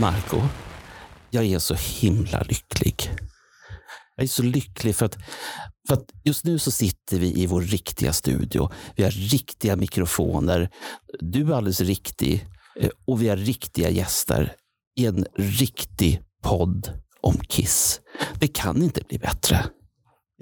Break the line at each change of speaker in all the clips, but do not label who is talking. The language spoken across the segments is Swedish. Marco, jag är så himla lycklig. Jag är så lycklig för att, för att just nu så sitter vi i vår riktiga studio. Vi har riktiga mikrofoner. Du är alldeles riktig eh, och vi har riktiga gäster i en riktig podd om Kiss. Det kan inte bli bättre.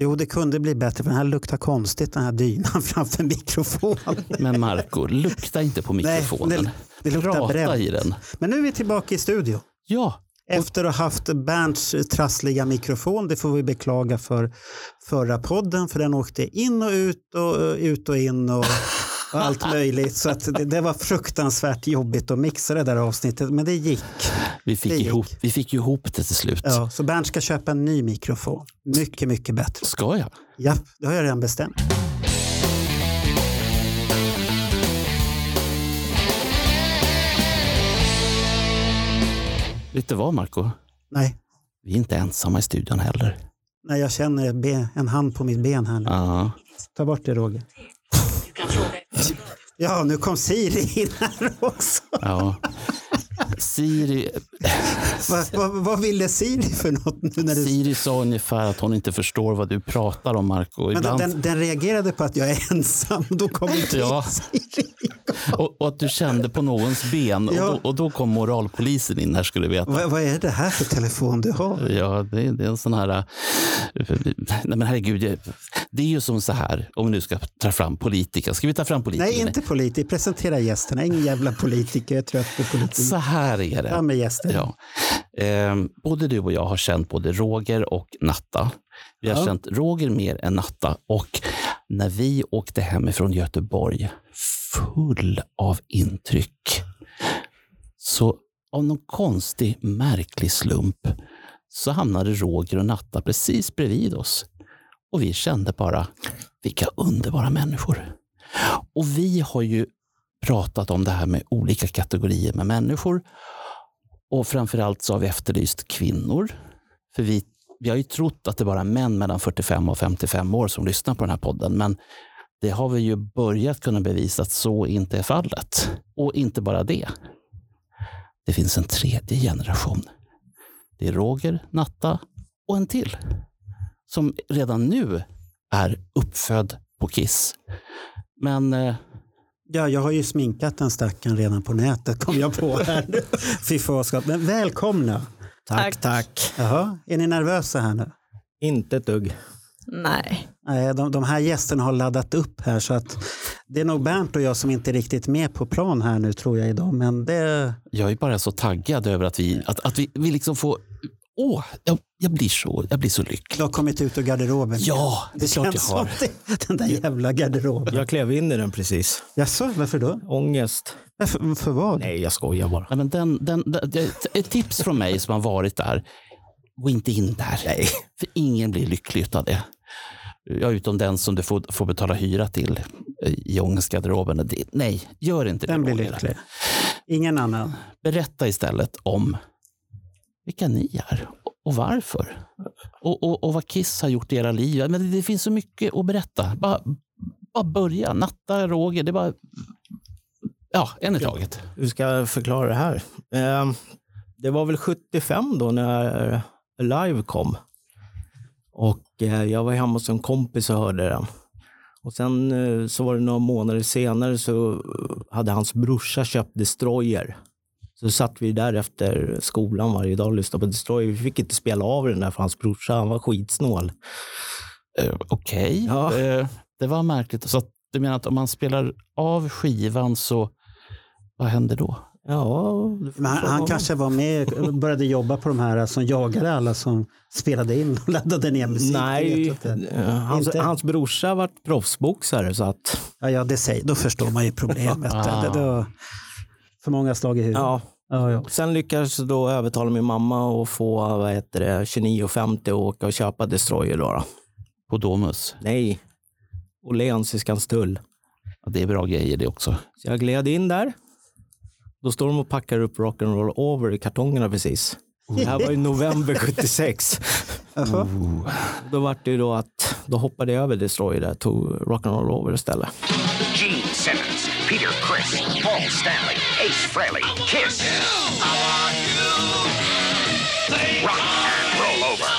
Jo, det kunde bli bättre för den här luktar konstigt, den här dynan framför mikrofonen.
Men Marco, lukta inte på mikrofonen.
det- det luktar
Prata
bränt.
i den.
Men nu är vi tillbaka i studio.
Ja,
Efter att ha haft Bernts trassliga mikrofon, det får vi beklaga för förra podden, för den åkte in och ut och eh, ut och in och, och allt möjligt. Så att det, det var fruktansvärt jobbigt att mixa det där avsnittet, men det gick.
vi
det
fick,
gick.
ihop, vi fick ju ihop det till slut.
Ja, så Bernt ska köpa en ny mikrofon. Mycket, mycket bättre.
Ska jag?
Ja, det har jag redan bestämt.
Vet du vad, Marco?
Nej,
Vi är inte ensamma i studion heller.
nej jag känner ett ben, en hand på mitt ben här nu.
Ja.
Ta bort det Roger. Ja, nu kom Siri in här också.
ja. Siri,
Vad, vad, vad ville Siri för något nu när du...
Siri sa ungefär att hon inte förstår vad du pratar om, Marco.
Men
Ibland,
den, den reagerade på att jag är ensam. Då kom inte
Ja.
Siri.
och, och att du kände på någons ben.
Ja.
Och, då, och då kom moralpolisen in här, skulle du veta.
Vad, vad är det här för telefon du har?
Ja, det, det är en sån här... äh, Nej, men herregud. jag- Det är ju som så här, om vi nu ska ta fram politiker. Ska vi ta fram politiker?
Nej, inte politiker. Presentera gästerna. Ingen jävla politiker. Jag är trött på
Så
politiker.
här är det.
Fram med gästerna.
Ja. Ehm, både du och jag har känt både Roger och Natta. Vi har
Ja.
känt Roger mer än Natta. Och när vi åkte hemifrån Göteborg, full av intryck, så av någon konstig, märklig slump så hamnade Roger och Natta precis bredvid oss. Och vi kände bara, vilka underbara människor. Och vi har ju pratat om det här med olika kategorier med människor. Och framförallt så har vi efterlyst kvinnor. För vi, vi har ju trott att det bara är män mellan 45 och 55 år som lyssnar på den här podden. Men det har vi ju börjat kunna bevisa att så inte är fallet. Och inte bara det. Det finns en tredje generation. Det är Roger, Natta och en till. Som redan nu är uppfödd på Kiss. Men eh,
Ja, jag har ju sminkat den stackaren redan på nätet, kom jag på här nu. Fy fan vad skott. Men välkomna.
Tack, tack.
Jaha, är ni nervösa här nu?
Inte ett dugg.
Nej.
Nej, de, de här gästerna har laddat upp här så att det är nog Bernt och jag som inte är riktigt med på plan här nu tror jag idag. Men det,
Jag är bara så taggad över att vi, att, att vi, vi liksom får... Åh, jag, jag, blir så, jag blir så
du
lycklig.
har kommit ut ur garderoben.
Ja, det är klart jag har.
som det, den där jävla garderoben.
Jag klev in i den precis.
Jaså, varför då?
Ångest.
Varför, för vad?
Nej, jag skojar bara.
Nej, men den, den, den, det- ett tips från mig som har varit där. Gå inte in där. Nej. För ingen blir lycklig utav det. Ja, utom den som du får, får betala hyra till eh, i ångestgarderoben. Det- Nej, gör inte det.
Den blir
Roger.
lycklig. Ingen annan.
Berätta istället om vilka ni är och- och varför. Och, och, och vad Kiss har gjort i era liv. Men det, det finns så mycket att berätta. Bara, bara börja. Natta, Roger, det är bara... Ja, en i taget.
Hur ska jag förklara det här? Eh, Det var väl 75 då när Alive kom. Och eh, jag var hemma hos en kompis och hörde den. Och sen eh, så var det några månader senare så eh, hade hans brorsa köpt Destroyer. Så satt vi där efter skolan varje dag och lyssnade på Destroyer. Vi fick inte spela av den där för hans brorsa, han var skitsnål.
Eh, Okej,
Ja.
Eh, det var märkligt. Så att, du menar att om man spelar av skivan så... Vad händer då?
Ja, du får
Men han,
fråga
han
honom.
kanske var med började jobba på de här som jagade alla som spelade in och laddade ner musik. Det vet jag
Nej,
inte.
eh, hans,
Inte?
hans brorsa varit proffsboxare så att
Ja, ja, det säger, då förstår man ju problemet.
Ah.
det, det, det var för många slag i huvudet.
ja,
Ja, ja.
Sen lyckades jag då övertala min mamma att få vad heter det, 29,50 och åka och köpa Destroyer. Då då.
På Domus.
Nej, Åhléns i Skanstull.
Ja, det är bra grejer det också.
Så jag gled in där. Då står de och packar upp Rock'n'Roll Over i kartongerna precis. Det här var i november 76.
Jaha.
Oh.
Då var det ju då att då hoppade jag över Destroyer där, tog Rock'n'Roll Over istället.
Gene Simmons, Peter Chris, Paul Stanley, Ace Frehley, Kiss. Rock and roll over.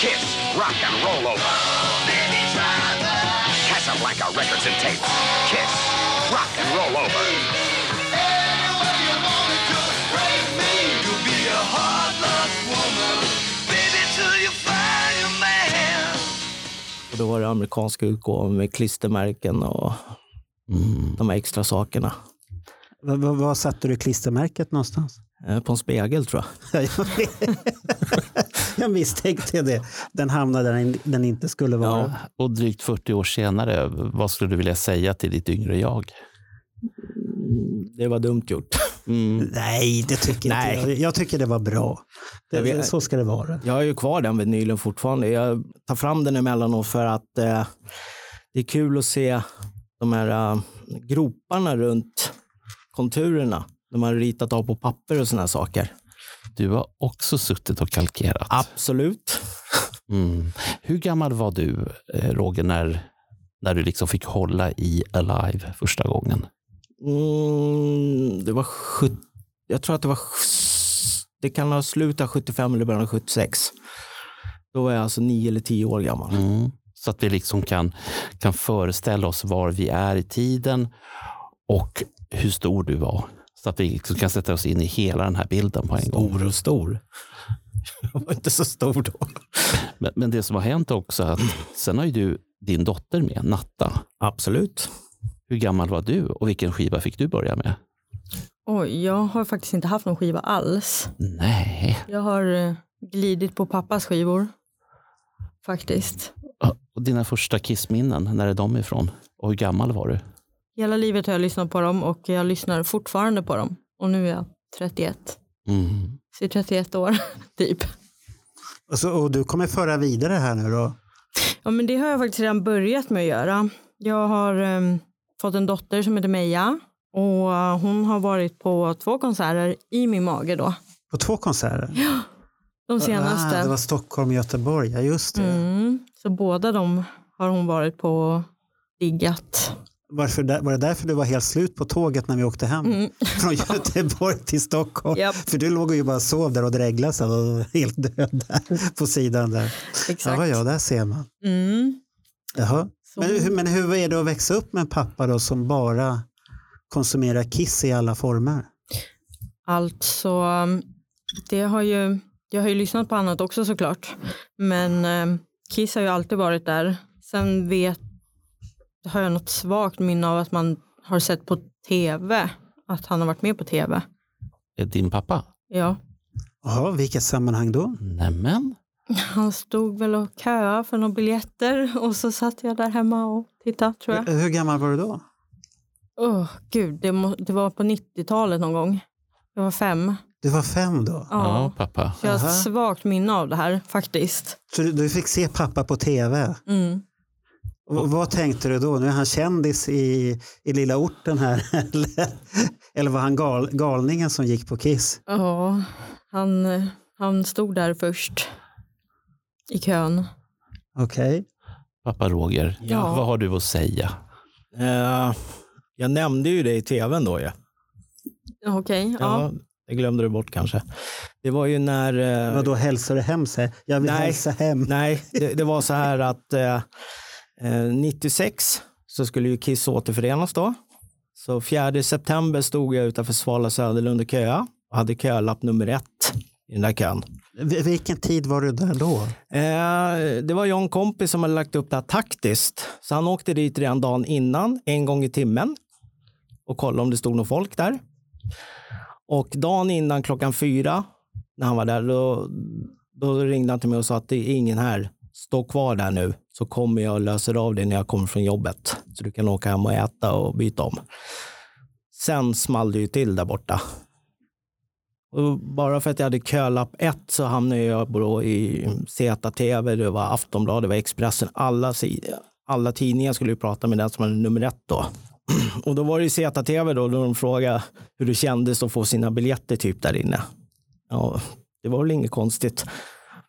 Kiss, rock and roll over. Casablanca records and tapes. Kiss, rock and roll over.
Och då var det amerikanska utgåvan med klistermärken och de här extra sakerna.
Var, var, var satte du klistermärket någonstans?
Eh, På en spegel tror jag.
jag misstänkte det. Den hamnade där in- den inte skulle vara.
Ja.
Och drygt 40 år senare, vad skulle du vilja säga till ditt yngre jag?
Det var dumt gjort.
Mm. Nej, det tycker
mm. Nej.
inte jag. Jag tycker det var bra.
Jag
Det,
vet-
så ska det vara.
Jag har ju kvar den vinylen fortfarande. Jag tar fram den emellanåt för att eh, det är kul att se de här eh, groparna runt konturerna. De har ritat av på papper och sådana saker.
Du har också suttit och kalkerat.
Absolut.
Mm. Hur gammal var du, eh, Roger, när, när du liksom fick hålla i Alive första gången?
Mm, det var 70, jag tror att det var, sj- det kan ha slutat 75 eller början av 76. Då var jag alltså 9 eller 10 år gammal.
Så att vi liksom kan, kan föreställa oss var vi är i tiden och hur stor du var. Så att vi liksom kan sätta oss in i hela den här bilden på en gång.
Stor och stor. Jag var inte så stor då.
Men, men det som har hänt också att sen har ju du din dotter med, Natta.
Absolut.
Hur gammal var du och vilken skiva fick du börja med?
Oj, jag har faktiskt inte haft någon skiva alls.
Nej,
Jag har eh, glidit på pappas skivor. Faktiskt.
och dina första kissminnen, när är de ifrån? Och hur gammal var du?
Hela livet har jag lyssnat på dem och jag lyssnar fortfarande på dem. Och nu är jag 31.
Mm.
Så jag är 31 år, typ.
Och, så, och du kommer föra vidare här nu då?
Ja, men det har jag faktiskt redan börjat med att göra. Jag har em, fått en dotter som heter Meja. Och eh, hon har varit på två konserter i min mage då.
På två konserter?
De senaste.
Ah, det var Stockholm och Göteborg, ja just det.
Mm, så båda de har hon varit på och diggat.
Varför, där- var det därför du var helt slut på tåget när vi åkte hem? Från Göteborg till Stockholm?
Mm. Japp.
För du låg ju bara och sov där och dreglade så och var helt död där på sidan där.
Exakt.
Ja, ja, där ser man.
Mm.
Jaha.
Så-
Men, hur- men hur är det att växa upp med en pappa då som bara konsumerar kiss i alla former?
Alltså, det har ju, jag har ju lyssnat på annat också såklart. Men eh, Kiss har ju alltid varit där. Sen vet, har jag något svagt minne av att man har sett på tv. Att han har varit med på tv.
Eh, Din pappa?
Ja.
Jaha, vilket sammanhang då?
Nämen.
Han stod väl och köade för några biljetter och så satt jag där hemma och tittade tror jag.
Hur, hur gammal var du då?
Åh gud, det, må, det var på 90-talet någon gång. Jag var fem.
Du var fem då?
Ja.
Ja, pappa.
Så jag har
Aha.
ett svagt minne av det här faktiskt.
Så du, du fick se pappa på tv?
Mm.
Och vad tänkte du då? Nu är han kändis i, i lilla orten här. Eller, eller var han gal, galningen som gick på Kiss?
Ja, han, han stod där först i kön.
Okej.
Pappa Roger,
Ja.
vad har du att säga?
Eh, jag nämnde ju det i tvn då ju.
Okej, ja.
Ja, det glömde du bort kanske. Det var ju när... eh,
Vadå hälsar du hem? säger jag? Jag vill
Nej.
hälsa hem.
Nej, det, det var så här att eh, eh, 96 så skulle ju Kiss återförenas då. Så 4 september stod jag utanför Svala Söderlund och köa och hade kölapp nummer ett i den där kön.
V- Vilken tid var du där då?
Eh, det var jag och en kompis som hade lagt upp det här taktiskt. Så han åkte dit redan dagen innan, en gång i timmen och kollade om det stod någon folk där. Och dagen innan klockan fyra, när han var där, då, då ringde han till mig och sa att det är ingen här. Stå kvar där nu så kommer jag och löser av det när jag kommer från jobbet. Så du kan åka hem och äta och byta om. Sen small det ju till där borta. Och bara för att jag hade kölapp ett så hamnade jag då i ZTV, det var Aftonbladet, det var Expressen. Alla, sidor, alla tidningar skulle ju prata med den som hade nummer ett då. Och då var det ju ZTV då, då de frågade hur det kändes att få sina biljetter typ där inne. Ja, det var väl inget konstigt.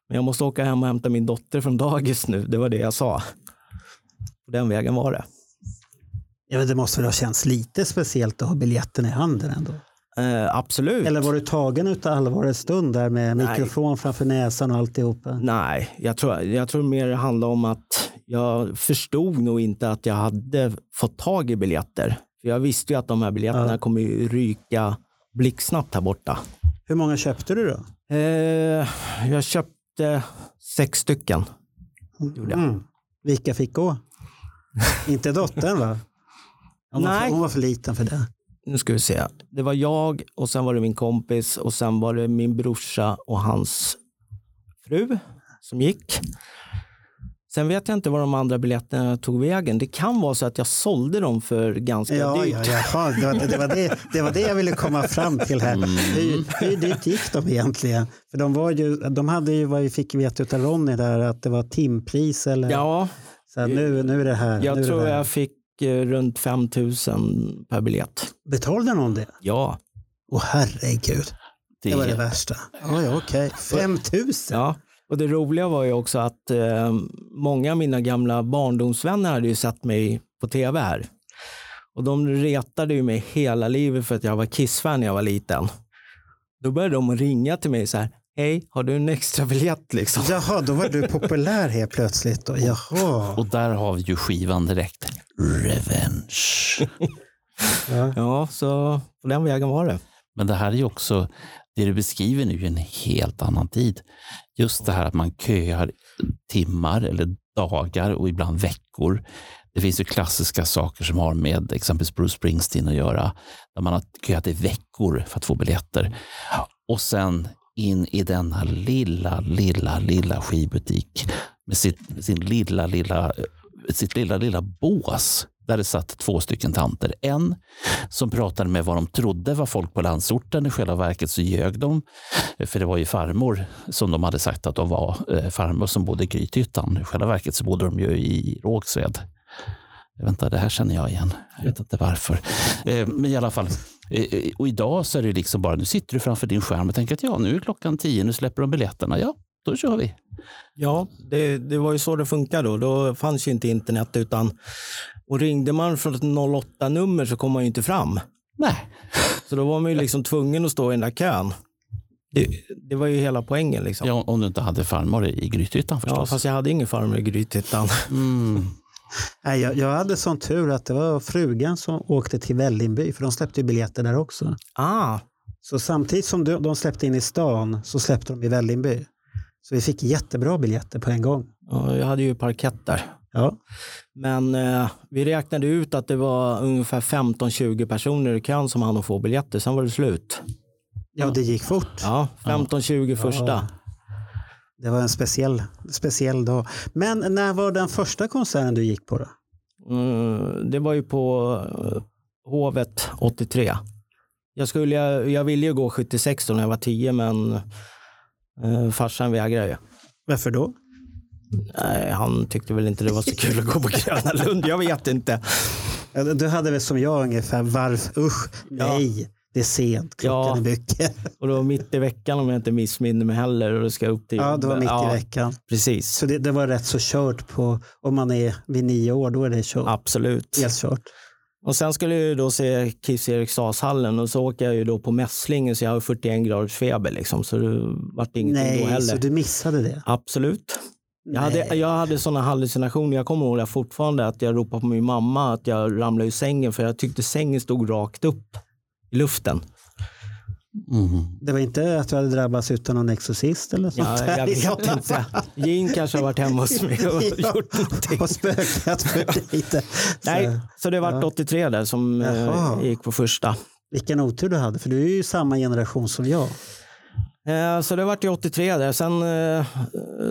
Men jag måste åka hem och hämta min dotter från dagis nu. Det var det jag sa. På den vägen var det.
Ja, men det måste väl ha känts lite speciellt att ha biljetten i handen ändå?
Eh, absolut.
Eller var du tagen utav allvarets stund där med
Nej.
mikrofon framför näsan och alltihopa?
Nej, jag tror, jag tror mer det handlar om att jag förstod nog inte att jag hade fått tag i biljetter. För jag visste ju att de här biljetterna
Ja.
kommer ju ryka blixtsnabbt här borta.
Hur många köpte du då?
Eh, jag köpte sex stycken. Gjorde jag.
Mm. Vilka fick gå? Inte dottern va? Hon var, för,
Nej.
hon var för liten för det.
nu ska vi se. Det var jag och sen var det min kompis och sen var det min brorsa och hans fru som gick. Sen vet jag inte var de andra biljetterna tog vägen. Det kan vara så att jag sålde dem för ganska
Ja,
dyrt.
ja, jaha, det, var, det, var det, det var det jag ville komma fram till här.
Mm.
Hur, hur dyrt gick de egentligen? För de, var ju, de hade ju vad vi fick veta utav Ronny där att det var timpris eller
Ja,
så här, nu, nu är det här. Eh, nu
jag
är
tror
det här.
jag fick eh, runt 5 000 per biljett.
Betalade någon det?
Ja.
Åh herregud, det var det värsta. Ja, ja, okej. 5 000?
ja. Och det roliga var ju också att eh, många av mina gamla barndomsvänner hade ju sett mig på tv här. Och de retade ju mig hela livet för att jag var Kiss-fan när jag var liten. Då började de ringa till mig så här. Hej, har du en extra biljett liksom?
Jaha, då var du populär helt plötsligt. Då. Jaha.
Och där har vi ju skivan direkt. Revenge.
Ja, så på den vägen var det.
Men det här är ju också, det du beskriver nu är ju en helt annan tid. Just det här att man köar timmar eller dagar och ibland veckor. Det finns ju klassiska saker som har med exempelvis Bruce Springsteen att göra. Där man har köat i veckor för att få biljetter. Och sen in i denna lilla, lilla, lilla skivbutik med sitt, sin lilla, lilla, eh, sitt lilla, lilla bås där det satt två stycken tanter. En som pratade med vad de trodde var folk på landsorten. I själva verket så ljög de, för det var ju farmor som de hade sagt att de var, eh, farmor som bodde i Grythyttan. I själva verket så bodde de ju i Rågsved. Vänta, det här känner jag igen. Jag vet inte varför. Eh, Men i alla fall. eh, eh, Och idag så är det liksom bara, nu sitter du framför din skärm och tänker att ja, nu är klockan tio, nu släpper de biljetterna. Ja, då kör vi.
Ja, det, det var ju så det funkade då. Då fanns ju inte internet utan och ringde man från ett 08-nummer så kom man ju inte fram.
Nej,
Så då var man ju liksom tvungen att stå i den där kön. Det, det var ju hela poängen. Liksom.
ja, om du inte hade farmor i i Grythyttan
ja,
förstås.
fast jag hade ingen farmor i Grythyttan.
mm.
Nej, jag, jag hade sån tur att det var frugan som åkte till Vällingby, för de släppte ju biljetter där också.
Ah,
Så samtidigt som de, de släppte in i stan så släppte de i Vällingby. Så vi fick jättebra biljetter på en gång.
ja, jag hade ju parkett där.
Ja.
Men eh, vi räknade ut att det var ungefär 15-20 personer i kön som hann att få biljetter. Sen var det slut.
ja, det gick fort.
Ja, 15-20 första.
Det var en speciell, speciell dag. Men när var den första konserten du gick på då?
Mm, det var ju på eh, Hovet 83. Jag, skulle, jag, jag ville ju gå 76 då när jag var 10 men eh, farsan vägrade ju.
Varför då?
Nej, han tyckte väl inte det var så kul att gå på Gröna Lund. Jag vet inte.
Ja, Du hade väl som jag ungefär varv, usch, nej, det är sent, klockan
Ja.
är mycket.
Och det var mitt i veckan om jag inte missminner mig heller. Och då ska jag upp till
Ja, det var mitt
Ja,
i veckan.
Precis,
Så det, det var rätt så kört på, om man är vid nio år, då är det kört.
absolut.
Helt kört.
Och sen skulle jag ju då se Kiss i Eriksdalshallen och så åker jag ju då på mässlingen så jag har 41 graders feber liksom. Så det vart ingenting då
Nej, så
heller.
du missade det.
Absolut. Jag hade,
Nej.
jag hade sådana hallucinationer. Jag kommer ihåg det fortfarande att jag ropade på min mamma att jag ramlade ur sängen för jag tyckte sängen stod rakt upp i luften.
Mm.
Det var inte att du hade drabbats utan någon exorcist eller sånt
Ja,
där
jag
i så
vet
fall.
inte. Jin kanske har varit hemma hos mig och
Ja,
gjort någonting.
och spökat för lite. Så,
Nej, så det vart 83 där som eh,
Jaha.
gick på första.
Vilken otur du hade, för du är ju samma generation som jag.
Eh, Så det vart ju 83 där. Sen eh,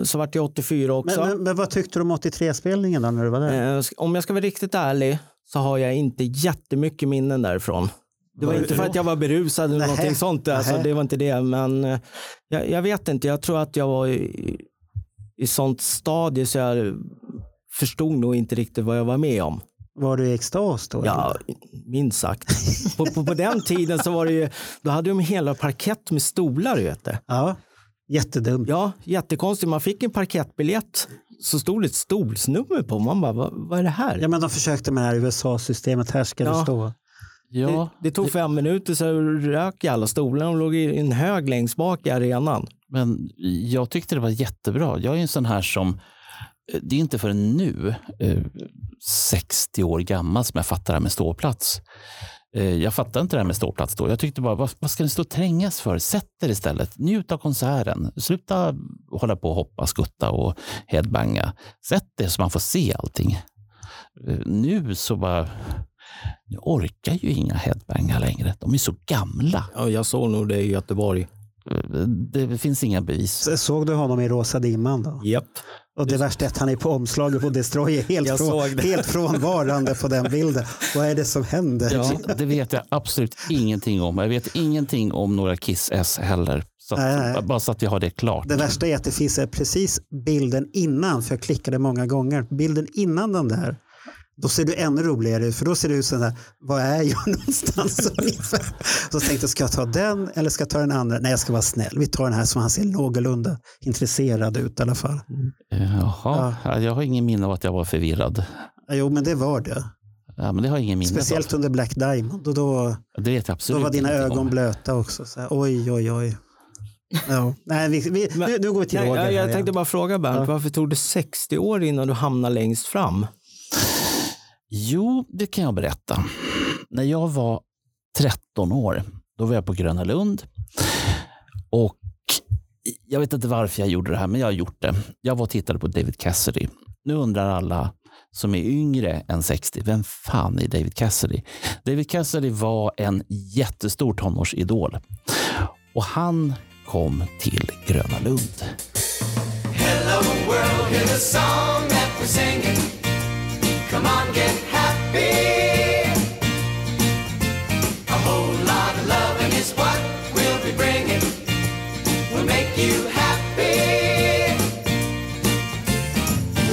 så vart det 84
Men,
också.
men, men vad tyckte du om 83-spelningen då när du var där?
Eh, Om jag ska vara riktigt ärlig så har jag inte jättemycket minnen därifrån. Det var inte för att jag var berusad eller
Nähä.
någonting sånt. Alltså,
Nähä.
det var inte det. Men eh, jag, jag vet inte. Jag tror att jag var i, i sånt stadie så jag förstod nog inte riktigt vad jag var med om.
Var du i extas då?
Ja, minst sagt. på, på, på den tiden så var det ju, då hade de hela parkett med stolar. Vet du.
ja. Jättedumt.
Ja, jättekonstigt. Man fick en parkettbiljett så stod det ett stolsnummer på. Man bara, vad, vad är det här?
Ja, men de försökte med det här USA-systemet. Här ska
Ja.
du stå.
Ja,
Det, det tog fem minuter så rök i alla stolar. De låg i en hög längst bak i arenan.
men jag tyckte det var jättebra. Jag är ju en sån här som, eh, det är inte förrän nu, eh, 60 år gammal, som jag fattar det här med ståplats. Eh, Jag fattar inte det här med ståplats då. Jag tyckte bara, vad, vad ska ni stå och trängas för? Sätt er istället. Njut av konserten. Sluta hålla på och hoppa, skutta och headbanga. Sätt er så man får se allting. Eh, Nu så bara, nu orkar ju inga headbangar längre. De är så gamla.
Ja, jag såg nog det i Göteborg.
Eh, Det finns inga bevis.
Så- Såg du honom i rosa dimman då?
Japp.
Och det värsta är att han är på omslaget på Destroyer helt,
Jag såg
från,
det.
helt frånvarande på den bilden. Vad är det som händer?
Ja, det vet jag absolut ingenting om. Jag vet ingenting om några Kiss-S heller. Så
Nej, nej, nej.
att, bara så att jag har det klart.
Det värsta är att det finns här precis bilden innan, för jag klickade många gånger. Bilden innan den där, då ser du ännu roligare ut, för då ser du ut sådär, vad är jag någonstans ungefär? Så tänkte jag, ska jag ta den eller ska jag ta den andra? Nej, jag ska vara snäll. Vi tar den här som han ser någorlunda intresserad ut i alla fall.
Mm.
Jaha, jag har ingen minne av att jag var förvirrad.
Jo, men det var det.
Ja, men det har jag ingen minne
Speciellt
alltså.
av.
under Black Diamond. Och då,
Det vet jag
då
absolut
var dina
ingenting om.
ögon blöta också. Så här, oj, oj, oj. Ja. Nej, vi, vi,
Men-
nu, nu går vi till
Nej,
Roger. här
jag, jag
igen.
tänkte bara fråga Bernt,
Ja.
varför tog det 60 år innan du hamnade längst fram?
Jo, det kan jag berätta. När jag var 13 år, då var jag på Gröna Lund. Och jag vet inte varför jag gjorde det här, men jag har gjort det. Jag var och tittade på David Cassidy. Nu undrar alla som är yngre än 60, vem fan är David Cassidy? David Cassidy var en jättestor tonårsidol. Och han kom till Gröna Lund.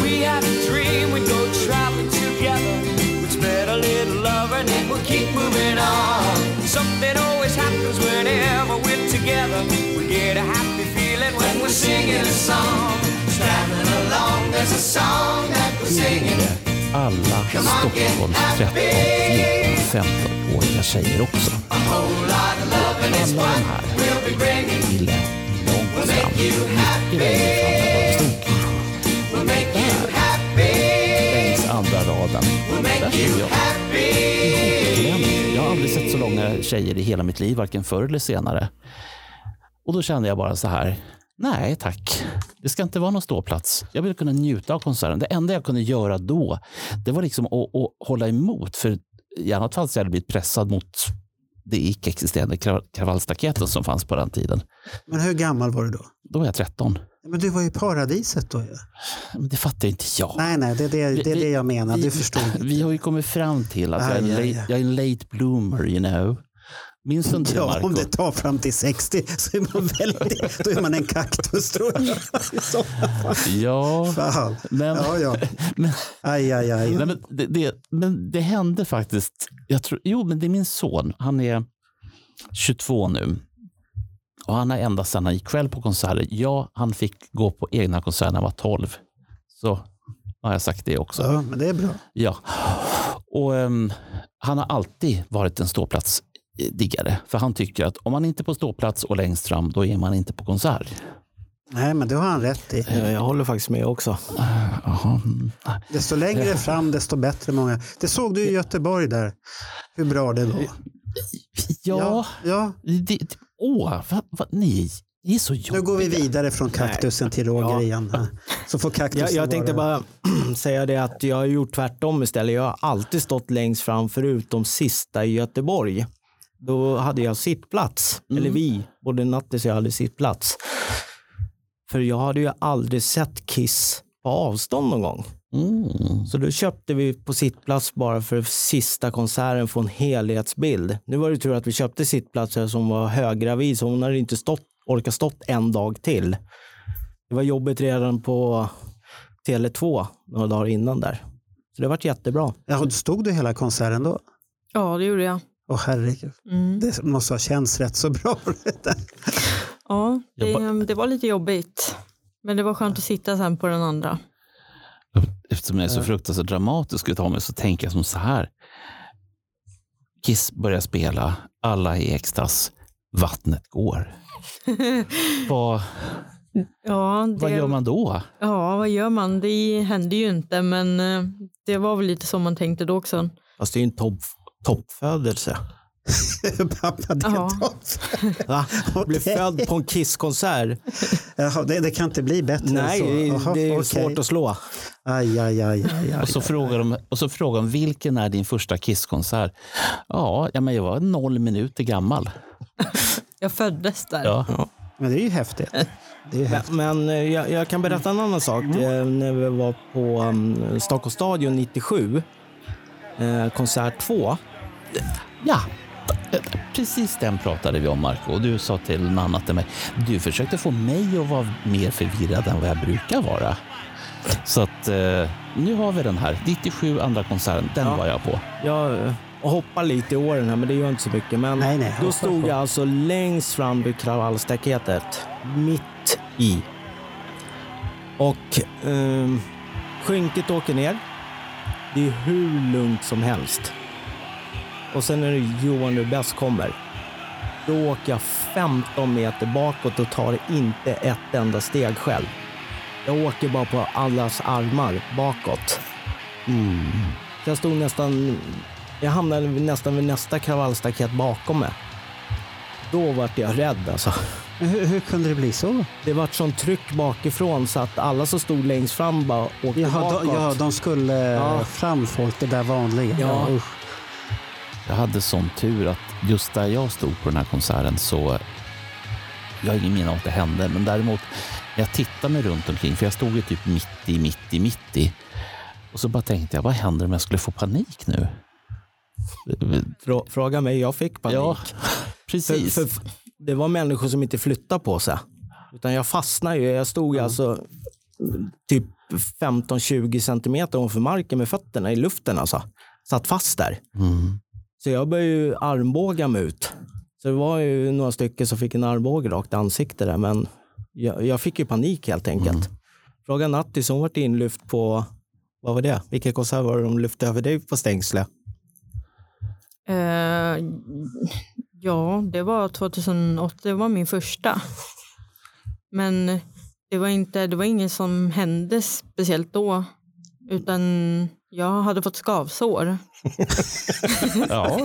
We had a dream, we'd go traveling together. We'd spread a little love and it would keep moving on. Something always happens whenever we're together. We get a happy feeling when we're singing a song. Traveling along, there's a song that we're singing.
Alla Stockholms 13, 14, 15-åriga tjejer också. Alla de här ville långt fram, mycket längre fram än vad de stod. Där, längs andra raden, där stod jag. Ihopklämd. Jag har aldrig sett så långa tjejer i hela mitt liv, varken förr eller senare. Och då kände jag bara så här, nej tack. Det ska inte vara någon ståplats. Jag vill kunna njuta av konserten. Det enda jag kunde göra då, det var liksom att, att hålla emot. För i annat fall så hade jag blivit pressad mot det icke-existerande krav- kravallstaketet som fanns på den tiden.
Men hur gammal var du då?
Då var jag 13.
Men du var ju i paradiset då ju.
Men det fattar inte jag.
Nej, nej, det är det, det, är det jag menar.
vi-
Du förstår. inte.
Vi har ju kommit fram till att jag, är en
Aj, aj,
late,
aj.
jag är en late bloomer, you know. Minns du inte det,
Ja,
Marco?
om det tar fram till 60 så är man väldigt, då är man en kaktus tror jag. I så
Ja,
fall.
men...
Ja, ja.
men
Aj, aj, aj.
Nej, men, det, det, men det hände faktiskt. Jag tror, jo, men det är min son. Han är 22 nu. Och han har ända sedan han gick själv på konserter. Ja, han fick gå på egna konserter när han var 12. Så har jag sagt det också.
Ja, men det är bra.
Ja. Och, ehm, han har alltid varit en ståplatsdiggare. För han tycker att om man inte är på ståplats och längst fram, då är man inte på konsert.
Nej, men det har han rätt i.
Eh, Jag håller faktiskt med också.
Jaha.
Desto längre fram, desto bättre många. Det såg du i Göteborg där. Hur bra det var.
Ja,
ja.
det, det, åh, vad, vad, ni, ni är så jobbiga.
Nu går vi vidare från kaktusen till Roger
Ja.
igen. här. Så får kaktusen
Jag, jag tänkte
vara-
bara säga det att jag har gjort tvärtom istället. Jag har alltid stått längst fram förutom sista i Göteborg. Då hade jag sittplats, eller vi, både Nattis och jag hade sittplats. För jag hade ju aldrig sett Kiss på avstånd någon gång.
Mm.
Så då köpte vi på sittplats bara för sista konserten få en helhetsbild. Nu var det tur att vi köpte sittplatser som var höggravid så hon hade inte stått, orkat stått en dag till. Det var jobbigt redan på Tele2 några dagar innan där. Så det vart jättebra.
Ja, stod du hela konserten då?
Ja, det gjorde jag.
Åh herregud,
Mm.
det måste ha känts rätt så bra. det där.
Ja, det,
Jag
det var lite jobbigt. Men det var skönt att sitta sen på den andra.
Eftersom jag är så fruktansvärt dramatisk utav mig så tänker jag som så här. Kiss börjar spela, alla är i extas, vattnet går. vad,
Ja, det,
vad gör man då?
Ja, vad gör man? Det hände ju inte, men eh, det var väl lite som man tänkte då också.
Fast det är ju en topp, toppfödelse.
Pappa, det,
Ja.
tar-
Va? Bli
Okej.
född på en Kisskonsert?
Jaha, det, det kan inte bli bättre
Nej,
än så.
det,
Jaha,
är- det är ju
okej.
svårt att slå.
Aj, aj, aj, aj, aj.
Och så, frågar de, och så frågar de vilken är din första Kisskonsert? Ja, ja, men jag var noll minuter gammal.
Jag föddes där.
Ja.
Men det är ju häftigt.
Eh.
Det är häftigt. Mm.
Men, men eh, jag, jag kan berätta en annan sak. Eh, När vi var på um, Stockholms stadion 97, eh, konsert 2.
Ja, precis den pratade vi om Marco och du sa till Nanna till mig, du försökte få mig att vara mer förvirrad än vad jag brukar vara. Så att eh, nu har vi den här, 97 andra konserten, den
Ja.
var jag på.
Jag eh, hoppar lite i åren här, men det gör inte så mycket. Men
Nej, nej,
då
hoppa
stod
på.
jag alltså längst fram vid kravallstaketet, mitt i. Och um, skynket åker ner. Det är hur lugnt som helst. Och sen när Johan Rubess kommer, då åker jag 15 meter bakåt och tar inte ett enda steg själv. Jag åker bara på allas armar bakåt. Så jag stod nästan... Jag hamnade nästan vid nästa kravallstaket bakom mig. Då vart jag rädd alltså.
Men hur, hur kunde det bli så?
Det vart sån tryck bakifrån så att alla som stod längst fram bara åkte
Jaha,
bakåt.
de, ja, de skulle
Ja.
fram folk, det där vanliga.
Ja.
usch.
Jag hade sån tur att just där jag stod på den här konserten så, jag har ingen minne av att det hände, men däremot när jag tittade mig runt omkring, för jag stod ju typ mitt i, mitt i, mitt i. Och så bara tänkte jag, vad händer om jag skulle få panik nu?
Frå- Fråga mig, jag fick panik.
Ja,
För,
precis.
för, för det var människor som inte flyttade på sig. Utan jag fastnade ju. Jag stod alltså typ 15-20 centimeter ovanför marken med fötterna i luften. Alltså. Satt fast där. Så jag började ju armbåga mig ut. Så det var ju några stycken som fick en armbåge rakt i ansiktet där. Men jag, jag fick ju panik helt enkelt. Fråga Nattis, hon vart inlyft på, vad var det? Vilka konsert var det de lyfte över dig på stängsle?
Eh, ja, det var 2008. Det var min första. Men det var, inte, det var ingen som hände speciellt då. Utan jag hade fått skavsår.
Ja,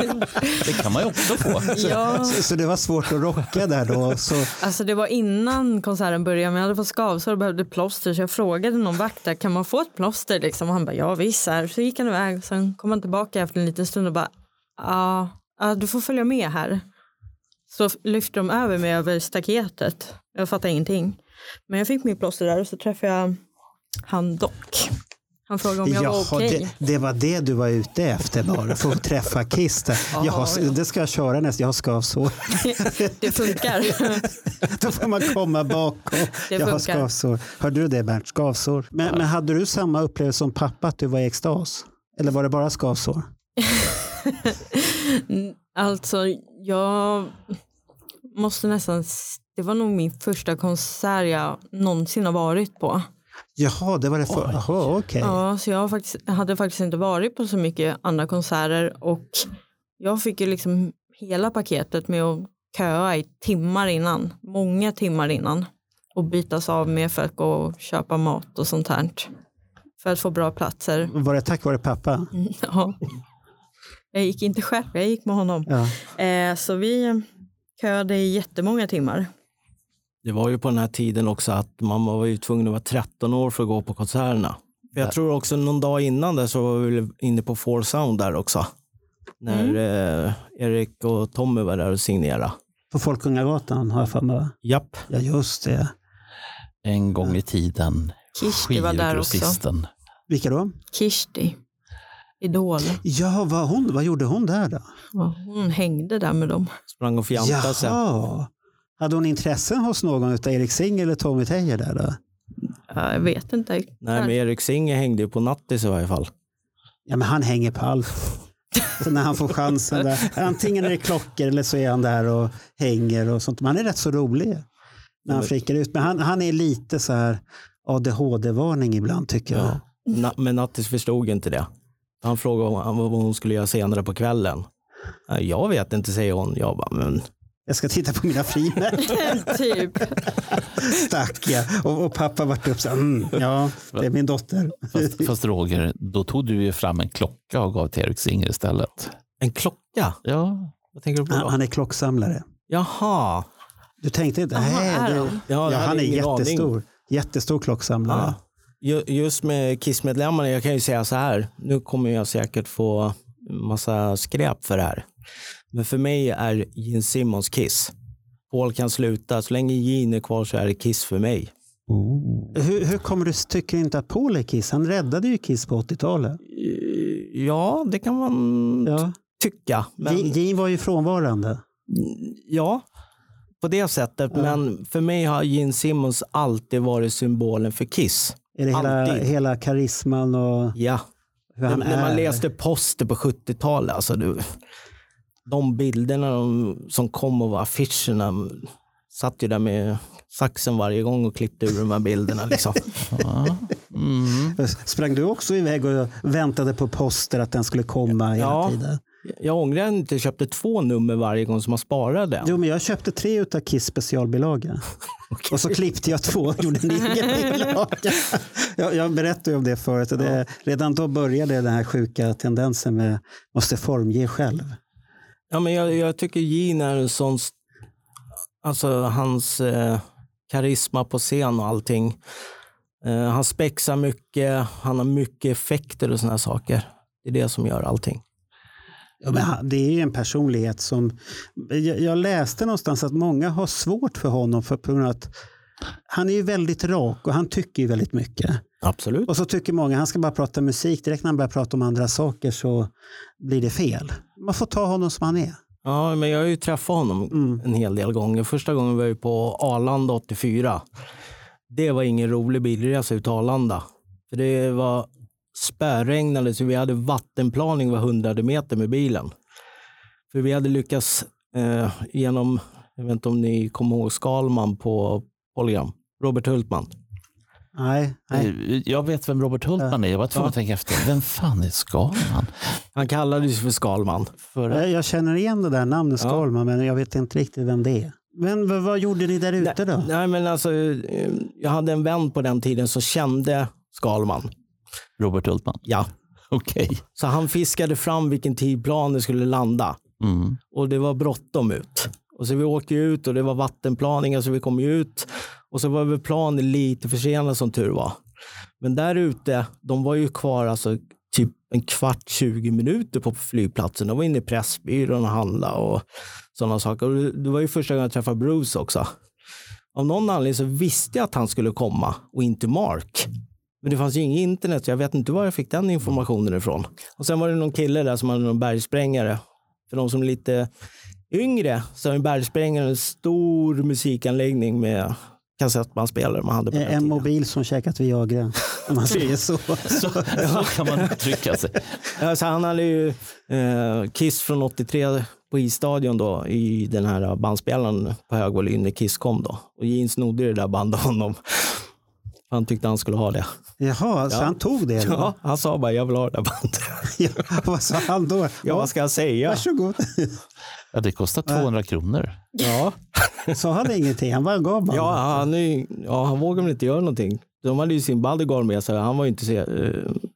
det kan man ju också få.
Ja,
Så, så det var svårt att rocka där då. Så,
alltså det var innan konserten började, men jag hade fått skavsår och behövde plåster. Så jag frågade någon vakt där, kan man få ett plåster? Liksom? Och han bara, ja visst. Så här. Så gick han iväg. Sen kom han tillbaka efter en liten stund och bara, ja, ja, du får följa med här. Så lyfte de över mig över staketet. Jag fattade ingenting. Men jag fick mitt plåster där och så träffade jag han dock. Han frågade om jag var okej.
det, det var det du var ute efter bara, för att träffa Kiss. där. Jaha,
ja.
det ska jag köra nästa, jag har skavsår.
Det, funkar.
Då får man komma bakom.
Det
jag har
funkar.
skavsår. Hörde du det Bernt? Skavsår. Men, men hade du samma upplevelse som pappa att du var i extas? Eller var det bara skavsår?
Alltså, jag måste nästan... Det var nog min första konsert jag någonsin har varit på.
Jaha, det var det för... Jaha, okej.
Ja, så jag har faktiskt, jag hade faktiskt inte varit på så mycket andra konserter och jag fick ju liksom hela paketet med att köa i timmar innan, många timmar innan och bytas av med för att gå och köpa mat och sånt här för att få bra platser.
Var det tack vare pappa?
Ja. Jag gick inte själv, jag gick med honom.
Ja.
Eh, så vi köade i jättemånga timmar.
Det var ju på den här tiden också att man var ju tvungen att vara 13 år för att gå på konserterna. För Jag tror också någon dag innan där så var vi väl inne på Four Sound där också. När eh, Erik och Tommy var där och signerade.
På Folkungagatan har jag för mig. va?
Japp.
Ja, just det.
En gång i tiden
Kish, det var där också.
skivgrossisten
Vilka då?
Kishti, Idol.
Ja, vad, hon, vad gjorde hon där då?
Ja, Hon hängde där med dem.
Sprang och fjantade sig.
Jaha. Hade hon intressen hos någon av Erik Singh eller Tommy Teijer där då?
Ja, Jag vet inte.
Nej, men Erik Singer hängde ju på nattis i varje fall.
Ja, men han hänger på allt. Så när han får chansen där. Antingen är det klockor eller så är han där och hänger och sånt. Men han är rätt så rolig när han flickar ut. Men han, han är lite så här ADHD-varning ibland tycker jag.
Na, men nattis förstod inte det. Han frågade om, vad hon skulle göra senare på kvällen. "Nej, Jag vet inte, säger hon. Jag bara, men
Jag ska titta på mina frimärken.
typ.
Stack jag. Och, och pappa vart upp så här, mm, ja, det är min dotter.
Fast, fast Roger, då tog du ju fram en klocka och gav till Erik Singer istället.
en klocka?
Ja,
Vad tänker du på
Han,
då?
han är klocksamlare.
Jaha.
Du tänkte inte,
Jaha, är
nej, det,
han?
Ja,
ja,
jag hade
han är
ingen aning.
jättestor. Jättestor klocksamlare.
Ja. Ju- Just med Kiss-medlemmarna, jag kan ju säga så här. Nu kommer jag säkert få massa skräp för det här. Men för mig är Gene Simmons Kiss. Paul kan sluta. Så länge Gene är kvar så är det Kiss för mig.
Hur, hur kommer du tycker inte att Paul är Kiss? Han räddade ju Kiss på 80-talet.
Ja, det kan man
Ja.
tycka. Men
Gene Gene var ju frånvarande.
ja, på det sättet. Men för mig har Gene Simmons alltid varit symbolen för Kiss.
Är det hela,
Alltid.
hela karisman och
Ja.
hur han
när, när man
är?
läste poster på 70-talet, alltså du, de bilderna de, som kom och var affischerna, mm, satt ju där med saxen varje gång och klippte ur de här bilderna. Liksom. Mm.
Sprang du också iväg och väntade på poster att den skulle komma hela
Ja.
tiden?
Jag ångrar att jag inte köpte två nummer varje gång som man sparade.
Jo, men jag köpte tre utav Kiss specialbilaga. Och så klippte jag två och gjorde en egen bilaga. Jag, jag berättade ju om det förut. Och det, Redan då började den här sjuka tendensen med måste formge själv.
Ja, men jag, jag tycker Gene är en sån... st- Alltså hans eh, karisma på scen och allting. Eh, han spexar mycket, han har mycket effekter och såna här saker. Det är det som gör allting.
Ja, men han, det är ju en personlighet som... Jag, jag läste någonstans att många har svårt för honom för på grund av att han är ju väldigt rak och han tycker ju väldigt mycket.
Absolut.
Och så tycker många han ska bara prata musik. Direkt när han börjar prata om andra saker så blir det fel. Man får ta honom som han är.
Ja, men jag har ju träffat honom en hel del gånger. Första gången var jag på Arlanda 84. Det var ingen rolig bilresa ut till Arlanda. För det var spärregnade så vi hade vattenplaning var hundrade meter med bilen. För vi hade lyckats eh, genom, jag vet inte om ni kommer ihåg Skalman på Polygam, Robert Hultman.
Nej, nej.
Eh, jag vet vem Robert Hultman är. Jag var tvungen att tänka efter. Vem fan är Skalman?
Han kallades ju för Skalman. För,
Jag, jag känner igen det där namnet
Ja.
Skalman men jag vet inte riktigt vem det är. Men vad, vad gjorde ni där ute då?
nej, men alltså, eh, jag hade en vän på den tiden som kände Skalman.
Robert Hultman.
Ja.
Okej.
Så han fiskade fram vilken tid planen skulle landa.
Mm.
Och det var bråttom ut. Och så vi åkte ju ut och det var vattenplaningar så vi kom ju ut. Och så var väl planen lite försenad som tur var. Men där ute, de var ju kvar alltså typ en kvart, 20 minuter på flygplatsen. De var inne i Pressbyrån och handla och sådana saker. Och det var ju första gången jag träffade Bruce också. Av någon anledning så visste jag att han skulle komma och inte Mark. Men det fanns ju inget internet så jag vet inte var jag fick den informationen ifrån. Och sen var det någon kille där som hade någon bergsprängare. För de som är lite yngre så är en bergsprängare en stor musikanläggning med kassettbandspelare man hade på den
En
tiden.
mobil som käkat Viagra. Om man säger så.
Så, så kan man uttrycka sig.
Ja, så han hade ju eh, Kiss från 83 på isstadion då i den här bandspelaren på hög volym när Kiss kom då. Och Gene snodde det där bandet av honom. Han tyckte han skulle ha det.
Jaha, så
Ja.
han tog det?
Ja,
då?
han sa bara jag vill ha det där bandet.
Ja. Vad sa han då?
Ja, vad ska jag säga?
Varsågod.
Ja, det kostar 200 kronor.
Ja,
Sa han ingenting? Han bara gav bara.
ja, han, är ju- ja han vågade väl inte göra någonting. De hade ju sin bodyguard med sig. Han var, ju inte så, eh,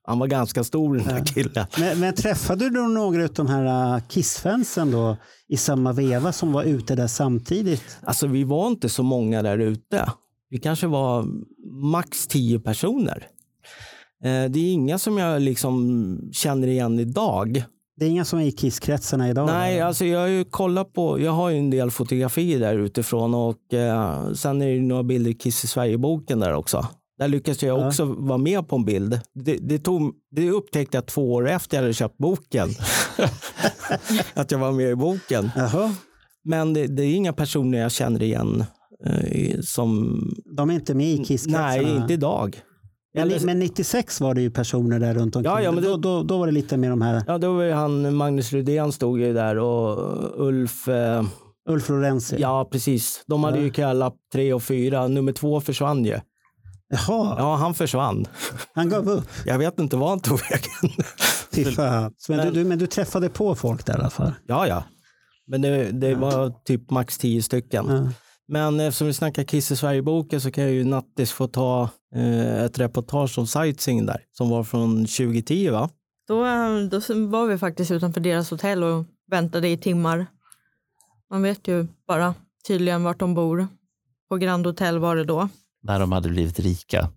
han var ganska stor den där killen.
Men, men träffade du några av de här äh, Kiss-fansen då i samma veva som var ute där samtidigt?
Alltså vi var inte så många där ute. Vi kanske var max tio personer. Eh, Det är inga som jag liksom känner igen idag.
Det är inga som är i Kiss-kretsarna idag?
Nej,
eller?
alltså jag har ju kollat på, jag har ju en del fotografier där utifrån och eh, sen är det ju några bilder i Kiss i Sverige-boken där också. Där lyckades jag också vara med på en bild. Det, det, tog, det upptäckte jag två år efter jag hade köpt boken. att jag var med i boken.
Jaha,
Men det, det är inga personer jag känner igen eh, i- som...
de är inte med i
Nej,
Kiss-kretsarna?
inte idag.
Men, men 96 var det ju personer där runt omkring.
Ja, ja, men
då,
det-
då, då var det lite med de här
Ja, då var ju han, Magnus Rydén stod ju där och Ulf, eh,
Ulf Lorenzi.
ja precis, de hade ju kallat tre och fyra, nummer två försvann ju.
Jaha,
Ja, han försvann.
han gav upp.
Jag vet inte var han tog vägen.
Fy fan. Men, du,
Men-
du, men du träffade på folk där i alla fall?
Ja, ja. Men det, det var typ max tio stycken.
Ja.
Men eftersom vi snackar Kiss i Sverige-boken så kan jag ju nattis få ta eh, ett reportage om sightseeing där, som var från 2010 va?
Då, eh, då var vi faktiskt utanför deras hotell och väntade i timmar. Man vet ju bara tydligen vart de bor. På Grand Hotel var det då.
när de hade blivit rika.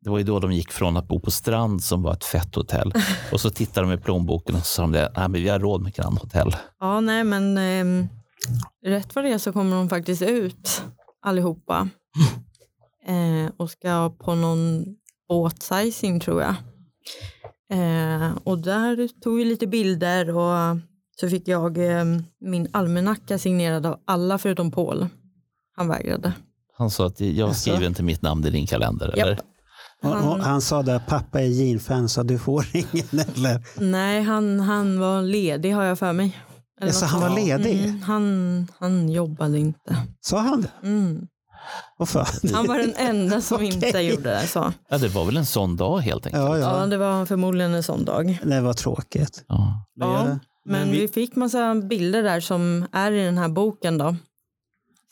Det var ju då de gick från att bo på Strand som var ett fett hotell och så tittade de i plånboken och så sa de det, nej men vi har råd med Grand Hotel.
Ja, nej, men ehm, rätt vad det är så kommer de faktiskt ut allihopa. Eh, och ska på någon båtsizing tror jag. Eh, och där tog vi lite bilder och så fick jag ehm, min almanacka signerad av alla förutom Paul. Han vägrade.
Han sa att jag har skrivit inte mitt namn i din kalender. Eller?
Japp.
Och, och han sa där, pappa är Gene-fan så du får ingen eller?
Nej, han, han var ledig har jag för mig. Eller
Så
något
han var
sånt.
ledig?
Mm, han, han jobbade inte.
Sa han det?
Mm.
Vad fan?
Han var den enda som inte
Okej.
gjorde det. Så.
Ja, det var väl en sån dag helt enkelt.
Ja,
Ja,
ja.
det var förmodligen en sån dag.
Det var tråkigt.
Ja.
Ja, men, vi... fick massa bilder där som är i den här boken då.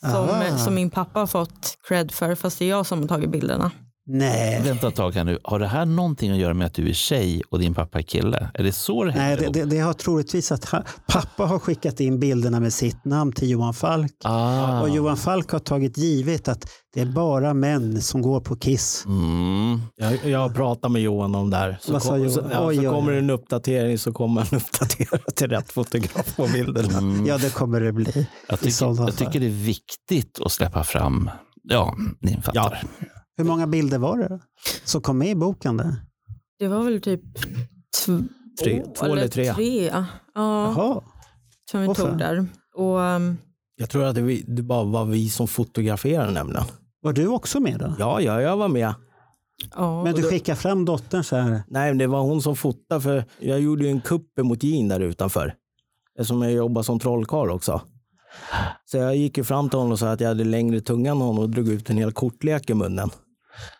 Aha.
Som, som min pappa har fått cred för, fast det är jag som har tagit bilderna.
Nej.
Vänta ett tag här nu, har det här någonting att göra med att du är tjej och din pappa är kille? Är det så det
Nej,
hänger
det,
ihop?
det, det har troligtvis att han, pappa har skickat in bilderna med sitt namn till Johan Falk.
Ah.
Och Johan Falk har tagit givet att det är bara män som går på Kiss.
Mm.
Jag, jag pratade med Johan om det här. Så,
Vad sa
kom,
Johan?
så, ja,
Oj, oj,
så
oj.
kommer det en uppdatering så kommer han uppdatera till rätt fotograf på bilderna.
Ja, det kommer det bli.
Jag,
I
tycker,
sådana
jag
fall.
tycker det är viktigt att släppa fram, ja, ni fattar.
Hur många bilder var det som kom med i boken? Där?
Det var väl typ tv-
Tre- två eller tre.
ja,
Jaha.
som vi
Åh, fan.
tog där. Och, um,
Jag tror att det, vi- det bara var vi som fotograferade nämligen.
Var du också med då?
Ja, ja, jag var med.
ja,
Men du skickar fram dottern så här.
Nej, men det var hon som fotade för jag gjorde ju en kupp mot Jean där utanför. Eftersom jag jobbar som trollkarl också. Så jag gick ju fram till honom och sa att jag hade längre tunga än honom och drog ut en hel kortlek i munnen.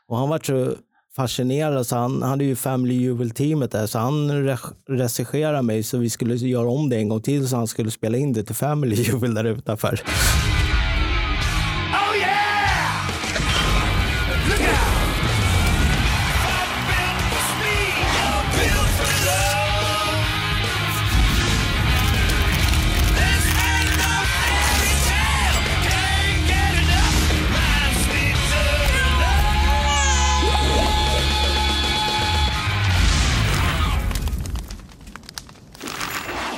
Och han var så fascinerad så han hade ju Family Jewel-teamet där så han re- regisserade mig så vi skulle göra om det en gång till så han skulle spela in det till Family Jewel där utanför.
Oh yeah! Look out! I'm built for speed. I'm built for love. This ain't no fairy tale. Can't get enough. Reminds me to love.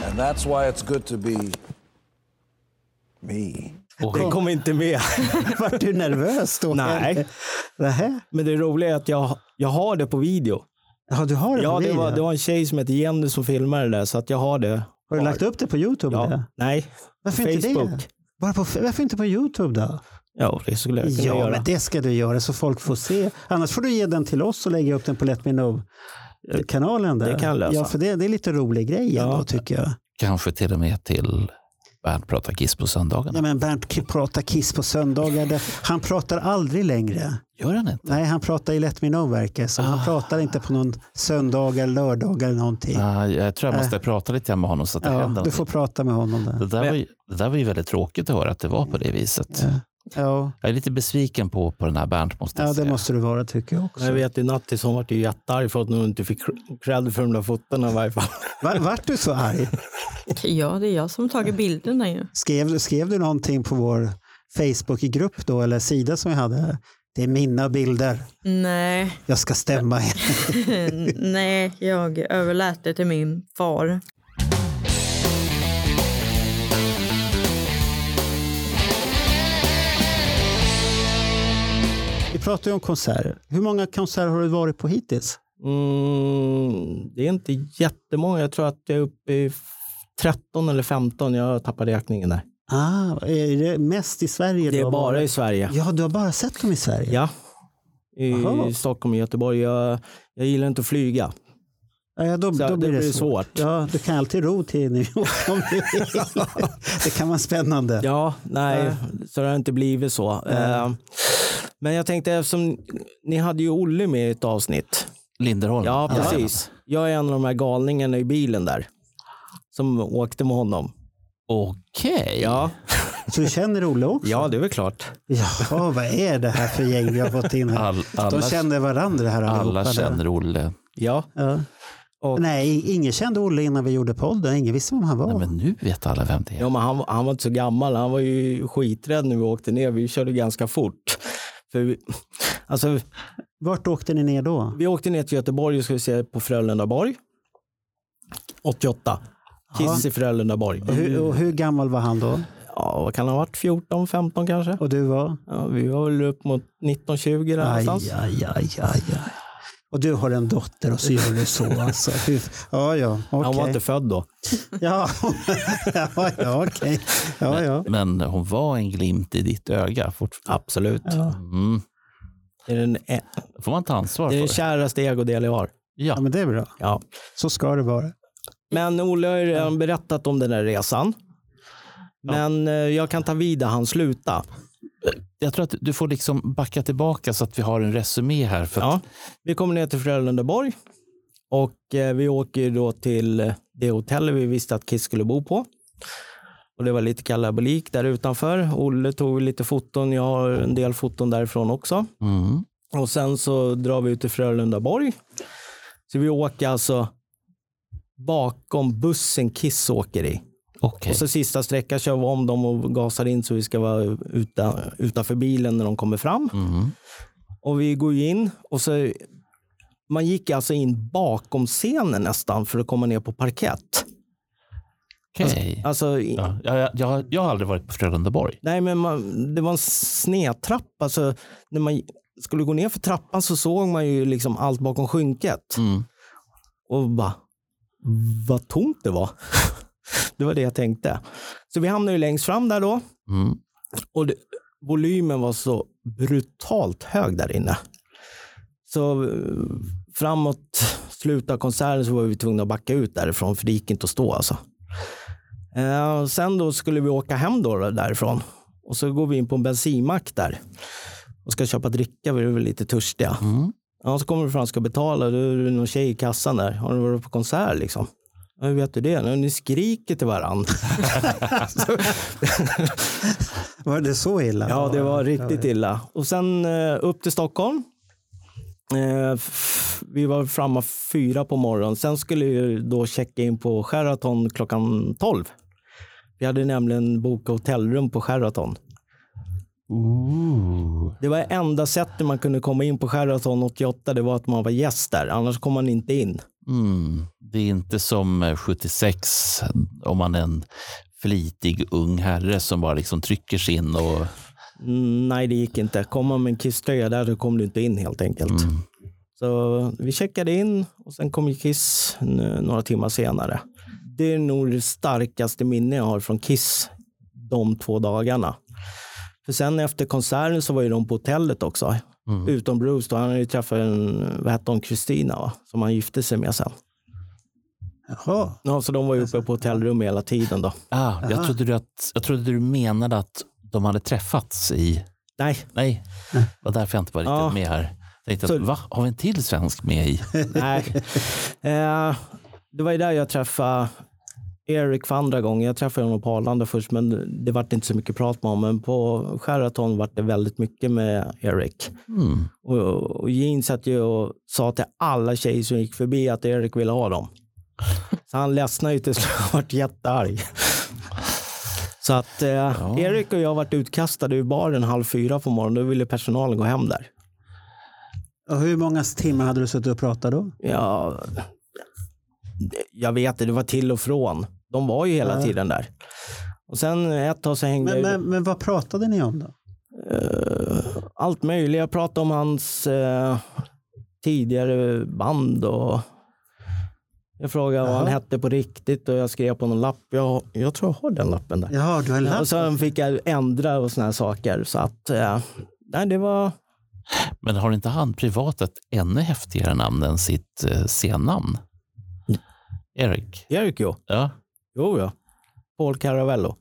And that's why it's good to be me.
Det kom inte med.
Vart du nervös då?
Nej.
Nähä?
Men det roliga är att jag, jag har det på video.
Ja, du har det på
Ja, det
video.
var, det var en tjej som hette Jenny som filmade det där, så att jag har det.
Har du lagt upp det på YouTube?
Ja,
Då?
nej.
Varför
Facebook.
inte det? Bara på, varför inte på YouTube då?
Ja, det skulle jag kunna
ja,
göra.
men det ska du göra så folk får se. Annars får du ge den till oss och lägga upp den på Let Me Know-kanalen. Där.
Det kan jag lösa.
Ja, för det, det är lite rolig grej ändå, tycker jag.
Kanske till och med till Bernt pratar Kiss på söndagarna.
Ja, men Bernt k- pratar Kiss på söndagar. Det- Han pratar aldrig längre.
Gör han inte?
Nej, han pratar i Let Me Know verkar så.
Ah.
Han pratar inte på någon söndagar, lördagar eller någonting.
Nej, jag tror jag måste prata lite grann med honom så att det
Ja,
händer
du
någonting.
får prata med honom
det,
där.
där var ju, det där var ju väldigt tråkigt att höra att det var på det viset.
Ja,
Jag är lite besviken på, på den här Bernt måste jag
ja det
säga.
måste du vara tycker jag
Men jag
också.
vet ju Nattis, hon vart ju jättearg för att hon inte fick cred för de där fotona i varje fall.
Var, vart du så arg?
ja, det är jag som har tagit bilderna ju.
Skrev, du- skrev du någonting på vår Facebookgrupp då, eller sida som vi hade? Det är mina bilder.
Nej,
Jag ska stämma er.
nej, jag överlät det till min far.
Vi pratar ju om konserter. Hur många konserter har du varit på hittills?
Mm, det är inte jättemånga. Jag tror att jag är uppe i 13 eller 15. Jag tappade räkningen där.
Ah, är det mest i Sverige?
Det
du
är
har varit?
bara i Sverige.
Ja, du har bara sett dem i Sverige?
Ja. I
Aha.
Stockholm och Göteborg. Jag, jag gillar inte att flyga.
Ja, ja, då,
Så
då
det
blir det,
blir
svårt.
svårt.
Ja, du kan alltid ro till New York om du vill. Det kan vara spännande.
Ja, nej, så det har inte blivit så. Eh, Men jag tänkte eftersom ni hade ju Olle med i ett avsnitt.
Linderholm.
Ja, precis. Jag är en av de här galningarna i bilen där. Som åkte med honom.
Okej.
Ja,
Så du känner Olle också?
ja det är väl klart.
Jaha, vad är det här för gäng vi har fått in här?
All, alla,
De känner varandra här
alla
allihopa. där.
känner Olle.
Ja,
Ja.
Och-
Nej, ingen kände Olle innan vi gjorde podden. Ingen visste vem han var.
Nej, men nu vet alla vem det är.
ja men han, han var inte så gammal. Han var ju skiträdd när vi åkte ner. Vi körde ganska fort. För vi, alltså,
Vart åkte ni ner då?
vi åkte ner till Göteborg och skulle se på Frölundaborg. 88. Kiss i Frölundaborg.
Och hur, och hur gammal var han då?
Ja, vad kan han ha varit? 14, 15 kanske?
Och du var?
Ja, vi var väl upp mot 19-20 där
Aj,
någonstans.
aj, aj, aj, aj. Och du har en dotter och så gör du så alltså. Fy- Ja, ja, okej.
Han var inte född då.
Ja, ja, ja okej. Ja, ja.
Men hon var en glimt i ditt öga. Fort...
Absolut.
Mm.
Det är den, det
Det får man ta ansvar
är den
för.
käraste ägodel jag har.
ja,
Ja.
men det är bra.
Ja.
Så ska det vara.
Men Olle har ju redan berättat om den där resan. Men eh, jag kan ta vid där han slutade.
Jag tror att du får liksom backa tillbaka så att vi har en resumé här. För att,
Ja. Vi kommer ner till Frölundaborg och eh, vi åker ju då till eh, det hotell vi visste att Kiss skulle bo på. Och det var lite kalabalik där utanför. Olle tog lite foton. Jag har en del foton därifrån också.
mm.
Och sen så drar vi ut till Frölundaborg. Så vi åker alltså bakom bussen Kiss åker i.
Okej.
Och så sista sträckan kör vi om dem och gasar in så vi ska vara utan, utanför bilen när de kommer fram.
Mm.
Och vi går ju in och så man gick alltså in bakom scenen nästan för att komma ner på parkett.
Okej.
Alltså, i-
Ja, jag, jag, har- jag har aldrig varit på Frölundaborg.
Nej, men man, det var en snedtrappa. Så när man skulle gå ner för trappan så såg man ju liksom allt bakom skynket.
Mm.
Och bara, vad tomt det var. det var det jag tänkte. Så vi hamnade ju längst fram där då.
Mm.
Och det, volymen var så brutalt hög där inne. Så eh, framåt slutet av konserten så var vi tvungna att backa ut därifrån för det gick inte att stå alltså. Eh, sen då skulle vi åka hem då, då därifrån och så går vi in på en bensinmack där och ska köpa dricka, vi är väl lite törstiga. Ja, så kommer vi fram och ska betala, då är det någon tjej i kassan där. Har ni varit på konsert liksom? Ja, hur vet du det? "Ja, Ni skriker till varandra.
Var det så illa?
Ja, det var riktigt illa. Och sen eh, upp till Stockholm. Eh, f- Vi var framme fyra på morgonen. Sen skulle vi då checka in på Sheraton klockan 12. Vi hade nämligen bokat hotellrum på Sheraton. Det var enda sättet man kunde komma in på Sheraton 88. Det var att man var gäst där. Annars kom man inte in.
Mm. Det är inte som eh, 76 om man är en flitig ung herre som bara liksom trycker sig in och
Mm, Nej, det gick inte. Kom man med en kisströja där, då kom du inte in helt enkelt.
Mm.
Så vi checkade in och sen kom ju Kiss n- några timmar senare. Det är nog det starkaste minne jag har från Kiss de två dagarna. För sen efter konserten så var ju de på hotellet också. Utom Bruce då, han hade ju träffat en, vad hette hon, Kristina va? Som han gifte sig med sen.
Jaha.
Ja, så de var ju uppe på hotellrum hela tiden då.
Ah, jag, trodde du att, jag trodde du menade att de hade träffats i...
Nej,
Nej, det var därför jag inte var riktigt
Ja.
med här. Jag tänkte att,
Så-
va? Har vi en till svensk med i?
Nej. Eh, det var ju där jag träffade Erik för andra gången. Jag träffade honom på Arlanda först, men det vart inte så mycket prat med honom. Men på Sheraton vart det väldigt mycket med Erik.
Mm.
Och, och Jean satt ju och sa till alla tjejer som gick förbi att Erik ville ha dem. Så han ledsnade ju till slut och vart jättearg. Så att eh, Erik och jag vart utkastade ur baren halv fyra på morgonen. Då ville personalen gå hem där.
Och hur många timmar hade du suttit och pratat då?
Ja, jag vet det. Det var till och från. De var ju hela tiden där. Och sen ett tag så hängde
Men,
jag...
men, men vad pratade ni om då?
eh, allt möjligt. Jag pratade om hans eh, tidigare band och jag frågade vad
Jaha.
han hette på riktigt och jag skrev på någon lapp. Jag, jag tror jag har den lappen där.
Jaha, du har en
Ja,
lapp?
och sen fick jag ändra och såna här saker. Så att, eh, nej, det var...
Men har inte han privat ett ännu häftigare namn än sitt eh, scennamn?
Mm.
Eric?
Erik jo.
Ja.
Jo, ja. Paul Caravello.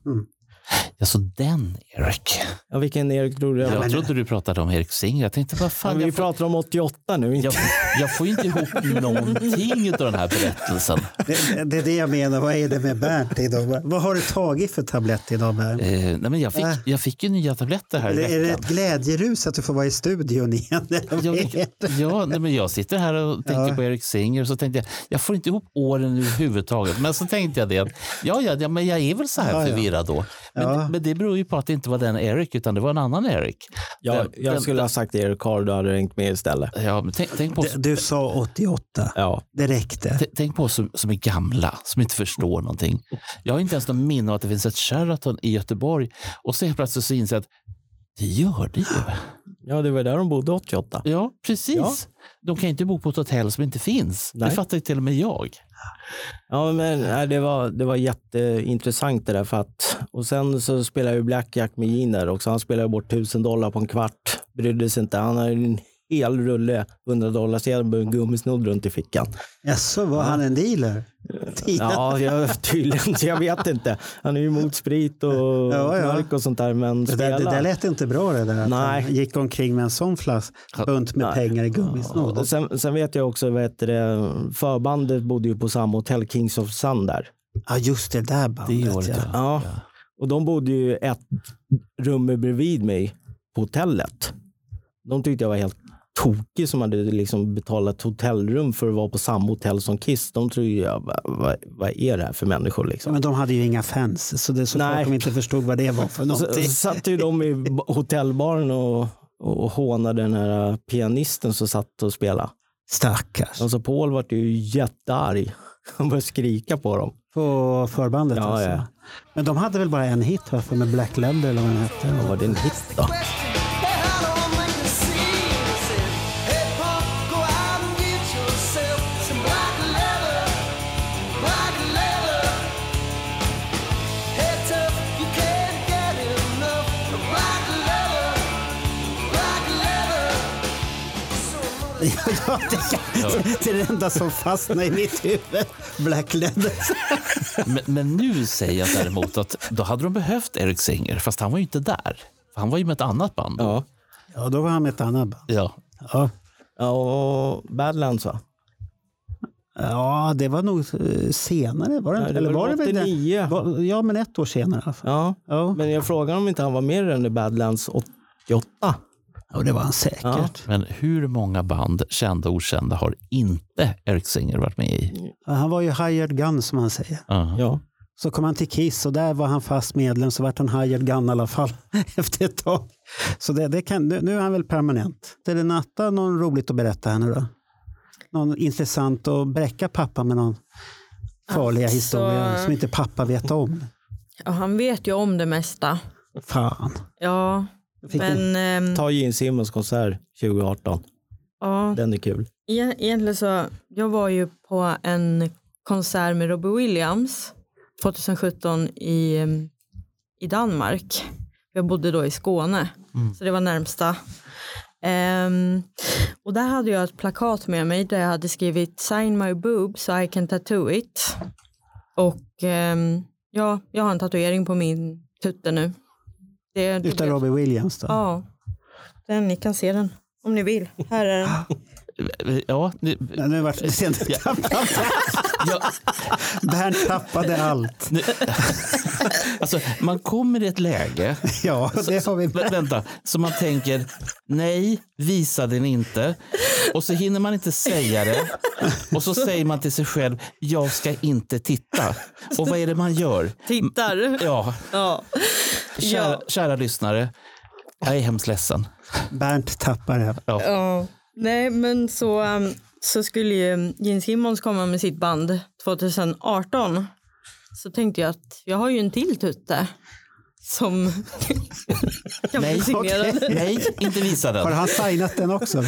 Alltså den Eric.
Ja, vilken Erik tror du det
Jag
var?
trodde du pratade om Eric Singer. Jag tänkte, vad
Ja,
fan,
men vi
jag, får,
pratar om 88 nu. Inte.
jag, jag får ju inte ihop någonting av den här berättelsen.
Det, det är det jag menar, vad är det med Bernt idag? Vad- Vad har du tagit för tablett idag Bernt?
Eh, nej, men jag, fick,
Äh.
jag fick ju nya tabletter här i
Eller är det
veckan.
ett glädjerus att du får vara i studion igen?
Jag, ja, nej, men jag sitter här och tänker
Ja.
på Eric Singer och så tänkte jag, jag får inte ihop åren överhuvudtaget. Men så tänkte jag det, att, ja, ja, ja, men jag är väl så här
Ja, ja.
förvirrad då. Men,
Ja.
men det beror ju på att det inte var den Eric, utan det var en annan Eric.
Jag,
Den- den-
jag skulle ha sagt Erik Carl, du hade ringt med istället.
Ja, men tänk, tänk på oss,
Du, du sa 88,
Ja.
det räckte.
t- tänk på oss som, som är gamla, som inte förstår någonting. Jag har inte ens något minne av att det finns ett Sheraton i Göteborg och så helt plötsligt så inser jag att det gör det ju.
ja, det var där de bodde 88.
Ja, precis.
Ja.
De kan ju inte bo på ett hotell som inte finns. Det
Nej.
fattar ju till och med jag.
Ja, men nej, det, var, det var jätteintressant det där. För att, och sen så spelade ju Blackjack med Giner också. Han spelade bort tusen dollar på en kvart. Brydde sig inte. Han hade en hel rulle 100 dollar sedan med en gummisnodd runt i fickan.
Jaså, var han en dealer?
Ja, jag, tydligen. Så jag vet inte. Han är ju emot sprit och
Ja, ja.
knark och sånt där. Men
Det där, det där
spelar.
lät inte bra det där. att
Nej.
han Gick omkring med en sån flass, bunt med
Nej.
pengar i
Och
gummisnodd.
sen, sen vet jag också, vad heter det, förbandet bodde ju på samma hotell, Kings of Sun där.
Ja, just det där bandet.
Det året,
ja.
ja.
Ja. Och de bodde ju ett rum bredvid mig på hotellet. De tyckte jag var helt tokig som hade liksom betalat hotellrum för att vara på samma hotell som Kiss. De tror ju, jag, vad, vad, vad är det här för människor
Ja,
liksom?
Men de hade ju inga fans, så det är såklart
Nej.
de inte förstod vad det var för
Så, så
någonting.
satt ju de i b- hotellbaren och, och hånade den här pianisten som satt och spelade.
Stackars.
Alltså Paul vart ju jättearg. Han började skrika på dem.
På förbandet
Ja,
alltså.
ja.
Men de hade väl bara en hit va? För med Black Leather eller vad den hette.
Var det en hit då?
ja, det, det är det enda som fastnar i mitt huvud. Black Leather.
Men, men nu säger jag däremot att då hade de behövt Eric Singer, fast han var ju inte där. För Han var ju med ett annat band. Ja.
Ja.
Ja, då var han med ett annat band. Ja.
Ja, och Badlands va?
ja, det var nog eh, senare. Var det,
Nej,
inte?
det
eller var
var
det väl det?
89.
Va- Ja, men ett år senare. Alltså.
Ja.
Ja.
Men jag frågar om inte han var med i den där Badlands 88.
ja, det var han säkert.
Ja.
Men hur många band, kända och okända, har inte Eric Singer varit med i?
Han var ju hired gun som han säger.
Ja.
Ja.
Så kom han till Kiss och där var han fast medlem så vart han hired gun i alla fall efter ett tag. Så det, det kan, nu, nu är han väl permanent. Är det Natta någon roligt att berätta här nu då? Någon intressant att bräcka pappa med någon farliga
Alltså-
historia som inte pappa vet om?
Ja, han vet ju om det mesta.
Fan.
Ja,
Fick ni-
men ehm,
Ta Gene Simmons konsert 2018.
ja,
Den är kul.
e- egentligen så, jag var ju på en konsert med Robbie Williams 2017 i, ehm, i Danmark. Jag bodde då i Skåne, så det var närmsta. Ehm, och där hade jag ett plakat med mig där jag hade skrivit sign my boob so I can tattoo it. Och ehm, ja, jag har en tatuering på min tutte nu. Det, det
Utav Robbie Williams då?
Ja, den, ni kan se den om ni vill. Här är den.
Ja, nu,
Nej, Nu vart det sent.
ja,
Bernt tappade allt.
nu, alltså, man kommer i ett läge
Ja, det har vi.
Vä- Vänta, så man tänker nej, visa den inte. Och så hinner man inte säga det. Och så säger man till sig själv, jag ska inte titta. Och vad är det man gör?
Tittar.
Ja,
Ja.
kära, kära lyssnare. Jag är hemskt ledsen.
Bernt tappar det.
ja. Nej, men så, um, så skulle ju Gene Simmons komma med sitt band 2018. Så tänkte jag att jag har ju en till tutte. som kan bli signerad.
Nej, inte visa
Har
den.
han signat den också?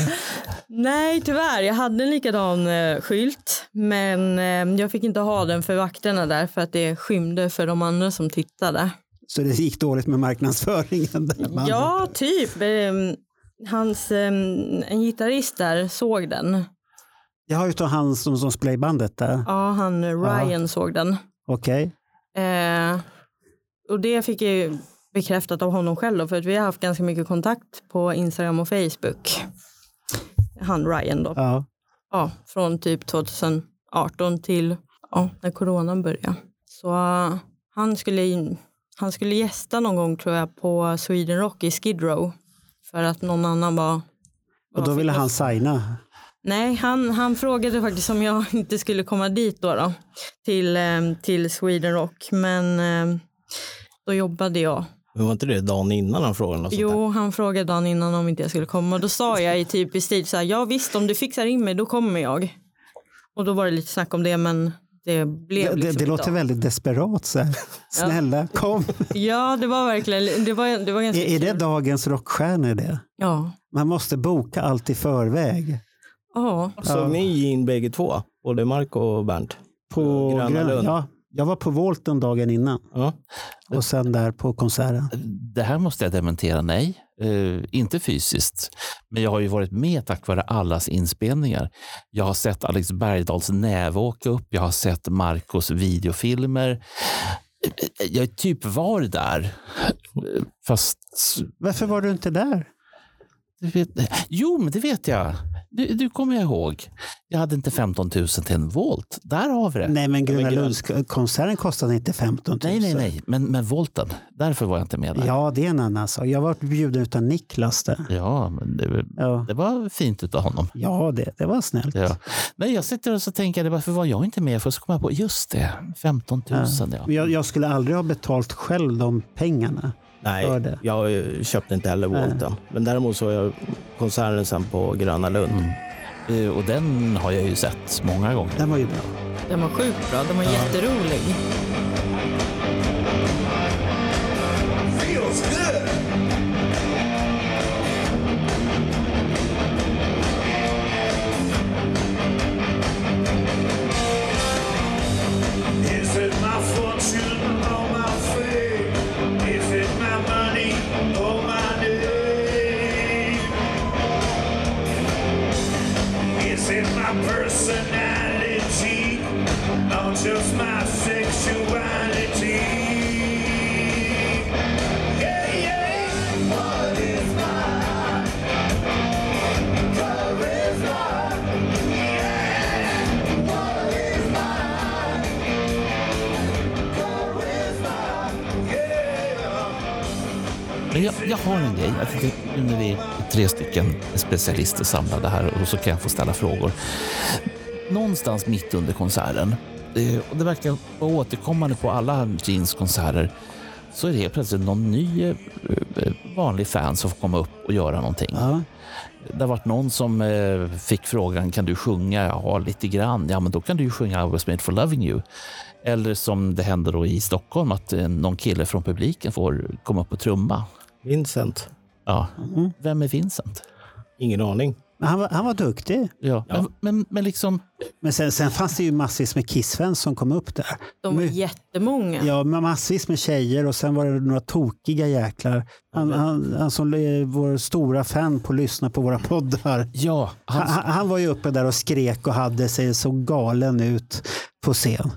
Nej, tyvärr. Jag hade en likadan eh, skylt, men eh, jag fick inte ha den för vakterna där för att det skymde för de andra som tittade.
Så det gick dåligt med marknadsföringen. Där man,
Ja, typ. Ehm, Hans, ehm, en gitarrist där såg den.
Jag har ju tagit han som, som spelar i bandet där.
Ja, han eh, Ryan såg den.
Okej.
Eh, och det fick jag ju bekräftat av honom själv då, för att vi har haft ganska mycket kontakt på Instagram och Facebook. Han Ryan då.
Ja.
Ja, från typ 2018 till ja, när coronan började. Så eh, han, skulle, in- han skulle gästa någon gång tror jag på Sweden Rock i Skid Row. För att någon annan var...
Och då
var-
ville han signa.
Nej, han, han frågade faktiskt om jag inte skulle komma dit då, då till, ehm, till Sweden Rock. Men ehm, då jobbade jag.
Men var inte det dagen innan han frågade något sånt
Jo, han frågade dagen innan om inte jag skulle komma. Och då sa jag i typ i stil så här, ja visst om du fixar in mig då kommer jag. Och då var det lite snack om det men det blev
Det, det,
liksom
det
inte
låter
av.
väldigt desperat. Så här. Snälla, kom.
Ja, det var verkligen, det var, det var ganska
Är, är det
kul.
dagens rockstjärnor det?
Ja.
Man måste boka allt i förväg.
Ja,
där? Så ni gick in bägge två, både Marco och Bernt?
På
Gröna
Grön,
Lund.
ja, jag var på Volten dagen innan
Ja.
och sen där på konserten.
Det här måste jag dementera. Nej, Eh, inte fysiskt. Men jag har ju varit med tack vare allas inspelningar. Jag har sett Alex Bergdahls näve åka upp. Jag har sett Marcos videofilmer. Eh, Jag typ var där. Eh, Fast...
Varför var du inte där?
du Vet, jo, men det vet jag. Du, du kommer jag ihåg. Jag hade inte 15 000 till en volt. Där har vi det.
Nej, men Gröna Lunds-konserten kostade inte 15 000.
Nej, nej, nej. Men, men volten. Därför var jag inte med där.
Ja, det är en annan sak. Jag var bjuden utan Niklas där.
Ja, men det,
Ja,
det var fint utav honom.
ja det, det var snällt.
Ja. Nej, jag sitter och så tänker jag, varför var jag inte med? För så kom jag på, just det, 15 000. Ja.
Men Jag, jag skulle aldrig ha betalt själv de pengarna. Hör
Nej,
det.
jag eh, köpte inte heller Walton. Men däremot såg jag konserten sen på Gröna Lund.
Eh, Och den har jag ju sett många gånger.
Den var ju bra.
den var sjukt bra. Den var jätterolig.
Feels good. Is it my fortune or my fame? Is it my money or my name? Is it my personality or just my sexuality? Yeah, yeah. What is my charisma?
Men jag, jag har en grej. Jag tänkte, nu när vi är tre stycken specialister samlade här och så kan jag få ställa frågor. Någonstans mitt under konserten, eh, och det verkar vara återkommande på alla Jeans konserter, så är det helt plötsligt någon ny eh, eh, vanlig fan som får komma upp och göra någonting.
Ja.
Det har varit någon som eh, fick frågan, kan du sjunga? Ja, lite grann. Ja, men då kan du ju sjunga I was made for loving you. Eller som det händer då i Stockholm, att eh, någon kille från publiken får komma upp och trumma.
Vincent,
Ja.
Mm.
Vem är Vincent?
ingen aning.
Men han, var, han var duktig.
Ja. Men, men, men liksom,
Men sen, sen fanns det ju massvis med Kiss-fans som kom upp där.
De var
Men-
jättemånga.
Ja, men massvis med tjejer och sen var det några tokiga jäklar. Han, han, han som är vår stora fan på att lyssna på våra poddar.
ja,
Han,
han,
han, han var ju uppe där och skrek och hade sig så galen ut på scen.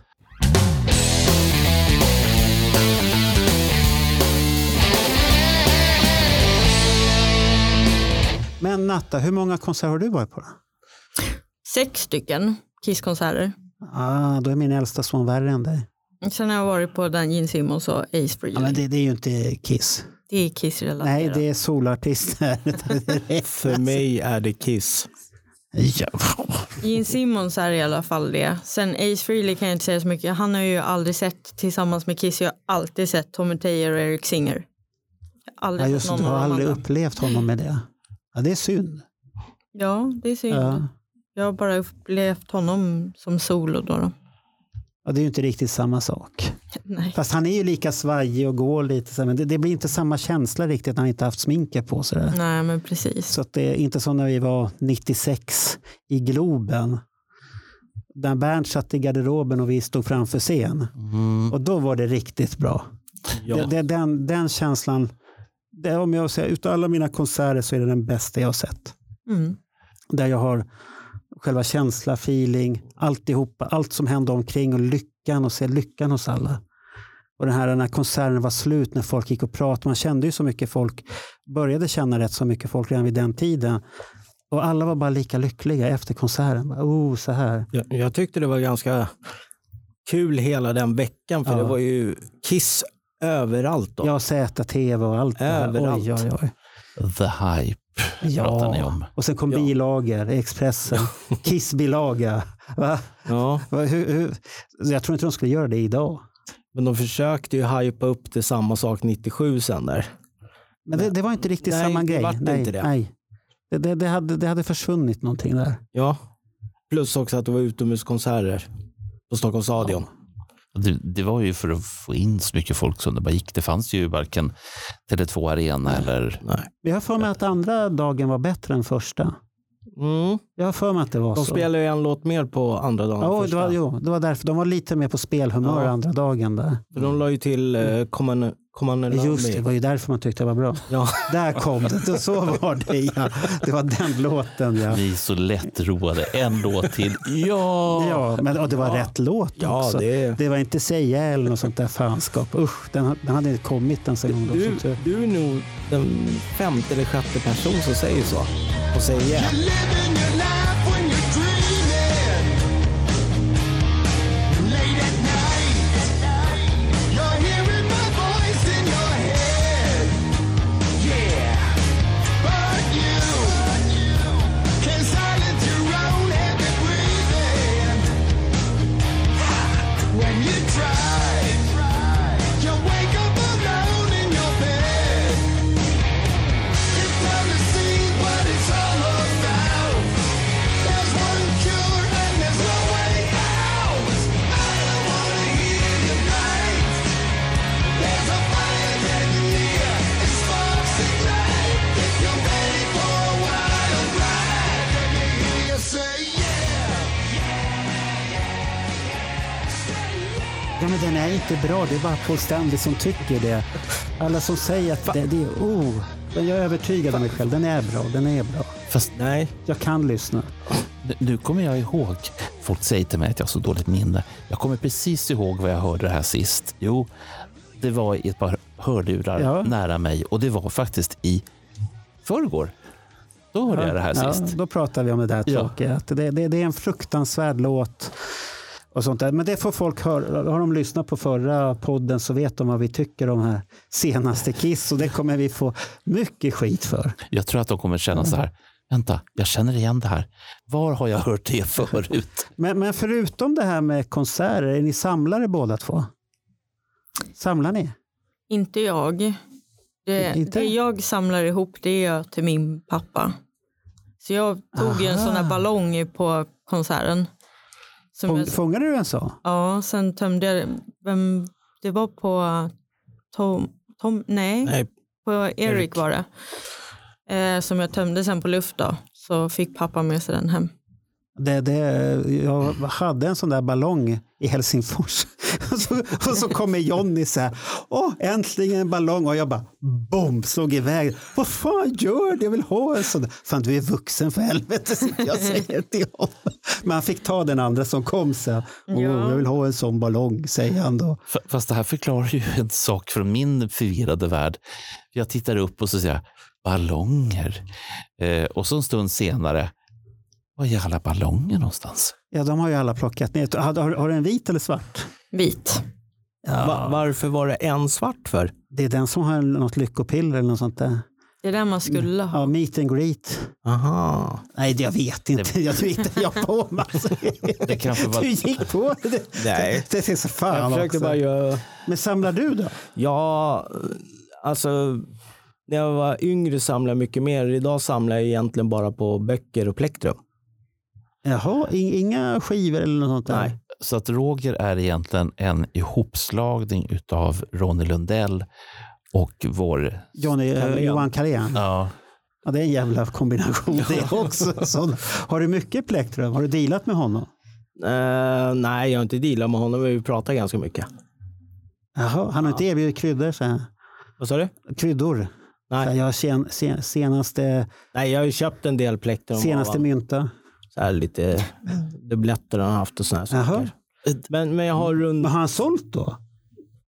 Men Natta, hur många konserter har du varit på? då?
Sex stycken Kiss-konserter.
Ah, då är min äldsta son värre än dig.
Sen har jag varit på den Gene Simmons och Ace Frehley.
Ja, men det, det är ju inte Kiss.
det är Kiss-relaterat.
Nej, det är solartister.
För mig är det Kiss.
Gene Simmons är i alla fall det. Sen Ace Frehley kan jag inte säga så mycket. Han har jag ju aldrig sett tillsammans med Kiss. Jag har alltid sett Tommy Thayer och Eric Singer. Jag har
Ja,
aldrig
just
sett
det,
någon
du har
av dem
aldrig
andra.
upplevt honom med det. Ja, det är synd.
Ja, det är synd.
Ja.
Jag har bara upplevt honom som solo då. då.
Ja, det är ju inte riktigt samma sak.
Nej.
Fast han är ju lika svajig och går lite så här, men det, det blir inte samma känsla riktigt när han inte haft sminket på sig.
Nej, men precis.
Så att det är inte som när vi var 96 i Globen. Där Bernt satt i garderoben och vi stod framför scen. Och då var det riktigt bra. Det, det, den, den känslan, det, om jag säger, utav alla mina konserter så är det den bästa jag har sett.
Mm.
Där jag har själva känsla, feeling, alltihopa, allt som hände omkring och lyckan och se lyckan hos alla. Och den här när konserten var slut, när folk gick och pratade, man kände ju så mycket folk, började känna rätt så mycket folk redan vid den tiden. Och alla var bara lika lyckliga efter konserten. Bara, Oh, så här.
Jag, jag tyckte det var ganska kul hela den veckan för
Ja.
det var ju Kiss överallt. Då.
Ja, ZTV och allt det här.
Överallt.
Oj, oj, oj.
The Hype pratar ni om.
Och sen kom bilagor, Expressen, Kiss-bilaga. Va?
Ja.
Va, hur, hur? Jag tror inte de skulle göra det idag.
Men de försökte ju hypa upp till samma sak 97 sen där.
Men det, det var inte riktigt
Nej,
samma
det
grej.
vart
nej,
inte det.
Nej. Det, det, det, hade, det hade försvunnit någonting där.
Ja. Plus också att det var utomhuskonserter på Stockholms stadion.
Det, det var ju för att få in så mycket folk som det bara gick. Det fanns ju varken Tele2 Arena eller...
Nej.
Jag har för mig att andra dagen var bättre än första.
Mm.
Jag har för mig att det var
De
så.
spelade ju en låt mer på andra dagen. än
Alltså. ja, det
första.
var, jo, det var därför. De var lite mer på spelhumör
Ja.
andra dagen. Där.
För de la ju till eh, Common Common Love
Mm. Just det, det
Me.
var ju därför man tyckte det var bra.
Ja.
Där kom det. det. Så var det ja. Det var den låten ja.
Ni är så lättroade. En låt till. Ja!
Ja, men och det var rätt låt
Ja,
också.
det är-
var inte Säga eller något sånt där fanskap. Usch, den, den hade inte kommit ens en gång. då,
Du,
som tur.
du är nog den femte eller sjätte person som säger så. Och säger yeah.
Living your life when you're dreaming. Late at night, you're hearing my voice in your head. Yeah, but you can silence your own heavy breathing. When you try, you wake up alone in your bed. It's time to see what it's all about. There's one cure and there's no way out. I don't wanna hear you right. There's a fire getting near. It's sparks ignite. If you're ready for a wild ride, let me hear you say yeah.
Ja, men den är inte bra, det är bara Paul Stanley som tycker det. Alla som säger att det, det är oh, men jag är övertygad om mig själv, den är bra, den är bra.
Fast
Nej,
Jag kan lyssna.
Nu- Nu kommer jag ihåg. Folk säger till mig att jag har så dåligt minne. Jag kommer precis ihåg vad jag hörde det här sist. Jo, det var i ett par hörlurar
Ja.
nära mig och det var faktiskt i förrgår. Då hörde jag det här
Ja,
sist.
då pratar vi om det där
Ja.
tråkiga. Att det, det, det är en fruktansvärd låt. Och sånt där. Men det får folk höra. Har de lyssnat på förra podden så vet de vad vi tycker om här senaste Kiss. Och det kommer vi få mycket skit för.
Jag tror att de kommer känna så här. Vänta, jag känner igen det här. Var har jag hört det förut?
Men, men förutom det här med konserter, är ni samlare båda två? Samlar ni?
Inte jag. Det,
Inte?
det jag samlar ihop det är jag till min pappa. Så jag tog ju en sån här ballong på konserten. Som
Fång,
jag,
fångade du en sån?
ja, sen tömde jag den. vem, Det var på Tom, Tom nej,
nej.
på Erik,
Erik.
var det. Eh, som jag tömde sen på luft då. Så fick pappa med sig den hem.
Det, det, jag hade en sån där ballong i Helsingfors. Och så, och så kommer Jonny så här. Åh, äntligen en ballong. Och jag bara bom, slog iväg. Vad fan gör du? Jag vill ha en sån där. Fan, du är vuxen för helvete, sitter jag och säger till honom. Men han fick ta den andra som kom sen. Åh,
Ja.
jag vill ha en sån ballong, säger han då.
F- Fast det här förklarar ju en sak från min förvirrade värld. Jag tittar upp och så säger jag ballonger. Eh, och så en stund senare, var är alla ballonger någonstans?
Ja, de har ju alla plockat ner. Har, har, har du en vit eller svart?
Vit.
Va, varför var det en svart för?
Det är den som har något lyckopiller eller något sånt där.
Det är den man skulle ha.
Ja, meet and greet.
Aha.
Nej, det- jag vet inte. Jag tror inte jag på mig.
Det kanske var-
Du gick på det.
Nej.
Det är så fan
Jag försökte
också.
bara göra...
Men samlar du då?
Ja, alltså när jag var yngre samlade jag mycket mer. Idag samlar jag egentligen bara på böcker och plektrum.
Jaha, in- inga skivor eller något sånt där?
Nej.
Så att Roger är egentligen en ihopslagning utav Ronny Lundell och vår...
Johnny, eh,
Carlén.
Johan Carlén. Ja.
Ja,
det är en jävla kombination det också. Så, har du mycket plektrum? Har du dealat med honom?
Eh, nej, jag har inte dealat med honom, men vi pratar ganska mycket.
Jaha, han har inte erbjudit kryddor? Så här.
Vad sa du?
Kryddor? Så här,
Nej,
jag har sen, sen, senaste,
nej, jag har ju köpt en del plektrum. av
senaste
honom.
mynta.
så här lite dubbletter han har haft och såna här
Jaha.
saker. Men, men jag har
Men
rund
har han sålt då?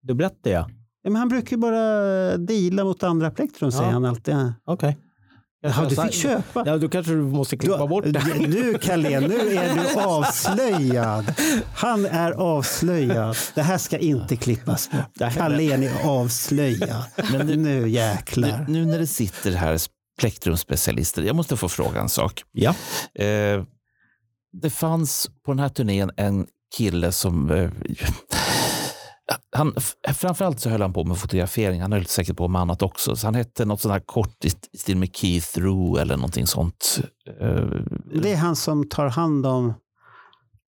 dubbletter ja.
Ja, men han brukar ju bara deala mot andra plektrum, säger
Ja.
han alltid.
Okej.
Jaha, du
Jag sa-
fick köpa?
Ja, då kanske du måste klippa bort det.
Du Carlén, nu är du avslöjad. Han är avslöjad. Det här ska inte klippas bort. Carlén är avslöjad.
Men nu-
nu
nu,
jäklar.
nu när det sitter här plektrumspecialister, jag måste få fråga en sak.
Ja.
Eh, det fanns på den här turnén en kille som... Eh, han, f- framförallt så höll han på med fotografering, han höll säkert på med annat också. Så han hette något sånt här kort i st- i stil med Keith Rue eller någonting sånt. Eh,
Det är han som tar hand om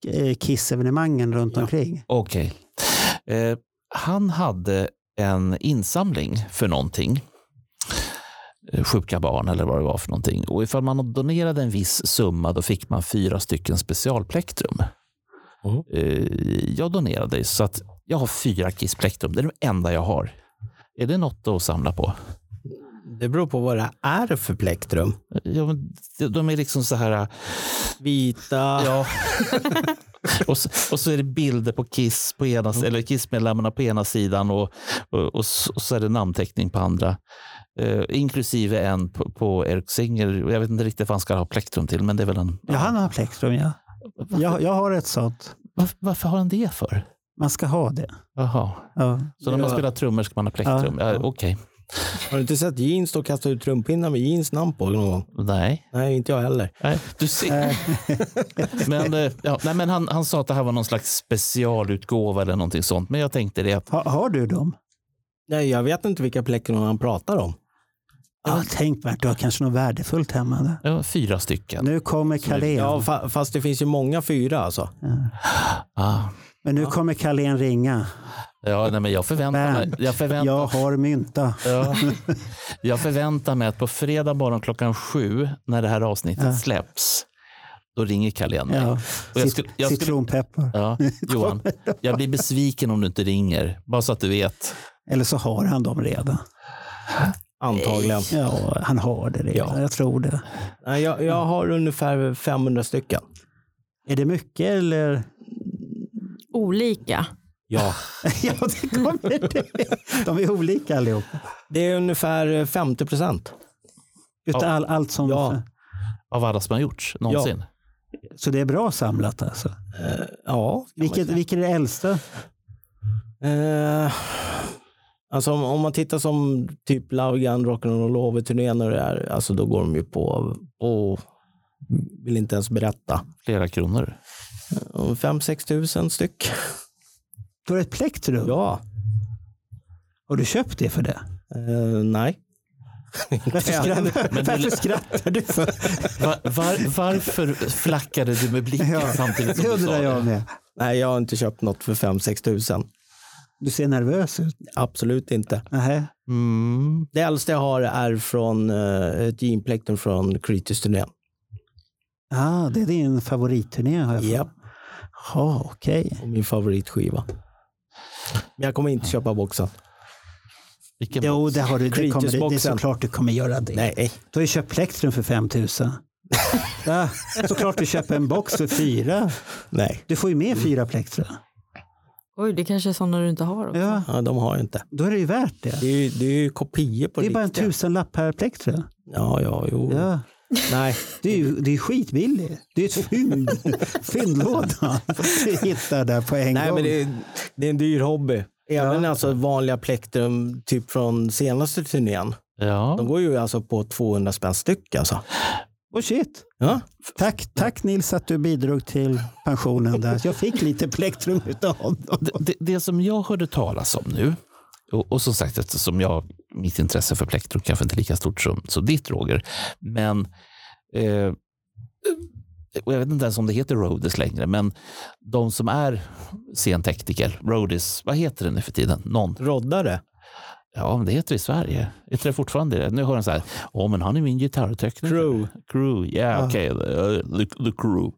eh, Kiss-evenemangen runt omkring.
Okej. Eh, han hade en insamling för någonting. Eh, Sjuka barn eller vad det var för någonting. Och ifall man donerade en viss summa då fick man fyra stycken specialplektrum. Eh, jag donerade så att jag har fyra kissplektrum. Det är de enda jag har. Är det något att samla på?
Det beror på vad det är för plektrum.
Ja, men de- de är liksom så här...
Vita.
Ja. och, så, och så är det bilder på Kiss på ena, eller Kiss-medlemmarna på ena sidan och, och, och, så, och så är det namnteckning på andra. Eh, inklusive en på, på Eric Singer. Jag vet inte riktigt vad han ska ha plektrum till, men det är väl en...
Ja, han har plektrum, ja. Jag, jag har ett sånt.
Varför, varför har han det för?
Man ska ha det.
Jaha.
Ja.
Så när man
Ja.
spelar trummor ska man ha plektrum? Ja,
Ja.
Okej.
Har du inte sett Jeans stå och kasta ut trumpinnar med Jeans namn på någon gång?
Nej.
Nej, inte jag heller.
nej. Du ser. men eh, ja, nej, men han, han sa att det här var någon slags specialutgåva eller någonting sånt. Men jag tänkte det att
Ha, har du dem?
Nej, jag vet inte vilka plektrum han pratar om.
Ja, tänk Bert, du har kanske något värdefullt hemma. Där.
ja, fyra stycken.
Nu kommer Carlén.
Ja, fa- fast det finns ju många fyra alltså.
Ah.
Men nu kommer Carlén ringa.
Ja, nej, men jag förväntar mig.
Bernt,
Jag förväntar,
Jag har mynta.
ja. jag förväntar mig att på fredag morgon klockan sju när det här avsnittet släpps, då ringer Carlén mig.
Ja.
Och jag
Cit-
skulle- jag skulle-
Citronpeppar.
Ja, Johan, jag blir besviken om du inte ringer. Bara så att du vet.
Eller så har han dem redan.
Antagligen.
Ja, han har det redan.
Ja.
Jag tror det.
Nej, jag, jag har ungefär 500 stycken.
Är det mycket eller?
Olika.
Ja.
ja, det kommer det. De är olika allihop.
Det är utav ungefär 50 procent.
Utav all, allt som...
Ja.
Av alla som har gjorts någonsin.
Så det är bra samlat alltså.
Ja. kan man
Vilket,
säga.
vilket är det äldsta?
Eh, alltså om, om man tittar som typ Laugan, Rock'n'Roll och turnén och det där, alltså då går de ju på och vill inte ens berätta.
Flera kronor.
Om 5-6 tusen styck.
Då är det ett plektrum.
Ja.
Har du köpt det för det?
Eh, nej.
Varför skrattar,
Men du-
Varför skrattar du? För?
Va- var, varför flackade du med blicken
Ja,
samtidigt som
Det
du sa
undrar jag
det?
med.
nej, jag har inte köpt något för 5-6 tusen.
Du ser nervös ut.
Absolut inte.
Nähä.
Mm.
Det äldsta jag har är från eh, ett jeanplektrum från Creatures-turnén.
Ah, det är din favoritturné har jag
Japp.
Ja, okej.
Och min favoritskiva. Men jag kommer inte köpa boxen.
Vilken
Jo, det, har du, det, kommer, du- det är
Creatures-boxen.
såklart du kommer göra det.
Nej.
Du har ju köpt plektrum för 5 000. Ja, såklart du köper en box för fyra.
Nej.
Du får ju
Mm.
med fyra plektrum.
Oj, det kanske är sådana du inte har också.
Ja,
Ja, de har jag inte.
då är det ju värt det.
Det är ju, det är ju kopior på
Det är bara en
riktiga.
tusenlapp per plektrum.
Ja, ja, jo.
Ja.
Nej,
Det är ju det är skitbilligt. Det är ett fynd. Fyndlåda. Du hittar där på en
Nej
gång.
men det är, det är en dyr hobby. Även alltså vanliga plektrum, typ från senaste turnén.
ja.
De går ju alltså på 200 spänn styck alltså.
Och shit.
Ja.
Tack, tack Nils att du bidrog till pensionen där. Jag fick lite plektrum utav dem.
det, det, det som jag hörde talas om nu, och, och som sagt, eftersom jag, mitt intresse för plektrum kanske inte är lika stort som, som ditt, Roger, men eh, och jag vet inte ens om det heter roadies längre, men de som är scentekniker, roadies, vad heter det nu för tiden? Någon?
Roddare.
Ja, men det heter det i Sverige. Heter det fortfarande det? Nu hör han så här, åh men han är min gitarrtekniker.
Crew. Ah.
Crew, yeah,
Ja.
okej. The, the- the crew.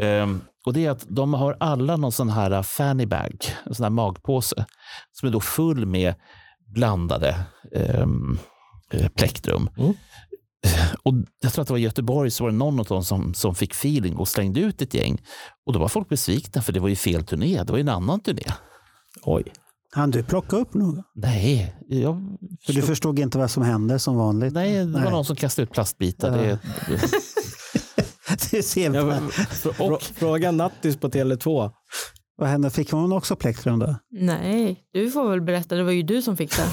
Ehm, och det är att de har alla någon sån här uh, fanny bag, en sån här magpåse, som är då full med blandade ehm, eh, plektrum.
Mm.
Och jag tror att det var i Göteborg så var det någon av dem som, som fick feeling och slängde ut ett gäng. Och då var folk besvikna för det var ju fel turné, det var ju en annan turné.
Oj.
Han du plocka upp något?
Nej, jag
För du förstod inte vad som hände som vanligt?
Nej, det var
Nej.
någon som kastade ut plastbitar. Det,
Du ser,
Jag,
vad-
frå- fråga Nattis på Tele2.
vad hände? Fick hon också plektrum då?
Nej, du får väl berätta. Det var ju du som fick det.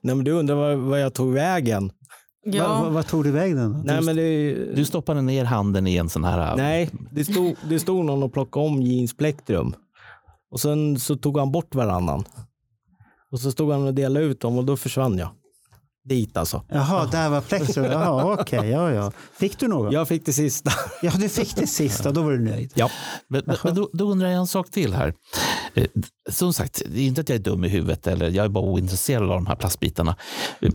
Nej, men du undrar vad, vad jag tog vägen.
Va, va,
Ja,
vad tog du iväg den? då?
Nej, men det,
du stoppade ner handen i en sån här...
nej det, stod, det stod någon och plockade om Jeans plektrum. Och sen så tog han bort varannan. Och så stod han och delade ut dem och då försvann jag. Dit alltså.
Jaha, där var plektrum. Jaha, okej. ja, ja. Fick du något? Ja.
Jag fick det sista.
du fick det sista. Då var du nöjd.
Ja.
Men, men- men då, då undrar jag en sak till här. Eh, Som sagt, det är inte att jag är dum i huvudet eller jag är bara ointresserad av de här plastbitarna. Eh,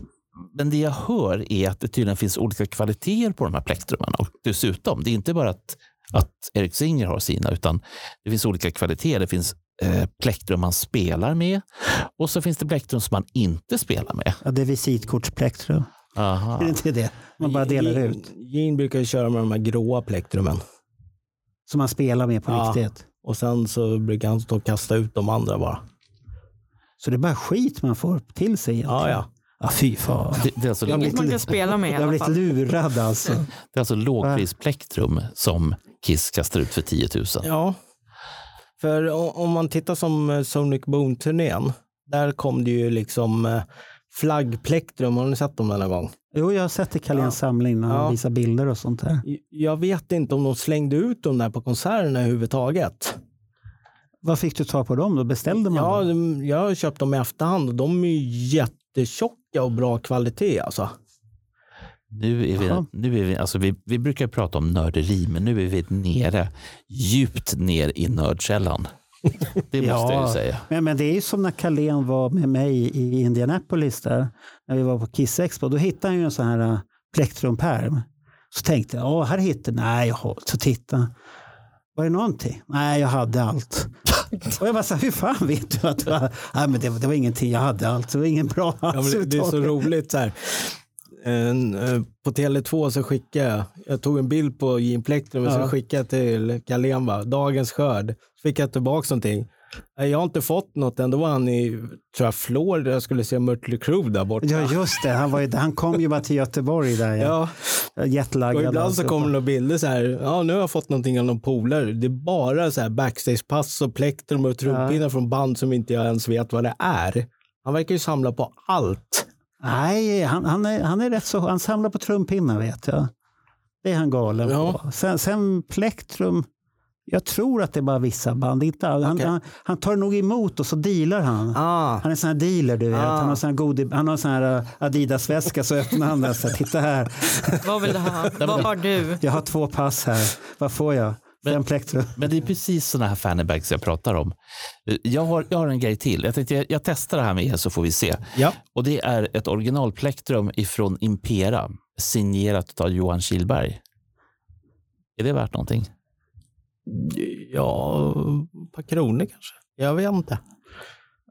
Men det jag hör är att det tydligen finns olika kvaliteter på de här plektrumen. Och dessutom, det är inte bara att, att Eric Singer har sina, utan det finns olika kvaliteter. Det finns eh, plektrum man spelar med och så finns det plektrum som man inte spelar med.
Ja, det är visitkortsplektrum.
Aha.
Är det inte det? Man bara delar
Jean-
ut.
Jean brukar ju köra med de här gråa plektrumen.
Som man spelar med på
Ja.
riktigt.
Och sen så brukar han stå och kasta ut de andra bara.
Så det är bara skit man får till sig egentligen.
Ja, ja.
ja fy fan.
Det, det är alltså
inget man kan spela med i
Jag har
alla
blivit
fall.
lurad alltså.
Det är alltså lågprisplektrum som Kiss kastar ut för 10 000.
Ja. För o- om man tittar som eh, Sonic Boom-turnén, där kom det ju liksom eh, flaggplektrum. Har ni sett dem någon gång?
Jo, jag har sett det i Carléns samling när han
Ja.
visar bilder och sånt där.
J- Jag vet inte om de slängde ut dem där på konserterna överhuvudtaget.
Vad fick du ta på dem då? Beställde man
Ja,
dem?
de- jag har köpt dem i efterhand och de är ju jättetjocka och bra kvalitet alltså.
Nu är vi,
Jaha.
nu är vi, alltså vi, vi brukar prata om nörderi, men nu är vi nere, djupt ner i nördkällan. Det måste jag ju säga.
Men, men det är ju som när Carlén var med mig i Indianapolis där, när vi var på Kiss Expo. Då hittade han ju en sån här äh, plektrumpärm. Så tänkte jag, ja här hittar nej, jag har, så titta. Var det någonting? Nej, jag hade allt. Och jag bara så här, hur fan vet du att du hade? Nej, men det, var- det var ingenting, jag hade allt. Det var ingen bra
Ja, men det- det är så
överhuvudtaget.
roligt så här. En, eh, På Tele2 så skickade jag, jag tog en bild på Jean Plektrum och
Ja.
så skickade jag till Carlén bara, dagens skörd. Så fick jag tillbaka någonting. Nej, Jag har inte fått något än. Då var han i, tror jag, Florida, jag skulle se Mötley Crüe där borta.
Ja, just det. Han, var ju, han kom ju bara till Göteborg där. Ja. alltså.
Ja,
Jetlaggad.
och ibland så
alltihopa.
kommer det några bilder så här, ja nu har jag fått någonting av någon polare. Det är bara så här backstagepass och plektrum och trumpinnar från band som inte jag ens vet vad det är. Han verkar ju samla på allt.
Nej, han, han, är, han är rätt så... Han samlar på trumpinnar vet jag. Det är han galen
Ja.
på. Sen, sen plektrum, jag tror att det är bara vissa band. Inte all, han,
Okej.
han, han tar nog emot och så dealar han.
Ah.
Han är en sån här dealer du vet.
Ah.
Han har sån här, god, han har sån här uh, Adidas-väska så öppnar han den. Så här, Titta här,
Vad vill du ha? Vad har du?
jag har två pass här. Vad får jag? Fem plektrum.
Men det är precis sådana här fannybags jag pratar om. Eh, Jag har, jag har en grej till. Jag tänkte jag, jag testar det här med er så får vi se.
Ja.
Och det är ett originalplektrum ifrån Impera, signerat av Johan Kilberg. Är det värt någonting?
Ja, ett par kronor kanske. Jag vet inte.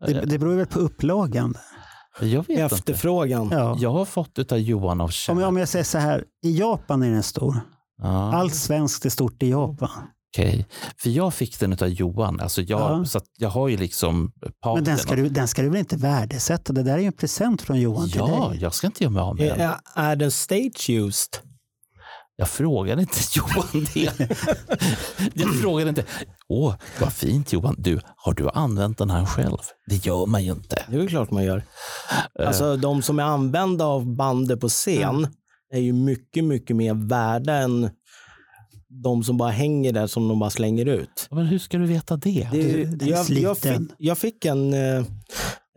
Det, det beror väl på upplagan.
Jag vet inte.
Efterfrågan.
Ja.
Jag har fått utav Johan av Kärr.
Om, jag, om jag säger så här, i Japan är den stor.
Ja,
Allt svenskt är stort i Japan.
okej. För jag fick den utav Johan. Alltså jag,
Ja.
Så att jag har ju liksom
Men
parten.
den ska, du, den ska du väl inte värdesätta? Det där är ju en present från Johan till
Ja,
dig.
jag ska inte göra mig av med den.
Är, är den stage used?
Jag frågade inte Johan det. Jag frågade inte. Åh, vad fint Johan. Du, har du använt den här själv? Det gör man ju inte.
Det är väl klart man gör. Alltså de som är använda av bandet på scen är ju mycket, mycket mer värda än de som bara hänger där som de bara slänger ut.
Ja, Men hur ska du veta det?
Det- den är
jag, jag, fick,
sliten.
jag fick en, eh,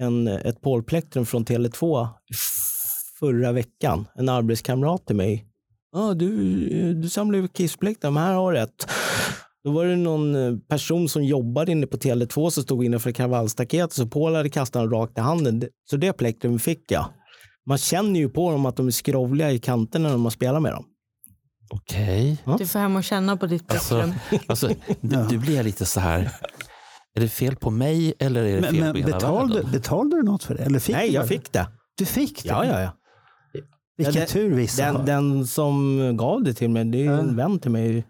en, eh, ett polplektrum från Tele2 förra veckan. En arbetskamrat till mig Ja, du, du samlar ju kisspliktar, men här har du ett. Då var det någon eh, person som jobbade inne på Tele2 som stod innanför kravallstaketet så Paul hade kastat den rakt i handen. Det- Så det plektrum fick jag. Man känner ju på dem att de är skrovliga i kanterna när man spelar med dem.
Okej.
Du får hem och känna på ditt
Alltså,
plektrum.
alltså, nu, nu blir jag lite så här. Är det fel på mig eller är det fel
Men, men
på hela
betalade,
världen?
betalade du något för det? Eller fick
Nej,
du
jag
det?
fick det.
Du fick det?
Ja, ja, ja.
Vilken
Ja, det-
tur vissa har.
Den, den som gav det till mig, det är ju en vän till mig.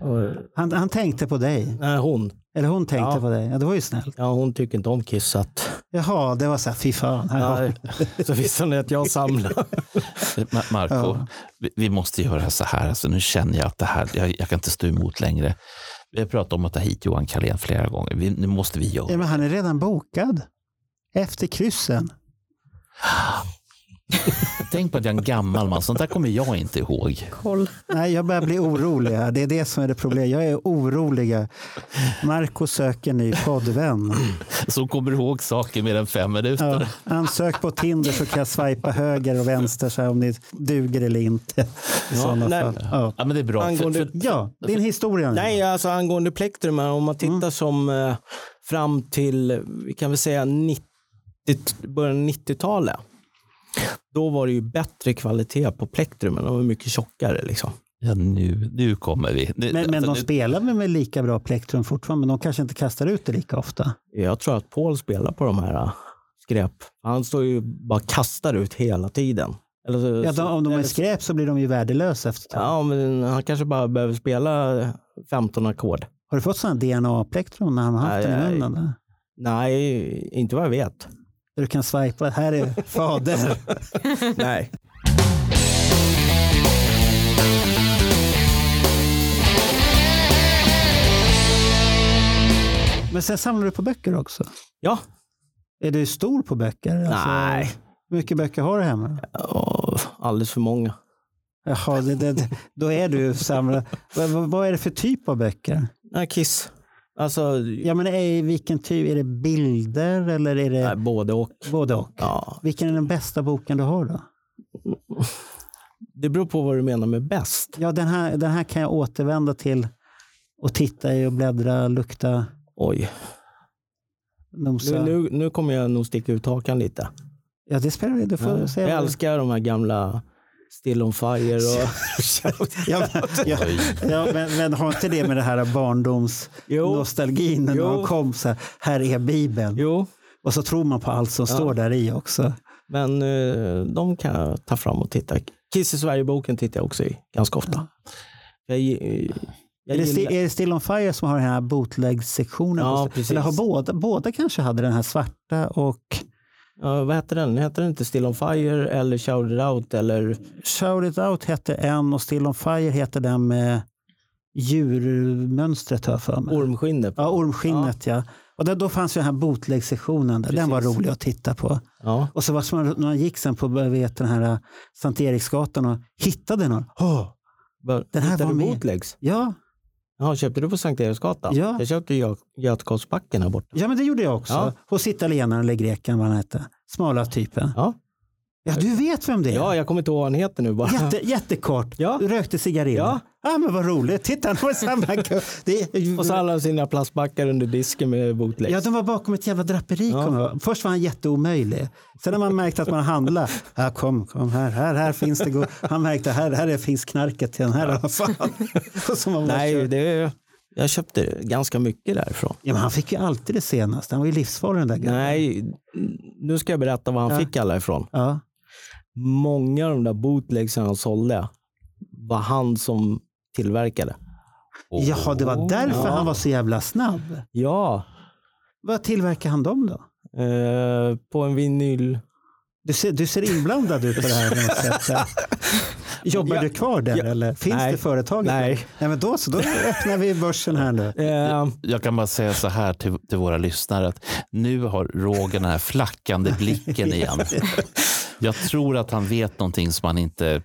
Och-
Han, han tänkte på dig.
Nej, hon.
Eller hon tänkte
Ja.
på dig. Ja, det var ju snällt.
Ja, hon tycker inte om Kiss. Så, att,
Jaha, det var så här, fy fan. Här har-
ja, så visste hon att jag samlar.
Ma- Marco, vi, vi måste göra så här. Alltså, nu känner jag att det här, jag, jag kan inte stå emot längre. Vi har pratat om att ta hit Johan Carlén flera gånger. Vi, nu måste vi göra
Ja, men han är redan bokad. Efter kryssen.
Tänk på att jag är en gammal man. Sånt där kommer jag inte ihåg.
Koll.
Nej, jag börjar bli orolig. här. Det är det som är det problemet. Jag är orolig. Marco söker ny poddvän.
Så kommer du ihåg saker mer än fem minuter.
Ja, ansök på Tinder så kan jag swipa höger och vänster så här, om ni duger eller inte. I sådana
nej.
fall. Ja.
Ja, men det är bra. För,
Angående-
för,
ja, din historia. nu.
Nej, alltså angående plektrum, här, om man tittar
Mm.
som eh, fram till, eh, vi kan väl säga 90, början av 90-talet. Då var det ju bättre kvalitet på plektrumen. De var mycket tjockare liksom.
ja, nu, nu kommer vi. Nu,
Men, men
alltså,
de
nu-
spelar väl med lika bra plektrum fortfarande, men de kanske inte kastar ut det lika ofta.
Jag tror att Paul spelar på de här eh, skräp. Han står ju bara och kastar ut hela tiden. Eller, så-
Ja, de, om de är skräp så blir de ju värdelösa efter ett tag.
Alltså, Ja, men han kanske bara behöver spela 15 ackord.
Har du fått sådana DNA-plektrum när han har haft
Nej,
den i
nej.
munnen? Där?
Nej, inte vad jag vet.
där du kan swipa, här är fader.
Nej.
men sen samlar du på böcker också.
Ja.
Är du stor på böcker? Alltså,
Nej.
Hur mycket böcker har du hemma?
Åh, alldeles för många.
Jaha, det, det, då är du samlad. vad, vad- vad är det för typ av böcker?
Nej, Kiss. Alltså,
Ja, men är, vilken typ? Är det bilder eller är det
nej, både och.
både och?
Ja.
Vilken är den bästa boken du har då?
Det beror på vad du menar med bäst.
Ja, den här, den här kan jag återvända till och titta i och bläddra, lukta,
Oj,
nosa.
nu, nu, nu kommer jag nog sticka ut hakan lite.
Ja, det spelar ingen roll. Du får
Ja.
säga
Jag
vad-
älskar de här gamla Still on fire och...
Ja, men, ja, ja, men, men har inte det med det här
Jo.
barndomsnostalgin när
Jo.
man kom så här, här är Bibeln.
jo,
Och så tror man på allt som står där i också.
men eh, de kan jag ta fram och titta. Kiss i Sverige-boken tittar jag också i ganska ofta. Jag, gi- eh, jag
Är det, sti-
gillar...
är det Still on Fire som har den här bootleg-sektionen?
Ja,
på-
precis.
Eller har båda, båda kanske hade den här svarta och
Ja, vad heter den? Heter den inte Still on fire eller Shout it out eller...
Shout It Out hette en och Still on Fire heter den med djurmönstret har jag för mig.
Ormskinnet.
Ja, ormskinnet ja. Och där, då fanns ju den här bootleg-sektionen. Där. Den var rolig att titta på.
Ja.
Och så var det man, när man gick sen på vet, den här Sankt Eriksgatan och hittade någon. Åh, Den här
Hittar
var
du
med.
bootlegs?
ja.
Ja, köpte du på Sankt Eriksgatan?
Ja.
Jag köpte Gö- Götgatsbacken här borta.
ja, men det gjorde jag också.
Ja.
Hos italienaren eller greken, vad han hette. Smala typen.
Ja.
Ja, du vet vem det är.
ja, jag kommer inte ihåg vad han heter nu bara.
Jätte, jättekort.
Ja.
Du rökte cigariller.
Ja.
Ah, men vad roligt. Titta, han har samma kö. det är...
Och så alla sina plastbackar under disken med bootlegs.
Ja, de var bakom ett jävla draperi. kommer jag ihåg. Först var han jätteomöjlig. Sen när man märkte att man handlade. Ah, kom, kom här, här, här finns det. go-" Han märkte här, här är- finns knarket till den här i alla fall. Och så man bara
Nej,
körde.
det, jag köpte ganska mycket därifrån.
Ja, men han fick ju alltid det senaste. Han var ju livsfarlig den där gubben.
Nej, nu ska jag berätta vad han fick alla ifrån.
Ja.
Många av de där bootlegsen han sålde var han som tillverkade.
Jaha, det var därför han var så jävla snabb.
Ja,
Vad tillverkar han dem då?
eh, på en vinyl.
Du ser, du ser inblandad ut på det här. på något sätt. Jobbar
Ja.
du kvar där
Ja.
eller finns
Nej.
det företag?
Nej.
Nej, men då så. Då öppnar vi börsen här nu.
Eh,
Jag kan bara säga så här till, till våra lyssnare att nu har Roger den här flackande blicken igen. Jag tror att han vet någonting som han inte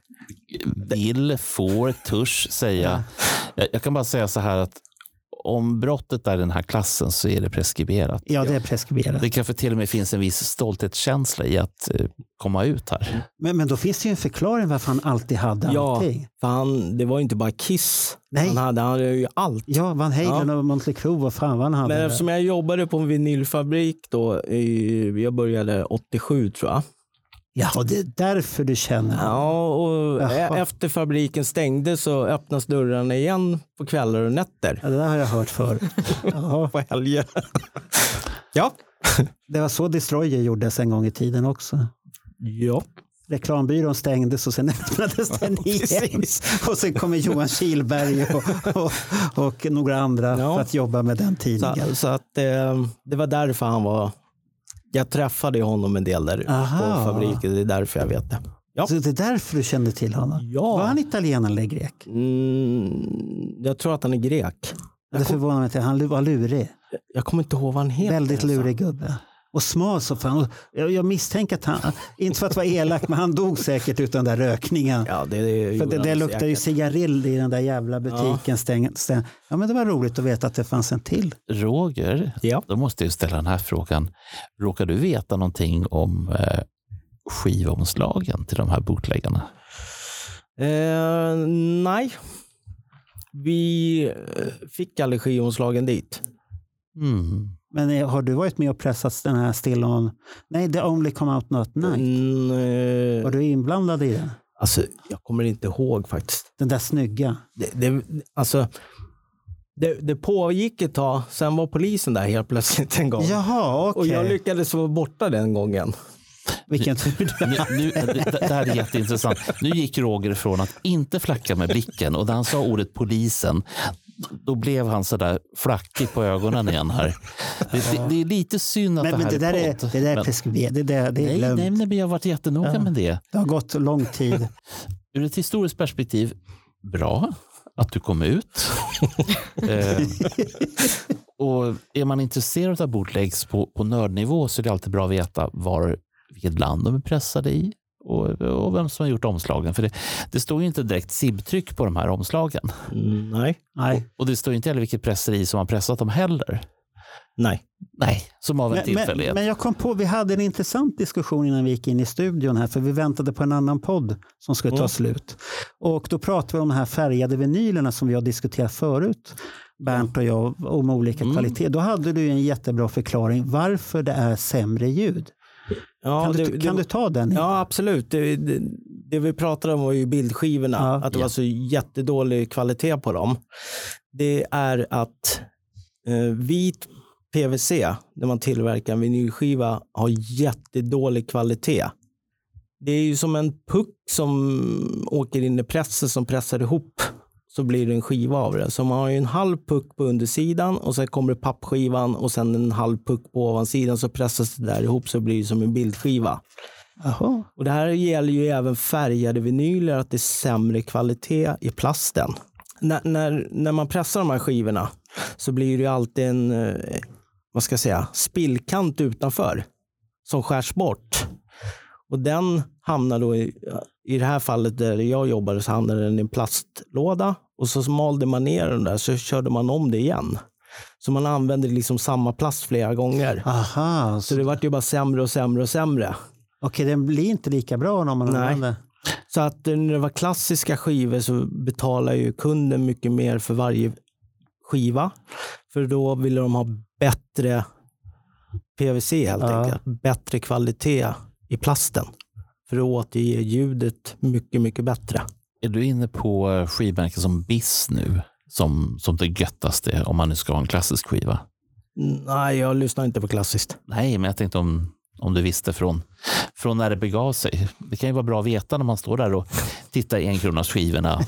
vill, får, törs säga. Jag, jag kan bara säga så här att om brottet är den här klassen så är det preskriberat.
Ja, det är preskriberat.
Det kanske till och med finns en viss stolthetskänsla i att eh, komma ut här.
Men, men då finns det ju en förklaring varför han alltid hade
Ja,
allting.
för han, det var ju inte bara Kiss.
Nej.
Han hade, han hade ju allt.
Ja, Van Halen och Mötley Crüe, vad fan vad han hade.
Men eftersom jag jobbade på en vinylfabrik då, i, jag började 87 tror jag.
Ja, och det är därför du känner.
Ja, och
Jaha.
e- efter fabriken stängde så öppnas dörrarna igen på kvällar och nätter.
Ja, det där har jag hört förr. Jaha.
På helger. ja.
Det var så Destroyer gjordes en gång i tiden också.
ja.
Reklambyrån stängdes och sen öppnades den igen. Och sen kommer Johan Kihlberg och, och, och några andra
Ja.
för att jobba med den tidningen.
Så, så att eh, det var därför han var... Jag träffade ju honom en del där
Aha.
på fabriken. Det är därför jag vet det. Ja.
Så det är därför du kände till honom.
Ja.
Var han italienare eller grek?
Mm, jag tror att han är grek.
Det förvånar mig inte. Han var lurig.
Jag kommer inte ihåg vad han heter.
Väldigt lurig gubbe. Och smal så fan. Och Jag, jag misstänker att han, inte för att vara elak, men han dog säkert utan den där rökningen.
Ja, det, det
För det, det luktar ju cigarill i den där jävla butiken. Ja. Stäng, stäng. ja, men det var roligt att veta att det fanns en till.
Roger,
Ja.
då måste jag ju ställa den här frågan. Råkar du veta någonting om eh, skivomslagen till de här bootleggarna?
Eh, nej. Vi eh, fick aldrig skivomslagen dit.
Mm.
Men eh, har du varit med och pressat den här Still On? Nej, The Only Come Out Not Night.
Mm, eh,
Var du inblandad i den?
alltså, jag kommer inte ihåg faktiskt.
Den där snygga.
Det, det, alltså, det, det pågick ett tag, sen var polisen där helt plötsligt en gång.
Jaha,
Och
okej.
jag lyckades vara borta den gången.
Vilken tur du
Nu, nu, det det här är jätteintressant. Nu gick Roger från att inte flacka med blicken och när han sa ordet polisen, då blev han sådär flackig på ögonen igen här. Det, det, det är lite synd att
men,
det
men
här
det där är,
podd.
det där är
Men-
preskriberat. Det, där, det
Nej,
är
nej,
glömt.
nej, men jag har varit jättenoga med det.
Det har gått lång tid.
Ur ett historiskt perspektiv, bra att du kom ut. Eh, och är man intresserad av bootlegs på, på nördnivå så är det alltid bra att veta var, vilket land de är pressade i och, och vem som har gjort omslagen. För det, det står ju inte direkt sibtryck på de här omslagen.
Mm, nej.
Nej.
Och det står ju inte heller vilket presseri som har pressat dem heller.
Nej.
Nej, som av en
Men, men,
tillfällighet.
men jag kom på, vi hade en intressant diskussion innan vi gick in i studion här, för vi väntade på en annan podd som skulle
Mm.
ta slut. Och då pratade vi om de här färgade vinylerna som vi har diskuterat förut, Bernt och jag, om olika
Mm.
kvalitet. Då hade du ju en jättebra förklaring varför det är sämre ljud.
Ja,
kan,
det-
du,
det-
kan du ta den?
Ja, absolut. Det, det, det vi pratade om var ju bildskivorna.
Ja.
att det var så jättedålig kvalitet på dem. Det är att eh, vit PVC, när man tillverkar en vinylskiva, har jättedålig kvalitet. Det är ju som en puck som åker in i pressen som pressar ihop så blir det en skiva av det. Så man har ju en halv puck på undersidan och sen kommer pappskivan och sen en halv puck på ovansidan så pressas det där ihop så blir det som en bildskiva.
Jaha.
Och det här gäller ju även färgade vinyler, att det är sämre kvalitet i plasten. När, när, när man pressar de här skivorna så blir det ju alltid en eh, vad ska jag säga, spillkant utanför som skärs bort. Och den hamnar då i, i det här fallet där jag jobbade så hamnade den i en plastlåda och så malde man ner den där så körde man om det igen. Så man använde liksom samma plast flera gånger.
Aha, så-
Så det vart ju bara sämre och sämre och sämre.
okej den blir inte lika bra om man
Nej.
använder.
Så att eh, när det var klassiska skivor så betalar ju kunden mycket mer för varje skiva. För då ville de ha bättre PVC helt
Ja.
enkelt. Bättre kvalitet i plasten. För att återge ljudet mycket, mycket bättre.
Är du inne på eh, skivmärken som Biss nu? Som, som det göttaste om man nu ska ha en klassisk skiva?
Nej, jag lyssnar inte på klassiskt.
Nej, men jag tänkte om, om du visste från, från när det begav sig. Det kan ju vara bra att veta när man står där och tittar i enkronors skivorna.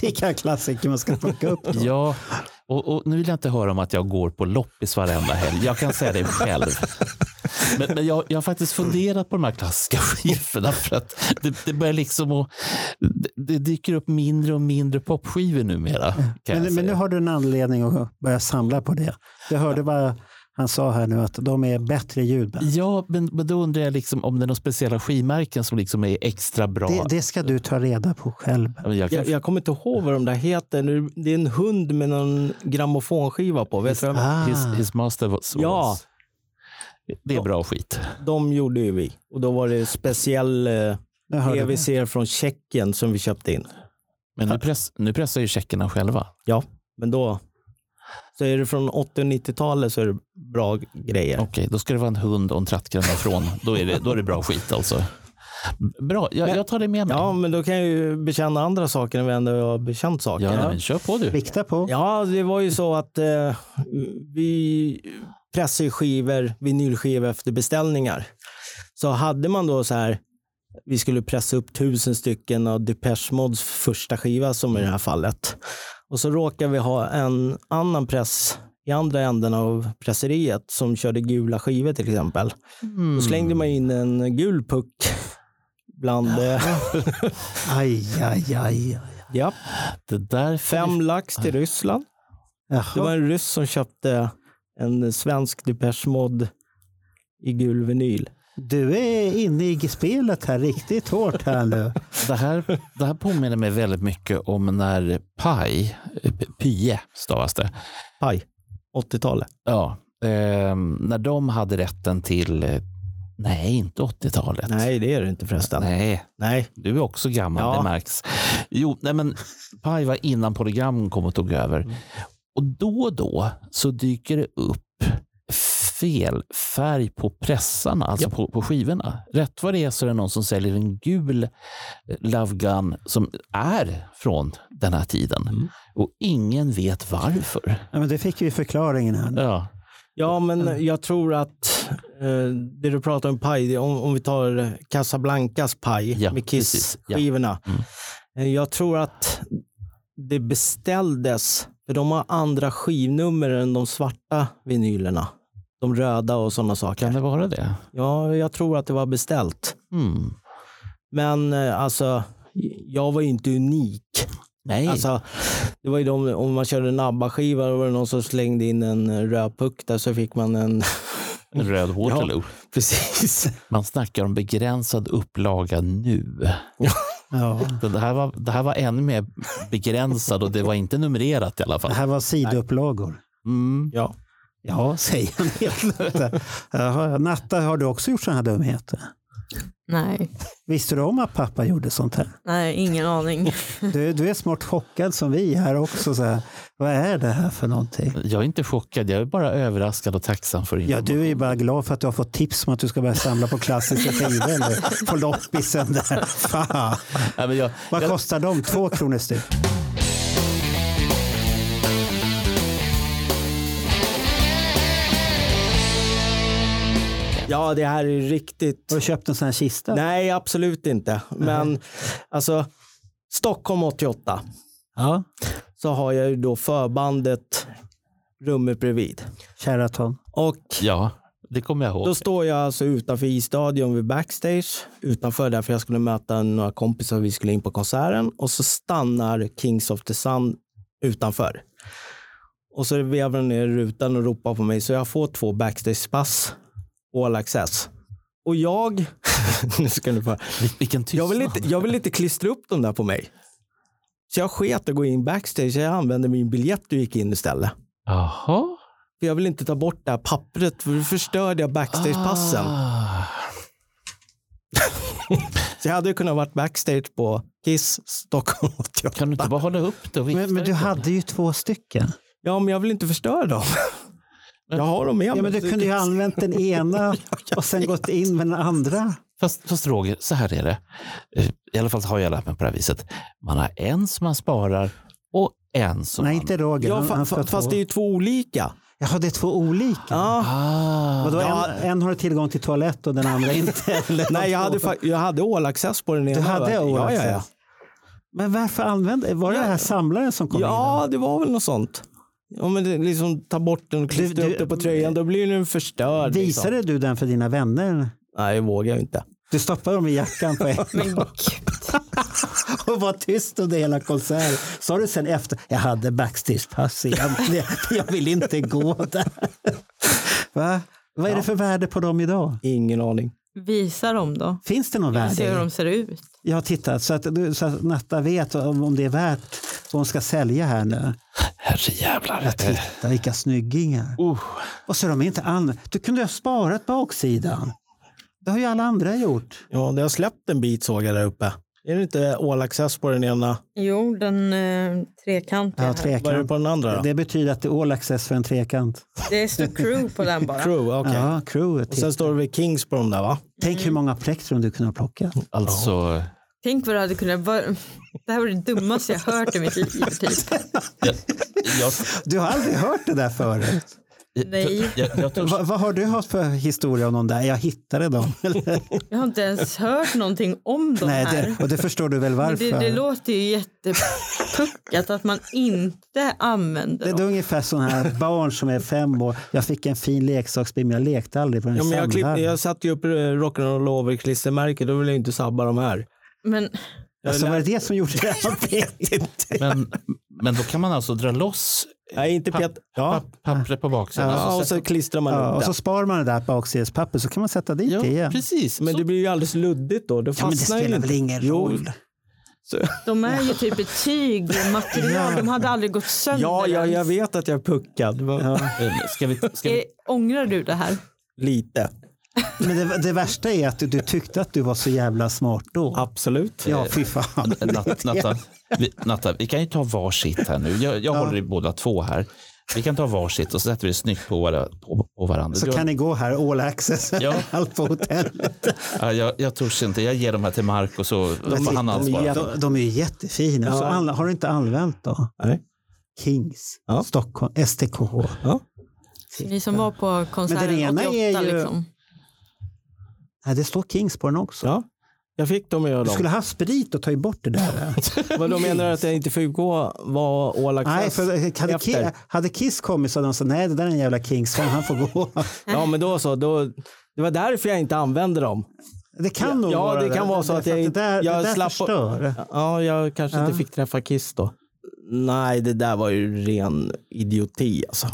Vilka klassiker man ska plocka upp. då.
Ja, och, och nu vill jag inte höra om att jag går på loppis varenda helg. Jag kan säga det själv. Men, men jag, jag har faktiskt funderat på de här klassiska skivorna för att det, det börjar liksom att, det, det dyker upp mindre och mindre popskivor numera. Kan jag
Men, men nu
säga.
har du en anledning att börja samla på det. Jag hörde bara Han sa här nu att de är bättre ljudband.
Ja, men, men då undrar jag liksom om det är några speciella skivmärken som liksom är extra bra.
Det, det ska du ta reda på själv.
Ja, men Jag kan,
Jag, jag kommer inte ihåg vad de där heter. Det är en hund med någon grammofonskiva på. Vet du vem?
Ah,
his, his master was
Ja.
was- Det är bra skit.
De gjorde ju vi. Och då var det speciell eh,
nu hörde vi.
EVC från Tjeckien som vi köpte in.
Men nu, press, nu pressar ju tjeckerna själva.
Ja, men då. Så är det från 80 och 90-talet så är det bra grejer.
Okej, då ska det vara en hund och en trattgranne ifrån. Då är det, då är det bra skit alltså. Bra, jag, jag tar det med mig.
Ja, men då kan jag ju bekänna andra saker än vad jag ändå har bekänt saker.
Ja, men kör på du.
Vikta på.
Ja, det var ju så att eh, vi pressade ju skivor, vinylskivor efter beställningar. Så hade man då så här, vi skulle pressa upp tusen stycken av Depeche Modes första skiva som i det här fallet. Och så råkar vi ha en annan press i andra änden av presseriet som körde gula skivor till exempel. Då slängde man in en gul puck bland, eh,
Aj, aj, aj.
ja,
Det där
fem lax till Ryssland. Det var
Jaha.
en ryss som köpte en svensk Depeche Mode i gul vinyl.
Du är inne i spelet här riktigt hårt här nu.
Det här, det här påminner mig väldigt mycket om när Pai, eh, Pye stavas det,
Paj, 80-talet.
ja, eh, när de hade rätten till, eh, nej inte 80-talet.
Nej, det är det inte förresten. Nej.
Nej, du är också gammal,
Ja.
det märks. Jo, nej men Pai var innan Polygram kom och tog över.
Mm.
Och då och då så dyker det upp fel färg på pressarna, alltså på, på skivorna. Rätt vad det är så är det någon som säljer en gul eh, Love Gun som är från den här tiden.
Mm.
Och ingen vet varför.
Ja, men det fick vi förklaringen här. nu.
Ja.
Ja,
Mm.
men jag tror att eh, det du pratar om Paj, det- om, om vi tar Casablancas Paj
Ja,
med
precis. Ja. Mm.
Kiss-skivorna. Eh, Jag tror att det beställdes, för de har andra skivnummer än de svarta vinylerna. De röda och sådana
Kan
saker.
det vara det?
Ja, jag tror att det var beställt.
Mm.
Men eh, alltså, jag var ju inte unik.
Nej,
Alltså, det var ju de, om man körde en ABBA-skiva då var det någon som slängde in en röd puck där så fick man en...
en röd Waterloo.
Precis.
Man snackar om begränsad upplaga nu.
Ja.
Så Det här, var, det här var ännu mer begränsad och det var inte numrerat i alla fall.
Det här var sidoupplagor.
Mm.
Ja.
Ja, säger han helt Natta. Jaha, Natta, har du också gjort sådana här dumheter?
Nej,
Visste du om att pappa gjorde sånt här?
nej, ingen aning.
Du, du är smart chockad som vi här också. Så här. Vad är det här för någonting?
Jag är inte chockad, jag är bara överraskad och tacksam för
Ja,
information.
du är ju bara glad för att du har fått tips om att du ska börja samla på klassiska skivor nu. på loppisen där. Fan.
Nej, men jag,
Vad kostar de? Två kronor styck.
ja, det här är riktigt...
Har du köpt en sån här kista?
Nej, absolut inte. Men alltså, Stockholm 88
Ja.
så har jag ju då förbandet rummet bredvid.
Sheraton.
Och
ja, det kommer jag ihåg.
Då står jag alltså utanför isstadion vid backstage, utanför där för jag skulle möta några kompisar vi skulle in på konserten och så stannar Kings of the Sun utanför. Och så vevar de ner rutan och ropar på mig så jag får två backstagepass, all access. Och jag, nu ska ni få höra.
Vil- Vilken tystnad.
jag, vill inte, jag vill inte klistra upp dem där på mig. Så jag sket att gå in backstage, jag använde min biljett och gick in istället.
Jaha.
För jag vill inte ta bort det här pappret för då förstörde jag backstagepassen.
Ah.
Så jag hade ju kunnat varit backstage på Kiss Stockholm 88.
Kan du inte bara hålla upp det och vifta
Men, men du
lite?
hade ju två stycken.
Ja, men jag vill inte förstöra dem. Jag har dem med
Ja, men du kunde ju ha använt den ena och sen gått in med den andra.
Fast, fast Roger, så här är det. Eh, I alla fall har jag lärt mig på det här viset. Man har en som man sparar och en som
Nej,
man...
inte Roger.
Ja,
Han-
fa
han ska
fa
ha
fast
två.
det är ju två olika.
Jaha, det är två olika.
Ja.
Ah.
Vadå,
Ja.
en, en har tillgång till toalett och den andra inte. Eller
Nej, jag
de
hade,
två.
fa- jag hade all-access på den ena.
Du
va?
hade
Ja, ja, ja.
Access. Men varför använde... Var det
Ja.
den här samlaren som kom in?
ja, det var väl något sånt. Ja, men det, liksom ta bort den och klistra
du-
upp den på tröjan, då blir den förstörd. Liksom.
Visade du den för dina vänner?
Nej, det vågar jag inte.
Du stoppade dem i jackan på en
Men gud.
och var tyst under hela konserten. Sa du sen efter, jag hade backstagepass egentligen, men jag vill inte gå där. Va? Vad är det för värde på dem idag?
Ingen aning.
Visa dem då.
Finns det någon
Se
värde?
hur
i-
de ser ut.
Jag har tittat så att, du- så att Natta vet om, om det är värt vad hon ska sälja här nu.
Herrejävlar.
Titta vilka snyggingar. Och så är de inte an... Du kunde ha sparat baksidan. Det har ju alla andra gjort.
Ja, det har släppt en bit såg jag där uppe. Är det inte all-access på den ena?
Jo, den eh, trekantiga.
Ja,
här.
Vad är det
trekant.
på den andra då?
Det betyder att det är all access för en trekant.
Det står crew på den bara.
Crew, okej.
Ja, crewet.
Och sen står det väl Kings på de där va?
Tänk hur många plektrum du kunde ha plockat.
Alltså,
Tänk vad det hade kunnat vara. Det här var det dummaste jag hört i mitt liv. Typ.
jag,
Du har aldrig hört det där förut.
Nej,
jag, jag törs
Va, vad har du haft för historia om någon där? Jag hittade dem. Eller?
jag har inte ens hört någonting om de
Nej,
här.
det, och det förstår du väl
Men
varför?
det, det låter ju jättepuckat att man inte använder
Det är
dem.
ungefär sådana här barn som är fem år. Jag fick en fin leksaksbil men jag lekte aldrig på den.
Ja, men jag, klipp,
samlaren.
jag satte ju upp eh, Rock'n'Roll Over-klistermärket, då vill jag ju inte sabba de här.
Men
Jag
alltså,
lär-
var det det som gjorde det? Jag vet inte.
Men, men då kan man alltså dra loss
Nej, inte
papp,
pet. Ja.
papp, pappret på baksidan.
Ja,
Alltså,
och så klistrar man
Ja,
upp
och så
det.
spar man det där baksidespapper så kan man sätta dit
ja,
det igen.
precis.
Men
Men
det blir ju alldeles luddigt då. Det
Ja, men det
fastnar ju
spelar
inte.
väl ingen
Jo,
roll?
de är ju typ ett tygmaterial. De hade aldrig gått sönder.
Ja, ja,
ens.
jag vet att jag är puckad. men-
Ska vi, ska
Eh,
vi,
Ångrar du det här?
Lite.
Men det, det värsta är att du, du tyckte att du var så jävla smart då.
Absolut.
Ja, fy fan.
Nat- Natta, vi, Natta, vi kan ju ta varsitt här nu. Jag, jag håller i båda två här. Vi kan ta varsitt och så sätter vi det snyggt på, våra, på, på varandra.
Så
Du-
kan ni gå här, all access,
Ja.
allt på hotellet.
ja, jag, jag törs inte. Jag ger de här till Marco så får han
de, är,
ansvara.
jätte- de är ju jättefina. Så alla, har du inte använt då?
Nej.
Kings,
Ja.
Stockholm, STK.
Ja.
Ni som var på konserten
ena
88
är ju-
liksom.
Nej, det står Kings på den också.
ja. Jag fick dem och jag
Du
dem.
skulle haft sprit och tagit bort det där.
Vadå menar du att jag inte fick gå vad All
nej,
Access
för hade, Ki-
efter?
hade Kiss kommit så hade de sagt nej, det där är en jävla Kings fan, han får gå.
Ja, men då så. Då, det var därför jag inte använde dem.
Det kan nog
ja,
vara
det kan vara så att
för
jag-
det där,
jag
det där
slapp-
förstör.
Ja, jag kanske inte fick träffa Kiss då. Nej, det där var ju ren idioti alltså.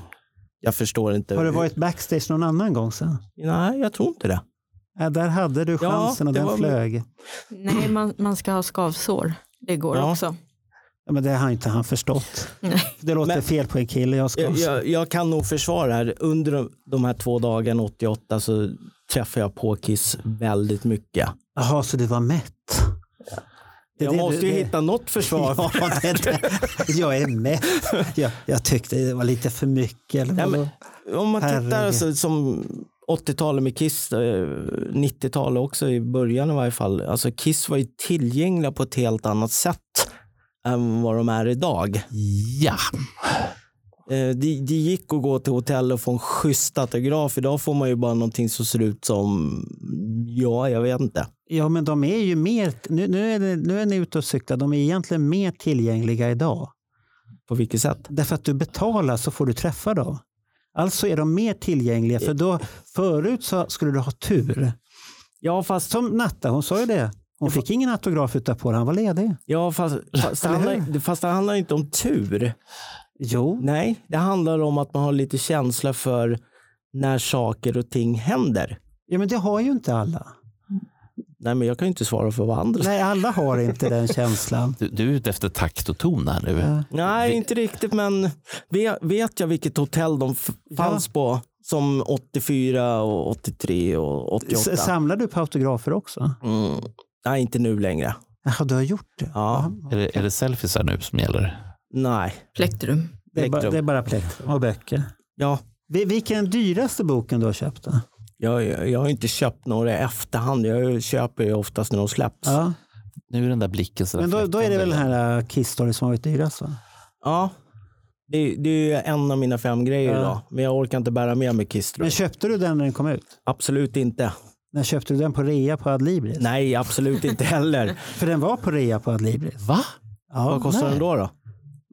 Jag förstår inte.
Har du
hur-
varit backstage någon annan gång sen?
Nej, jag tror inte det.
Ja, där hade du
Ja,
chansen och
det
den
var-
flög.
Nej, man, man ska ha skavsår. Det går
Ja.
också.
Ja, men det har inte han förstått.
Nej.
Det låter
Men-
fel på en kille. Jag ska
Jag, jag, jag kan nog försvara det här. Under de- de här två dagarna, 88, så träffade jag på Kiss väldigt mycket.
Jaha, så du var mätt? Det är
Jag
det
måste
du-
ju
det-
hitta något försvar.
Ja, det, är det. Jag är mätt. Jag, jag tyckte det var lite för mycket. Eller
Nej,
vadå?
men, om man tittar
Herregud.
alltså, som 80-talet med Kiss, eh, 90-talet också i början i varje fall. Alltså Kiss var ju tillgängliga på ett helt annat sätt än vad de är idag.
Ja,
Eh, Det, det gick att gå till hotell och få en schysst autograf. Idag får man ju bara någonting som ser ut som, ja, jag vet inte.
Ja, men de är ju mer... Nu, nu, är, det, nu är ni ute och cyklar. De är egentligen mer tillgängliga idag.
På vilket sätt?
Därför att du betalar så får du träffa dem. Alltså är de mer tillgängliga. För då, förut så skulle du ha tur.
Ja, fast,
Som Natta, hon sa ju det. Hon fick ingen autograf utan på den. Han var ledig.
ja, fast, fast, det
Eller hur?
handlar, fast det handlar inte om tur.
Jo,
Nej, det handlar om att man har lite känsla för när saker och ting händer.
ja, men det har ju inte alla.
Nej, men jag kan ju inte svara för vad andra
Nej, alla har inte den känslan.
du, du är ute efter takt och ton här nu.
Nej, inte riktigt, men ve- vet jag vilket hotell de f- fanns på som 84 och 83 och 88?
S- Samlar du på autografer också?
Mm. Nej, inte nu längre.
Jaha, du har gjort det?
Ja,
Är det, är det selfies här nu som gäller?
nej.
Plektrum.
Det är, bara,
Plektrum.
det är bara plektrum och böcker.
Ja,
Vi- Vilken är den dyraste boken du har köpt? Då?
jag, jag har inte köpt några i efterhand. Jag köper ju oftast när de släpps. Ja,
Ja.
Nu är den där blicken så där
Men då, då är det väl den
fläktande.
här äh, Kiss Story som har varit dyrast? Va?
det, är- det är ju en av mina fem grejer idag. Men jag orkar inte bära med mig Kiss. tror
Men
jag.
köpte du den när den kom ut?
Absolut inte.
När köpte du den på rea på Adlibris?
Nej, absolut inte heller.
För den var på rea på Adlibris.
Va?
Ja,
Vad kostar
nej.
den då? då?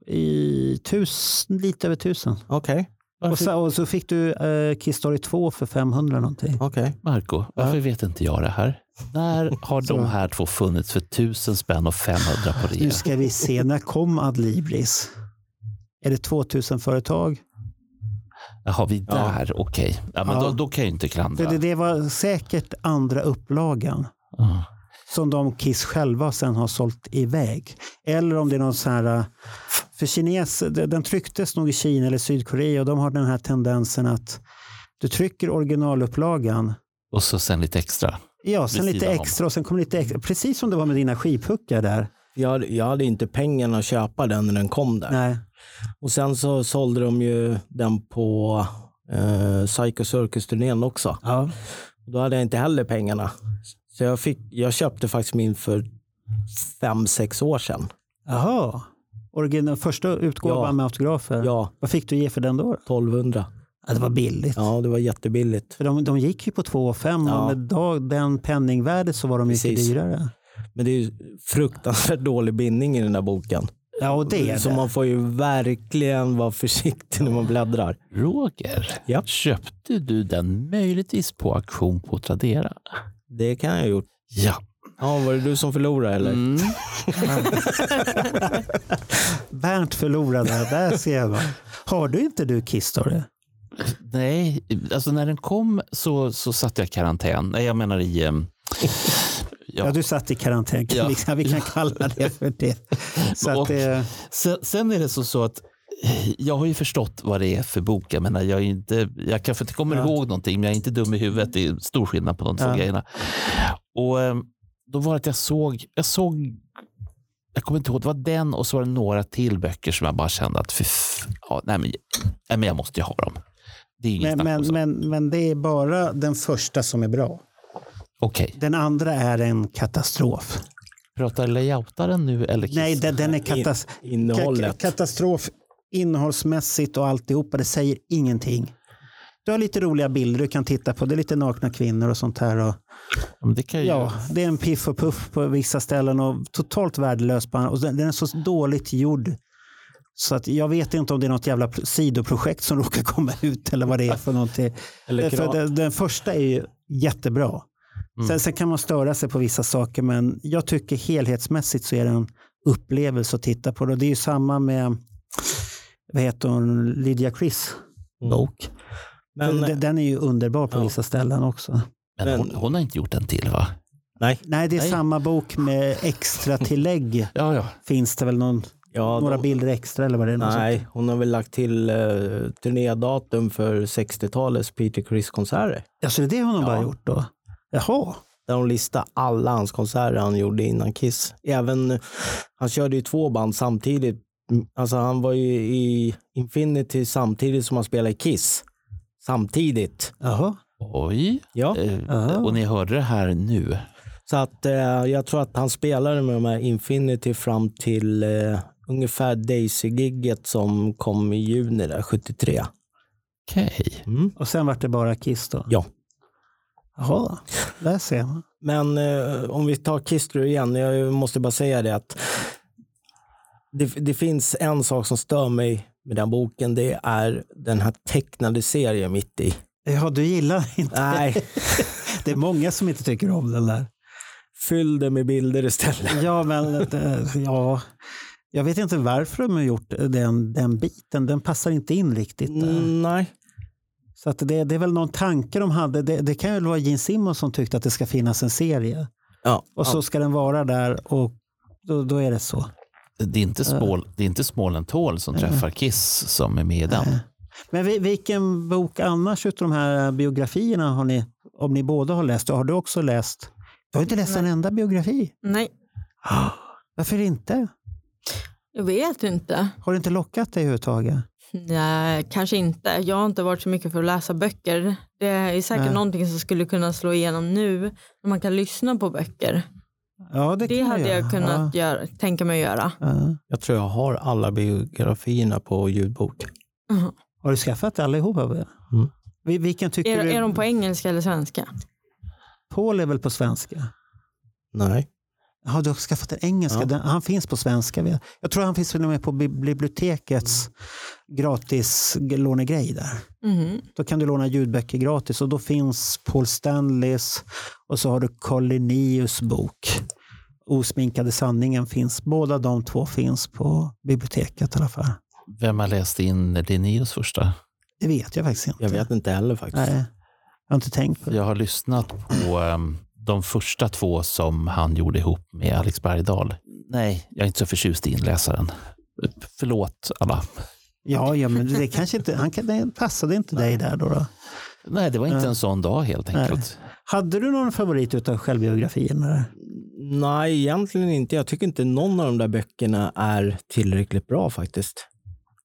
I tusen, lite över tusen.
Okej,
Och så, och så fick du eh, Kiss Story 2 för 500 någonting.
okej.
Marco, varför vet inte jag det här? När har de här två funnits för tusen spänn och 500 på
Nu
rea?
ska vi se, när kom Adlibris? Är det 2000 företag?
Jaha, vi där, okej. Ja, men
Ja.
Då, då kan jag ju inte
Det,
klandra.
det, det var säkert andra upplagan
Ja.
som de Kiss själva sen har sålt iväg. Eller om det är någon sån här... äh, För kines, de- den trycktes nog i Kina eller Sydkorea och de har den här tendensen att du trycker originalupplagan
Och så sen lite extra.
Ja, sen
Vid
lite
sidan om.
extra och sen kommer lite extra. Precis som det var med dina skivpuckar där.
Jag, hade- jag hade inte pengarna att köpa den när den kom där.
Nej.
Och sen så sålde de ju den på eh, Psycho Circus-turnén också.
Ja.
Då hade jag inte heller pengarna. Så jag, fick, jag köpte faktiskt min för fem, sex år sedan.
Jaha. Origin, första utgåvan
Ja.
med autografer.
Ja,
Vad fick du ge för den då?
1200.
Ja, det var billigt.
Ja, det var jättebilligt.
För de, de gick ju på 2 5
Ja.
och med dag, den penningvärdet så var de mycket
Precis.
dyrare.
Men det är ju fruktansvärt dålig bindning i den där boken.
Ja, och det är
Så
det.
man får ju verkligen vara försiktig när man bläddrar.
Roger,
Ja.
köpte du den möjligtvis på auktion på Tradera?
Det kan jag ha gjort.
Ja.
Ja, var det du som förlorade eller?
Bernt förlorade, där ser man. Har du inte du Kiss Story?
Nej, alltså när den kom så, så satt jag i karantän. Nej, jag menar i... ehm,
Ja.
ja.
du satt i karantän.
Ja.
Vi, kan, vi kan kalla det för det. Så
Och-
att eh, det
Sen, sen är det så, så att eh, jag har ju förstått vad det är för bok. Jag, menar, jag, är inte, jag kanske inte kommer
Ja.
ihåg någonting, men jag är inte dum i huvudet. Det är stor skillnad på de två
Ja.
grejerna. Och eh, då var det att jag såg, jag såg, jag kommer inte ihåg, det var den och så var det några till böcker som jag bara kände att, fy, f- ja, nej, men, nej men jag måste ju ha dem. Det är ju inget
men,
snack om
men,
saken.
men, men det är bara den första som är bra.
Okej,
Den andra är en katastrof.
pratar layoutaren nu eller Kiss?
Nej, den, den är katas
Innehållet.
ka- katastrof innehållsmässigt och alltihopa. Det säger ingenting. Du har lite roliga bilder du kan titta på. Det är lite nakna kvinnor och sånt här. Och,
Ja, men det kan jag ju...
ja, det är en piff och puff på vissa ställen och totalt värdelös. På, andra. och den, den är så dåligt gjord. Så att jag vet inte om det är något jävla pl- sidoprojekt som råkar komma ut eller vad det är för någonting.
Eller Mm.
Därför
kran.
att den, den första är ju jättebra. Sen, sen kan man störa sig på vissa saker men jag tycker helhetsmässigt så är det en upplevelse att titta på. Det, det är ju samma med vad heter hon, Lydia Chris bok.
Men,
den, den är ju underbar på vissa ställen också.
men, hon, hon har inte gjort en till va?
nej,
Nej, det är
Nej.
samma bok med extra tillägg.
Ja, ja.
Finns det väl någon,
ja,
några
de-
bilder extra eller vad det är? något sånt?
nej, hon har väl lagt till eh, turnédatum för 60-talets Peter Criss konserter.
Alltså det är det hon har bara gjort då? Jaha.
Där hon listar alla hans konserter han gjorde innan Kiss. Även, han körde ju två band samtidigt. Mm, Alltså han var ju i Infinity samtidigt som han spelade i Kiss. Samtidigt.
Jaha.
Oj.
Ja.
Eh,
Ah.
Och ni hörde det här nu.
Så att eh, jag tror att han spelade med de här Infinity fram till eh, ungefär Daisy-gigget som kom i juni där, 73.
Okej.
Och sen vart det bara Kiss då?
Ja.
Jaha, där ser man.
Men eh, om vi tar Kistler igen, jag måste bara säga det att det, det finns en sak som stör mig med den boken, det är den här tecknade serien mitt i.
Ja, du gillar inte.
Nej,
Det är många som inte tycker om den där.
fyll det med bilder istället.
Ja, men eh, ja. Jag vet inte varför de har gjort den, den biten. Den passar inte in riktigt. där.
Mm, nej,
Så att det, det är väl någon tanke de hade. Det, det kan ju vara Gene Simmons som tyckte att det ska finnas en serie.
ja,
Och så ska den vara där och då, då är det så.
Det är inte, Smål, det är inte Småland Tål som träffar Kiss som är med i den.
Men vi- vilken bok annars utav de här biografierna har ni, om ni båda har läst? Har du också läst? Du har inte läst en enda biografi.
Nej,
Varför inte?
jag vet inte.
Har det inte lockat dig överhuvudtaget?
Nej, kanske inte. Jag har inte varit så mycket för att läsa böcker. Det är säkert
Nej.
någonting som skulle kunna slå igenom nu när man kan lyssna på böcker.
Ja, det,
Det,
kan
hade jag
göra.
kunnat göra, tänka mig att göra.
Ja, ja.
jag tror jag har alla biografierna på ljudbok.
Har du skaffat allihopa? Mm. Vilken tycker
Är,
du?
är de på engelska eller svenska?
Paul är väl på svenska?
Nej,
Ja, du har skaffat den engelska.
Ja.
Den, han finns på svenska. vet jag. Jag tror han finns till och med på bi- bibliotekets
Mm.
gratis g- lånegrej där.
Mhm.
Då kan du låna ljudböcker gratis och då finns Paul Stanleys och så har du Carl Linnaeus bok. Osminkade sanningen finns. Båda de två finns på biblioteket i alla fall.
Vem har läst in Linnaeus första?
Det vet jag faktiskt inte.
Jag vet inte heller faktiskt.
Nej, jag har inte tänkt på det.
Jag har lyssnat på ehm, de första två som han gjorde ihop med Alex Bergdahl.
Nej.
Jag är inte så förtjust i inläsaren. Förlåt alla.
Ja, ja men det kanske inte, han kan, det passade inte dig där då, då.
Nej, det var inte
Nej.
en sån dag helt enkelt.
Hade du någon favorit utav självbiografin? Eller?
Nej, egentligen inte. Jag tycker inte någon av de där böckerna är tillräckligt bra faktiskt.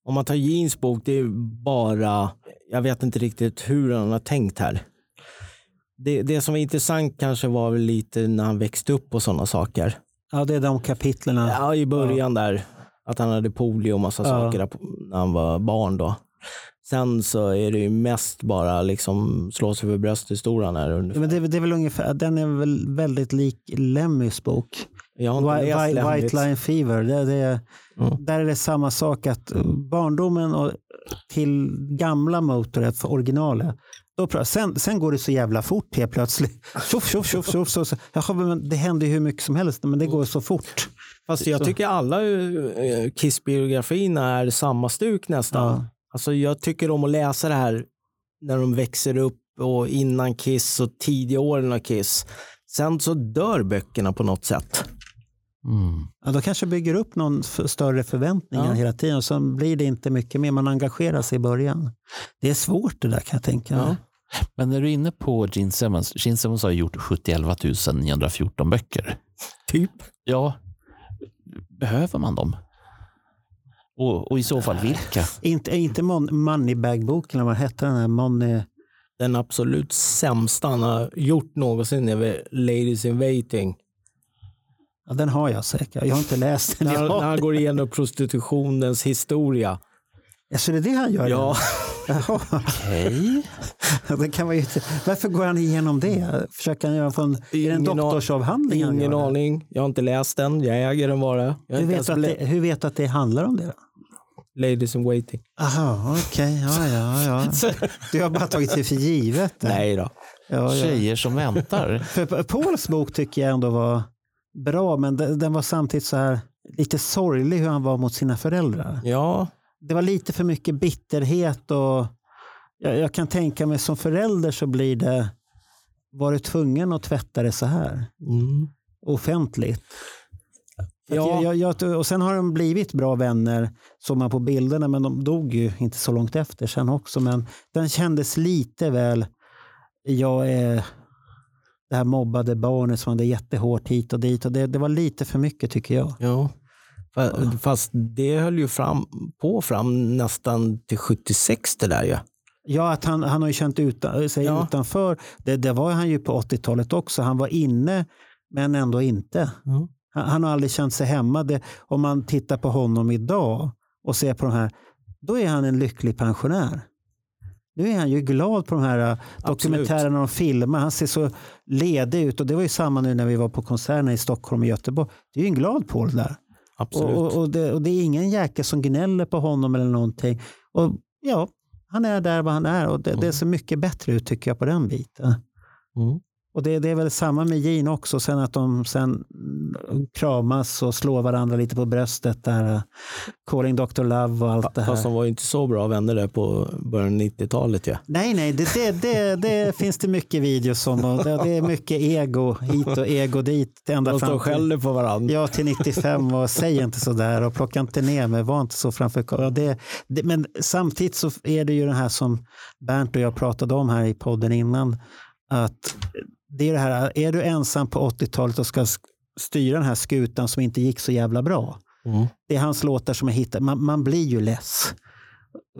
Om man tar Jeans bok, det är bara... Jag vet inte riktigt hur han har tänkt här. Det, det som var intressant kanske var väl lite när han växte upp och sådana saker.
Ja, det är de kapitlen.
Ja, i början där. Att han hade polio och massa
Ja.
saker där på- när han var barn då. Sen så är det ju mest bara liksom slå sig för bröst-historien här.
Ja,
ungefär.
men det, är- det är väl ungefär, den är väl väldigt lik Lemmys bok.
Jag har inte
White,
läst
White,
Lemmys.
White Line Fever. Det, det,
Mm.
Där är det samma sak att barndomen och till gamla Motörhead för originalet. Då, pra- sen, sen går det så jävla fort helt plötsligt. Tjoff, tjoff, tjoff, tjoff. Så, så. Jaha, men det händer ju hur mycket som helst, men det går så fort.
Fast jag tycker alla eh, Kiss-biografierna är samma stuk nästan.
Ja.
Alltså jag tycker om att läsa det här när de växer upp och innan Kiss och tidiga åren av Kiss. Sen så dör böckerna på något sätt.
Mm.
Ja, då kanske bygger upp någon f- större förväntningar
Ja.
hela tiden och så blir det inte mycket mer. Man engagerar sig i början. Det är svårt det där kan jag tänka mig.
Men när du är inne på Gene Simmons. Gene Simmons har gjort 71 914 böcker.
Typ.
Ja, behöver man dem? Och, och i så fall vilka?
Inte, inte Mon- Moneybag-boken, eller vad hette den här? Money...
Den absolut sämsta han har gjort någonsin är väl Ladies in Waiting.
Ja, den har jag säkert. Jag har inte läst den.
När,
Jag
när
har...
han går igenom prostitutionens historia.
Alltså, det är det han gör?
Ja,
Jaha.
Hej.
Det kan vara ju... Varför går han igenom det? Försöker han göra från... Är det en
Ingen a-
doktorsavhandling han
ingen
gör det?
aning. Jag har inte läst den. Jag äger den bara. Jag har
Hur
inte
vet,
ens
du att
lä-
det, hur vet du att det handlar om det? Då?
Ladies in Waiting.
Aha, okej. Ja, ja, ja. Du har bara tagit det för givet.
Nej då.
Ja, ja.
Tjejer som väntar.
För Pauls bok tycker jag ändå var bra, men den, den var samtidigt så här lite sorglig hur han var mot sina föräldrar.
Ja,
Det var lite för mycket bitterhet och jag, jag kan tänka mig som förälder så blir det, var du tvungen att tvätta det så här offentligt? För att
Mm. Ja.
Jag, jag, jag, och sen har de blivit bra vänner, såg man på bilderna, men de dog ju inte så långt efter sen också. Men den kändes lite väl, jag är det här mobbade barnet som hade jättehårt hit och dit. Och det, det var lite för mycket tycker jag.
ja. Fa- Fast det höll ju fram, på fram nästan till 76 det där ju.
Ja, att han, han har ju känt utan, eh, sig
Ja.
utanför. Det, det var han ju på 80-talet också. Han var inne, men ändå inte.
Mm.
Han, han har aldrig känt sig hemma. Det, om man tittar på honom idag och ser på de här, då är han en lycklig pensionär. Nu är han ju glad på de här eh, dokumentärerna de filmar. Han ser så ledig ut. Och det var ju samma nu när vi var på konserterna i Stockholm och Göteborg. Det är ju en glad Paul där. Och,
Absolut.
och, och, det, och det är ingen jäkel som gnäller på honom eller någonting. Och ja, han är där vad han är och det, det ser mycket bättre ut tycker jag på den biten.
Mm.
Och det, det är väl samma med Gene också, sen att de sen mm, kramas och slår varandra lite på bröstet där. eh, Calling Dr. Love och allt det
Fast
här.
de var ju inte så bra vänner där på början av 90-talet ju.
Nej, nej, det, det, det, det finns det mycket videos om och det, det är mycket ego hit och ego dit. Ända
De står
fram
och
till-
skäller på varandra.
Ja, till 95 och säg inte sådär och plocka inte ner mig, var inte så framför kameran. ja, det, det, Men samtidigt så är det ju den här som Bernt och jag pratade om här i podden innan, att det är det här, är du ensam på 80-talet och ska s- styra den här skutan som inte gick så jävla bra.
Mm.
Det är hans låtar som jag hittar, man, man blir ju less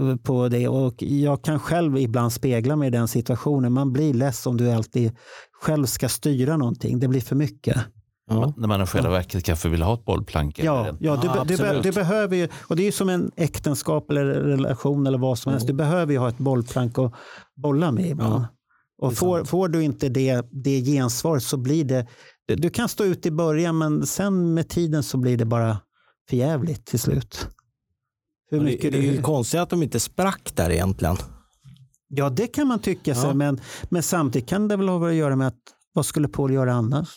eh, på det och jag kan själv ibland spegla mig i den situationen. Man blir less om du alltid själv ska styra någonting. Det blir för mycket.
Ja.
När man i själva verket kanske vill ha ett bollplank.
Ja,
eller-
ja du,
Ah,
be, du, be,
absolut.
du behöver ju, och det är ju som en äktenskap eller relation eller vad som helst. Du behöver ju ha ett bollplank att bolla med ibland. och får, får du inte det, det gensvaret så blir det, du- du kan stå ut i början men sen med tiden så blir det bara för jävligt till slut. Hur
Det,
mycket
det är ju
du,
konstigt att de inte sprack där egentligen.
ja det kan man tycka sig,
Ja.
men, men samtidigt kan det väl ha att göra med att vad skulle Paul göra annars?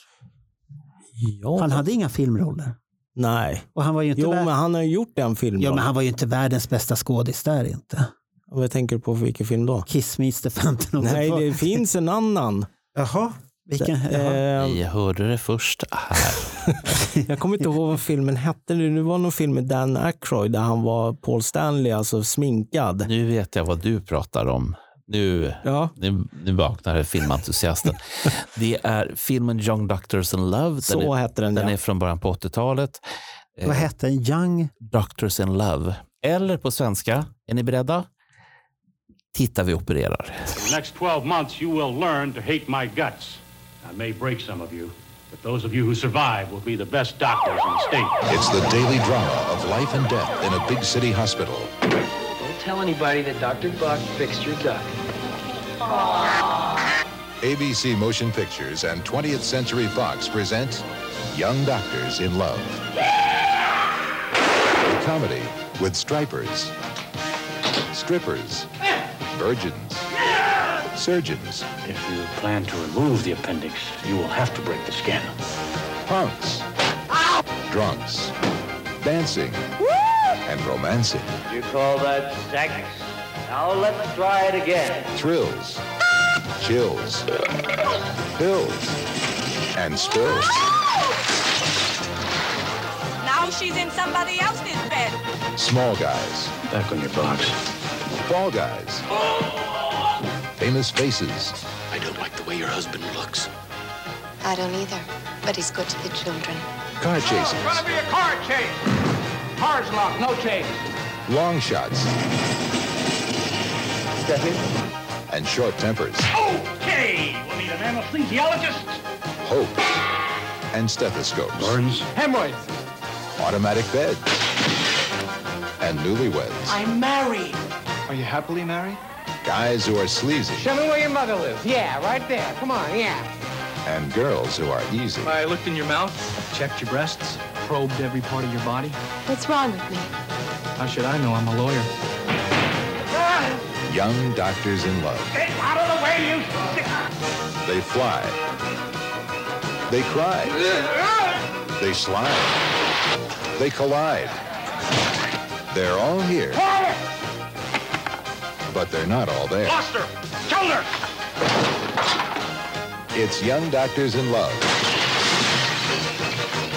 Ja.
Han hade inga filmroller.
Nej.
Och han var ju inte
Jo,
värd-
men han har ju gjort den filmen.
Ja, men han var ju inte världens bästa skådis där inte.
Vad tänker du på för vilken film då?
Kiss Me Stefanten.
Nej, det finns en annan.
Jaha, vilken? Jaha.
Eh,
Ni hörde det först Ah, här.
jag kommer inte ihåg vad filmen hette. nu. Det var någon film med Dan Aykroyd där han var Paul Stanley, alltså sminkad.
Nu vet jag vad du pratar om. Nu,
Ja,
nu, nu vaknar filmentusiasten. Det är filmen Young Doctors in Love. Den,
så
är,
hette den.
den
ja.
är från början på 80-talet.
Vad hette den? Young?
Doctors in Love. Eller på svenska, är ni beredda? Titta, vi opererar.
the next 12 months, you will learn to hate my guts. I may break some of you, but those of you who survive will be the best doctors in the state.
It's the daily drama of life and death in a big city hospital.
Don't tell anybody that Dr. Buck fixed your gut.
ABC Motion Pictures and 20th Century Fox present Young Doctors in Love. A comedy with stripers, strippers, virgins, surgeons,
If you plan to remove the appendix, you will have to break the skin.
punks, drunks, dancing, and romancing.
You call that sex? Now let's try it again.
Thrills, chills, pills, and spills.
Now she's in somebody else's bed.
Small guys,
Back on your box.
fall guys, famous faces.
I don't like the way your husband looks.
I don't either, but he's good to the children.
Car chases,
be a car chase. Car's locked, no chase.
long shots, and short tempers.
Okay, we'll need an anesthesiologist.
Hope and stethoscopes.
Burns. Hemorrhoids.
Automatic beds and newlyweds.
I'm married.
Are you happily married?
Guys who are sleazy
Tell me where your mother lives. Yeah, right there. Come on, yeah.
and girls who are easy.
I looked in your mouth, checked your breasts, probed every part of your body.
What's wrong with me?
How should I know? I'm a lawyer.
Young doctors in love.
Get out of the way, you
They fly. They cry. They slide. They collide. They're all here, but they're not all there.
Buster! Shoulder!
It's Young Doctors in Love.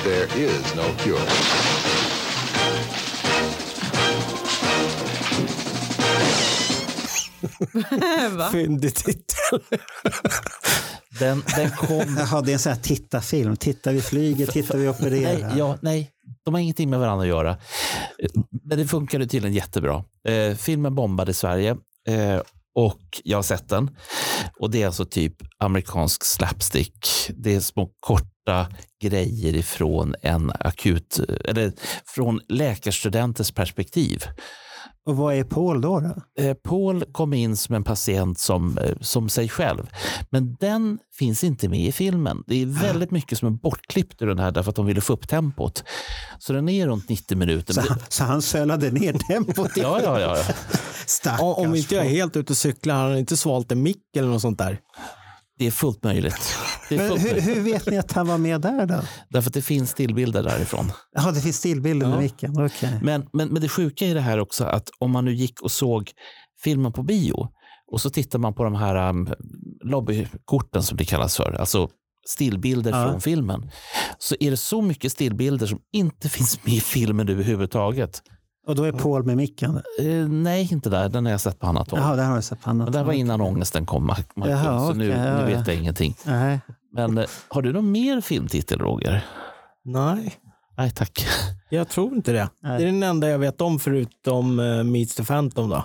There is no cure.
Va?
Fyndig titel.
Den, den kom...
Jaha, det är en sån här titta-film. Titta vi flyger, titta vi
Nej,
opererar.
ja, nej, de har ingenting med varandra att göra. Eh, Men det funkade tydligen jättebra. Eh, filmen bombade Sverige eh, och jag har sett den. Och det är alltså typ amerikansk slapstick. Det är små korta grejer ifrån en akut, eh, eller från läkarstudentens perspektiv.
Och vad är Paul då? då?
Eh, Paul kom in som en patient som, eh, som sig själv. Men den finns inte med i filmen. Det är väldigt mycket som är bortklippt ur den här därför att de ville få upp tempot. Så den är runt 90 minuter.
Så,
Men det,
han, så han sölade ner tempot. i-
ja, ja, ja. ja.
Stackars
Om, om inte jag är
Paul.
helt ute och cyklar, har han inte svalt en mick eller något sånt där?
Det är fullt möjligt. Det är
Men
fullt
hur,
möjligt.
hur vet ni att han var med där då?
Därför att det finns stillbilder därifrån.
Ja, det finns stillbilder med micken. Okej.
Men, men, men det sjuka i det här också att om man nu gick och såg filmen på bio och så tittar man på de här um, lobbykorten som det kallas för, alltså stillbilder
Ja.
från filmen, så är det så mycket stillbilder som inte finns med i filmen överhuvudtaget.
Och då är Paul med micken?
Eh, nej, inte där. Den har jag sett på annat håll.
Jaha, där har du sett på annat.
Men det här var innan ångesten kom, Mark, Marcus,
Jaha,
så
okej,
nu,
ja,
nu
ja.
vet jag ingenting.
Nej.
Men eh, har du någon mer filmtitel, Roger?
Nej,
Nej, tack.
jag tror inte det.
Nej.
Det är den enda jag vet om förutom uh, Meets the Phantom. Då.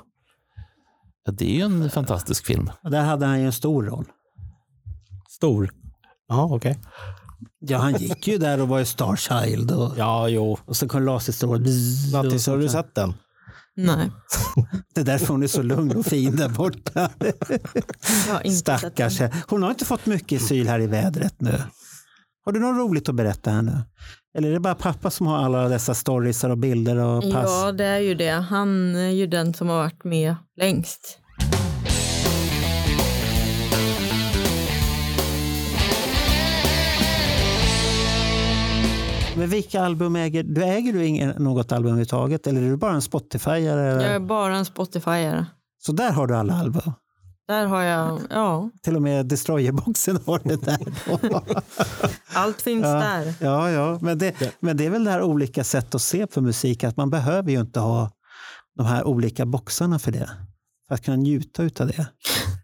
Ja, Det är ju en fantastisk film.
Och där hade han ju en stor roll.
Stor. Ja, okej.
Ja, han gick ju där och var ju Starchild och,
Ja, jo.
och så kom laserstrål. Bzzz, och
Nattis,
så-
har du sett den?
Nej,
Det är därför hon är så lugn och fin där borta.
jag har inte sett den.
Stackars. Hon har inte fått mycket syl här i vädret nu. Har du något roligt att berätta här nu? Eller är det bara pappa som har alla dessa storiesar och bilder och pass?
Ja, det är ju det. Han är ju den som har varit med längst.
Men vilka album äger du? Äger du ingen, något album överhuvudtaget? Eller är du bara en Spotifyare?
Jag är bara en spotifyare.
Så där har du alla Alva.
Där har jag, ja,
Till och med Destroyer-boxen har det där.
allt finns
ja,
där.
Ja, ja. Men, det, men det är väl det här olika sätt att se på musik, att man behöver ju inte ha de här olika boxarna för det. För att kunna njuta utav det.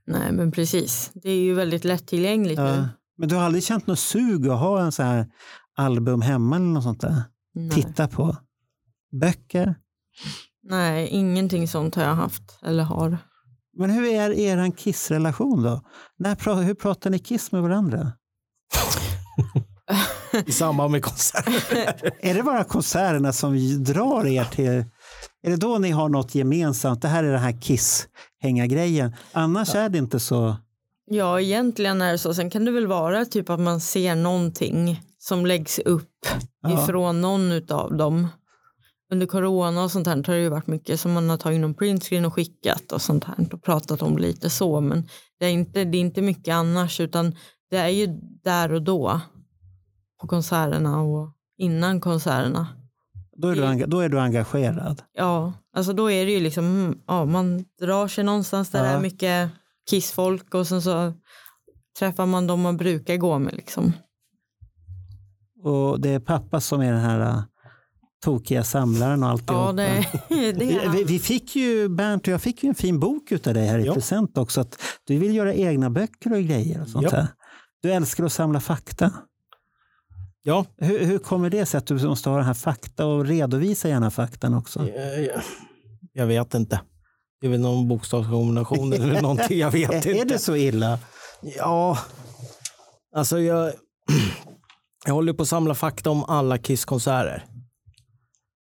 Nej, men precis. Det är ju väldigt lättillgängligt
Ja.
nu.
Men du har aldrig känt något sug att ha en så här album hemma eller något sånt där?
Nej.
Titta på? Böcker?
Nej, ingenting sånt har jag haft eller har.
Men hur är er kissrelation då? När, pra- hur pratar ni kiss med varandra?
I samband med konserter.
är det bara konserterna som drar er till... Är det då ni har något gemensamt? Det här är den här kiss-hänga-grejen. Annars är det inte så...
Ja, egentligen är det så. Sen kan det väl vara typ att man ser någonting som läggs upp
Ja.
ifrån någon av dem. Under corona och sånt här har det ju varit mycket som man har tagit någon printscreen och skickat och sånt här och pratat om lite så. Men det är inte, det är inte mycket annars utan det är ju där och då på konserterna och innan konserterna.
Då är du,
Mm.
enga- då är du engagerad.
Ja, alltså då är det ju liksom, mm, ja, man drar sig någonstans där det
Ja.
är mycket kissfolk och sen så träffar man dem man brukar gå med liksom.
Och det är pappa som är den här äh, tokiga samlaren och alltihopa.
Ja, det, det är
Vi, vi fick ju, Bernt och jag fick ju en fin bok utav dig här i
Ja.
present också. Att du vill göra egna böcker och grejer och sånt
Ja.
här. Du älskar att samla fakta.
Ja,
Hur, hur kommer det sig att du måste ha den här fakta och redovisa gärna faktan också?
Eh, jag- jag vet inte. Det är väl någon bokstavskombination eller någonting. Jag vet inte.
Är det så illa?
Ja, alltså jag, jag håller på att samla fakta om alla Kiss-konserter.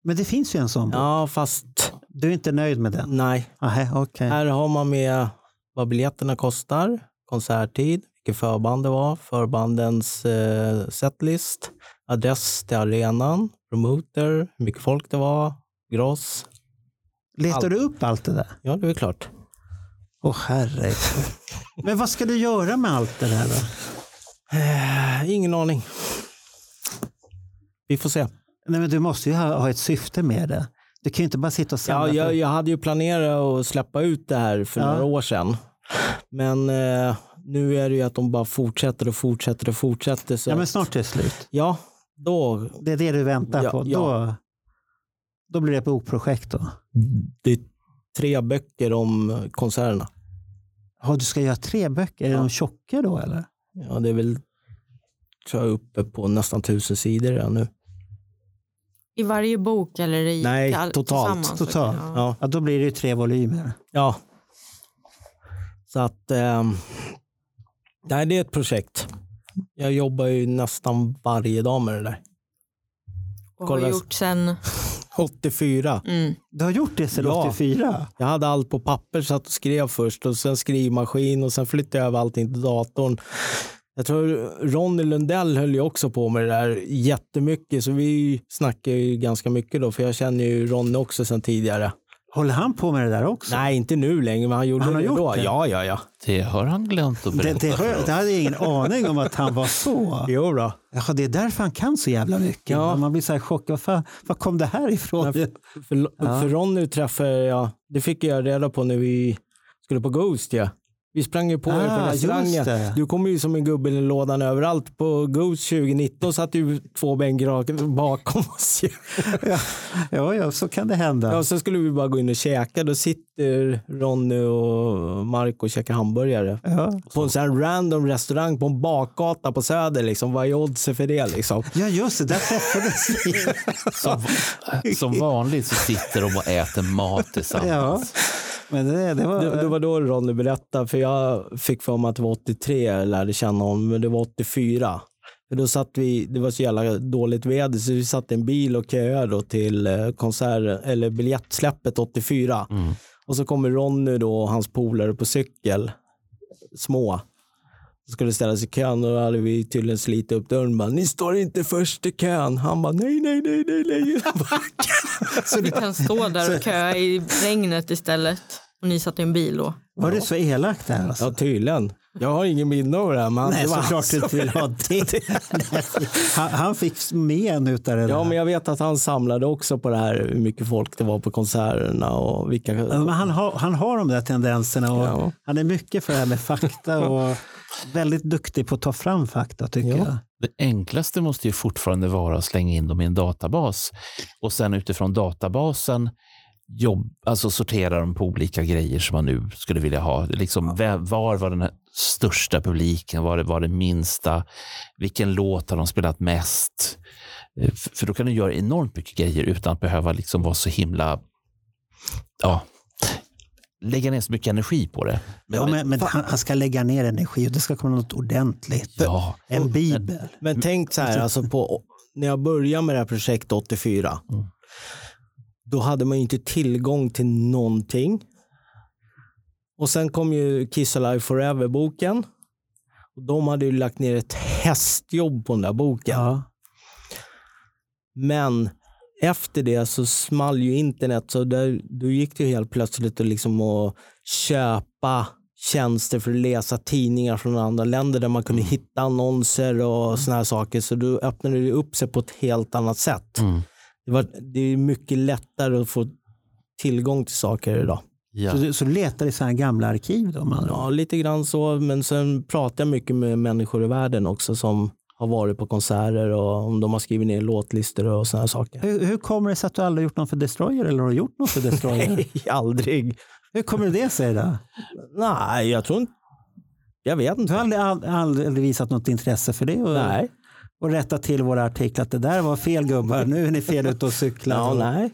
Men det finns ju en sån bok.
Ja, fast
Du är inte nöjd med den?
nej.
Nej, okej.
Här har man med vad biljetterna kostar, konserttid, vilket förband det var, förbandens eh, setlist, adress till arenan, promoter, hur mycket folk det var, gross.
Letar du upp allt det där?
Ja, det är klart.
Åh herregud. Men vad ska du göra med allt det där då?
Eh, Ingen aning. Vi får se.
Nej, men du måste ju ha, ha ett syfte med det. Du kan ju inte bara sitta och samla.
Ja, jag,
på-
jag hade ju planerat att släppa ut det här för
Ja.
några år sedan. Men eh, nu är det ju att de bara fortsätter och fortsätter och fortsätter. Så
ja, men
att-
snart är det slut.
ja då...
Det är det du väntar
Ja,
på.
ja.
Då, då blir det ett bokprojekt då.
Det är tre böcker om konserterna.
Ja, du ska göra tre böcker. Är de tjocka då eller?
Ja, det är väl tror jag, uppe på nästan tusen sidor redan nu.
I varje bok eller i
Nej,
all-
totalt.
tillsammans? liksom.
Totalt.
Ja.
Ja,
Ja, då blir det ju tre volymer.
ja. Så att... ehm, nej, det är ett projekt. Jag jobbar ju nästan varje dag med det där.
Och har
Kolla.
gjort sen,
84.
mm,
Du har gjort det sedan
Ja.
84?
Jag hade allt på papper, satt och skrev först och sen skrivmaskin och sen flyttade jag över allting till datorn. Jag tror Ronny Lundell höll ju också på med det där jättemycket, så vi snackar ju ganska mycket då, för jag känner ju Ronny också sedan tidigare.
Håller han på med det där också?
Nej, inte nu längre, men han gjorde
Han har
det
gjort
då.
det?
Ja, ja, ja.
Det har han glömt att
Det,
berätta.
det, har jag- det hade jag ingen aning om att han var så.
Jo då.
Jaha, det är därför han kan så jävla mycket.
Ja.
Man blir så här chockad. Vad fan- Var kom det här ifrån?
Men för, för, för Ronny träffade jag, det fick jag reda på när vi skulle på Ghost. Ja. Vi sprang ju på er
Ah,
på
just det.
restaurangen. Du kom ju som en gubbe i lådan överallt. På Ghost 2019 satt du två bänkar bakom oss. ju.
Ja, ja, så kan det hända.
Ja, sen skulle vi bara gå in och käka. Då sitter Ronny och Marco och käkar hamburgare.
Ja.
På en sån här random restaurang på en bakgata på Söder. Liksom. Vad är oddsen för det? Liksom?
Ja, just det. Där träffades vi.
Som, som vanligt så sitter de och äter mat
Ja.
tillsammans.
Men det, det var...
Det, det var då Ronny berättade, för jag fick för mig att det var 83 jag lärde känna honom, men det var 84. För då satt vi, det var så jävla dåligt väder, så vi satt i en bil och köade då till eh, konsert, eller biljettsläppet 84. Och så kommer Ronny då och hans polare på cykel, små. Så skulle ställa sig i kön och då hade vi tydligen slitit upp dörren. Bara, Ni står inte först i kön. Han bara nej, nej, nej, nej, nej.
vi kan stå där och köa i regnet istället. Och ni satt i en bil då.
Var det så elakt där? Alltså?
Ja, tydligen. Jag har ingen minne av det här. Men
Nej,
det var han
såklart du
som-
inte vill ha det. han, han fick men utav det
Ja,
där.
men jag vet att han samlade också på det här hur mycket folk det var på konserterna och vilka...
Ja, Men han, har, han har de där tendenserna och
Ja.
han är mycket för det här med fakta och väldigt duktig på att ta fram fakta tycker jag.
Det enklaste måste ju fortfarande vara att slänga in dem i en databas och sen utifrån databasen jobb, alltså sortera dem på olika grejer som man nu skulle vilja ha. Liksom, vä- Var var den här största publiken? Var det, var det minsta? Vilken låt har de spelat mest? Eh, f- För då kan du göra enormt mycket grejer utan att behöva liksom vara så himla... Ja, lägga ner så mycket energi på det.
Ja, men, men han, han ska lägga ner energi och det ska komma något ordentligt.
Ja.
En bibel.
Men tänk så här,
Mm.
alltså på, när jag började med det här projektet 84,
Mm.
då hade man ju inte tillgång till någonting. Och sen kom ju Kiss Alive Forever-boken. Och De hade ju lagt ner ett hästjobb på den där boken. Men efter det så small ju internet så där, då gick det ju helt plötsligt att, liksom att köpa tjänster för att läsa tidningar från andra länder där man kunde hitta annonser och såna här saker. Så då öppnade det upp sig på ett helt annat sätt. Det, var, det är mycket lättare att få tillgång till saker idag.
Så, du- så letar i så här gamla arkiv då? Man.
Ja, lite grann så. Men sen pratar jag mycket med människor i världen också som har varit på konserter och om de har skrivit ner låtlistor och sådana saker.
Hur, hur kommer det sig att du aldrig gjort något för Destroyer eller har du gjort något för Destroyer?
Nej, aldrig.
hur kommer det sig då?
Nej, jag tror inte... Jag vet
Du
inte.
har aldrig, aldrig, aldrig visat något intresse för det? Och,
Nej.
och rätta till våra artiklar att det där var fel gubbar, nu är ni fel ute och cyklar.
Ja,
Och-
nej.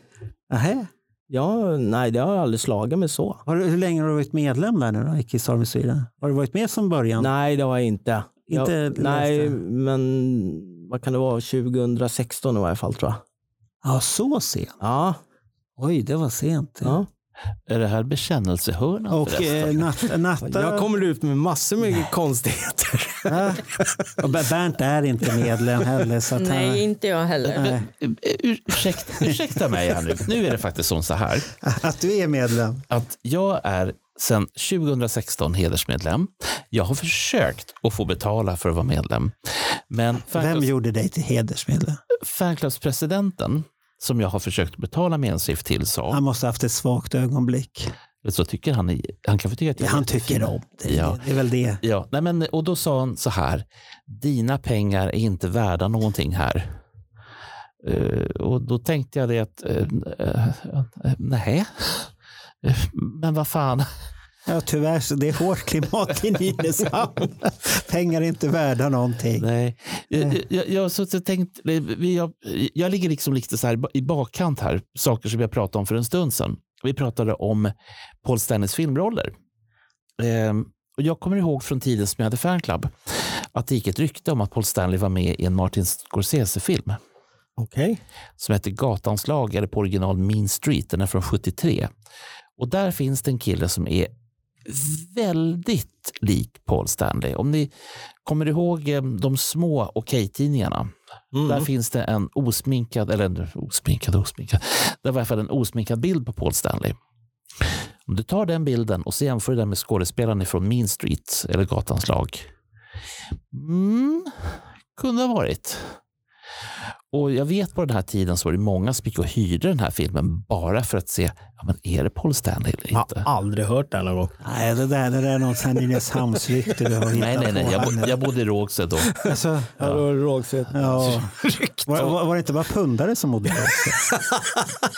Nähä.
Ja, nej, det har aldrig slagit mig så.
Har du, hur länge har du varit medlem där nu då, i Kiss Army Sweden? Har du varit med som början?
Nej, det har jag inte.
Inte
jag,
läst
nej,
det.
men vad kan det vara? 2016 i varje fall tror jag.
Ja, så sent.
Ja,
Oj, det var sent.
ja.
Är det här bekännelsehörnan
Och
förresten?
eh, natta... natta
Jag kommer ut med massor med konstigheter.
Ja. Och Ber- Bernt är inte medlem heller. Så att han,
Nej, inte jag heller.
Nej.
Eh, Ur, ursäkta, ursäkta mig här nu. Nu är det faktiskt som så här
Att du är medlem.
att jag är sedan 2016 hedersmedlem. Jag har försökt att få betala för att vara medlem. Men
Vem
fanclubs-
gjorde dig till hedersmedlem?
fanclubspresidenten som jag har försökt betala med en SIF till sa,
Han måste ha haft ett svagt ögonblick.
så tycker han, i- han kan få tycka att
Ja,
jag är
han tycker
jättefin.
om dig.
Ja.
Det är väl det.
Ja, nej men, och då sa han så här, dina pengar är inte värda någonting här. Eh, och då tänkte jag det att, uh, nej, Eh, men vad fan.
Ja, tyvärr, så det är hårt klimat i Nynäshamn. Pengar är inte värda någonting.
Nej. Jag, jag, jag, har suttit och tänkt, eh, vi- jag, jag ligger liksom lite så här ba- i bakkant här, saker som jag pratade om för en stund sedan. Vi pratade om Paul Stanleys filmroller. Ehm, och jag kommer ihåg från tiden som jag hade fanclub att det gick ett rykte om att Paul Stanley var med i en Martin Scorsese-film
Okej.
som heter Gatans lag, eller på original Mean Street, den är från 73. Och där finns det en kille som är väldigt lik Paul Stanley. Om ni kommer ihåg eh, de små Okej-tidningarna. Där finns det en osminkad, eller en osminkad, osminkad, det var i alla fall en osminkad bild på Paul Stanley. Om du tar den bilden och så jämför den med skådespelaren från Mean Street, eller Gatans lag. Mm, kunde ha varit. Och jag vet på den här tiden så var det många som gick och hyrde den här filmen bara för att se, ja, men är det Paul Stanley eller
Jag
inte?
har aldrig hört det här någon gång.
Nej, det där, det där är någon sån här Nynäshamnsrykte du har hittat
nej, nej, nej,
på.
jag,
här nu.
bo- jag bodde i Rågsved då.
Alltså,
Ja. då är det Rågsved.
ja. var, var, var det inte bara pundare som bodde där också?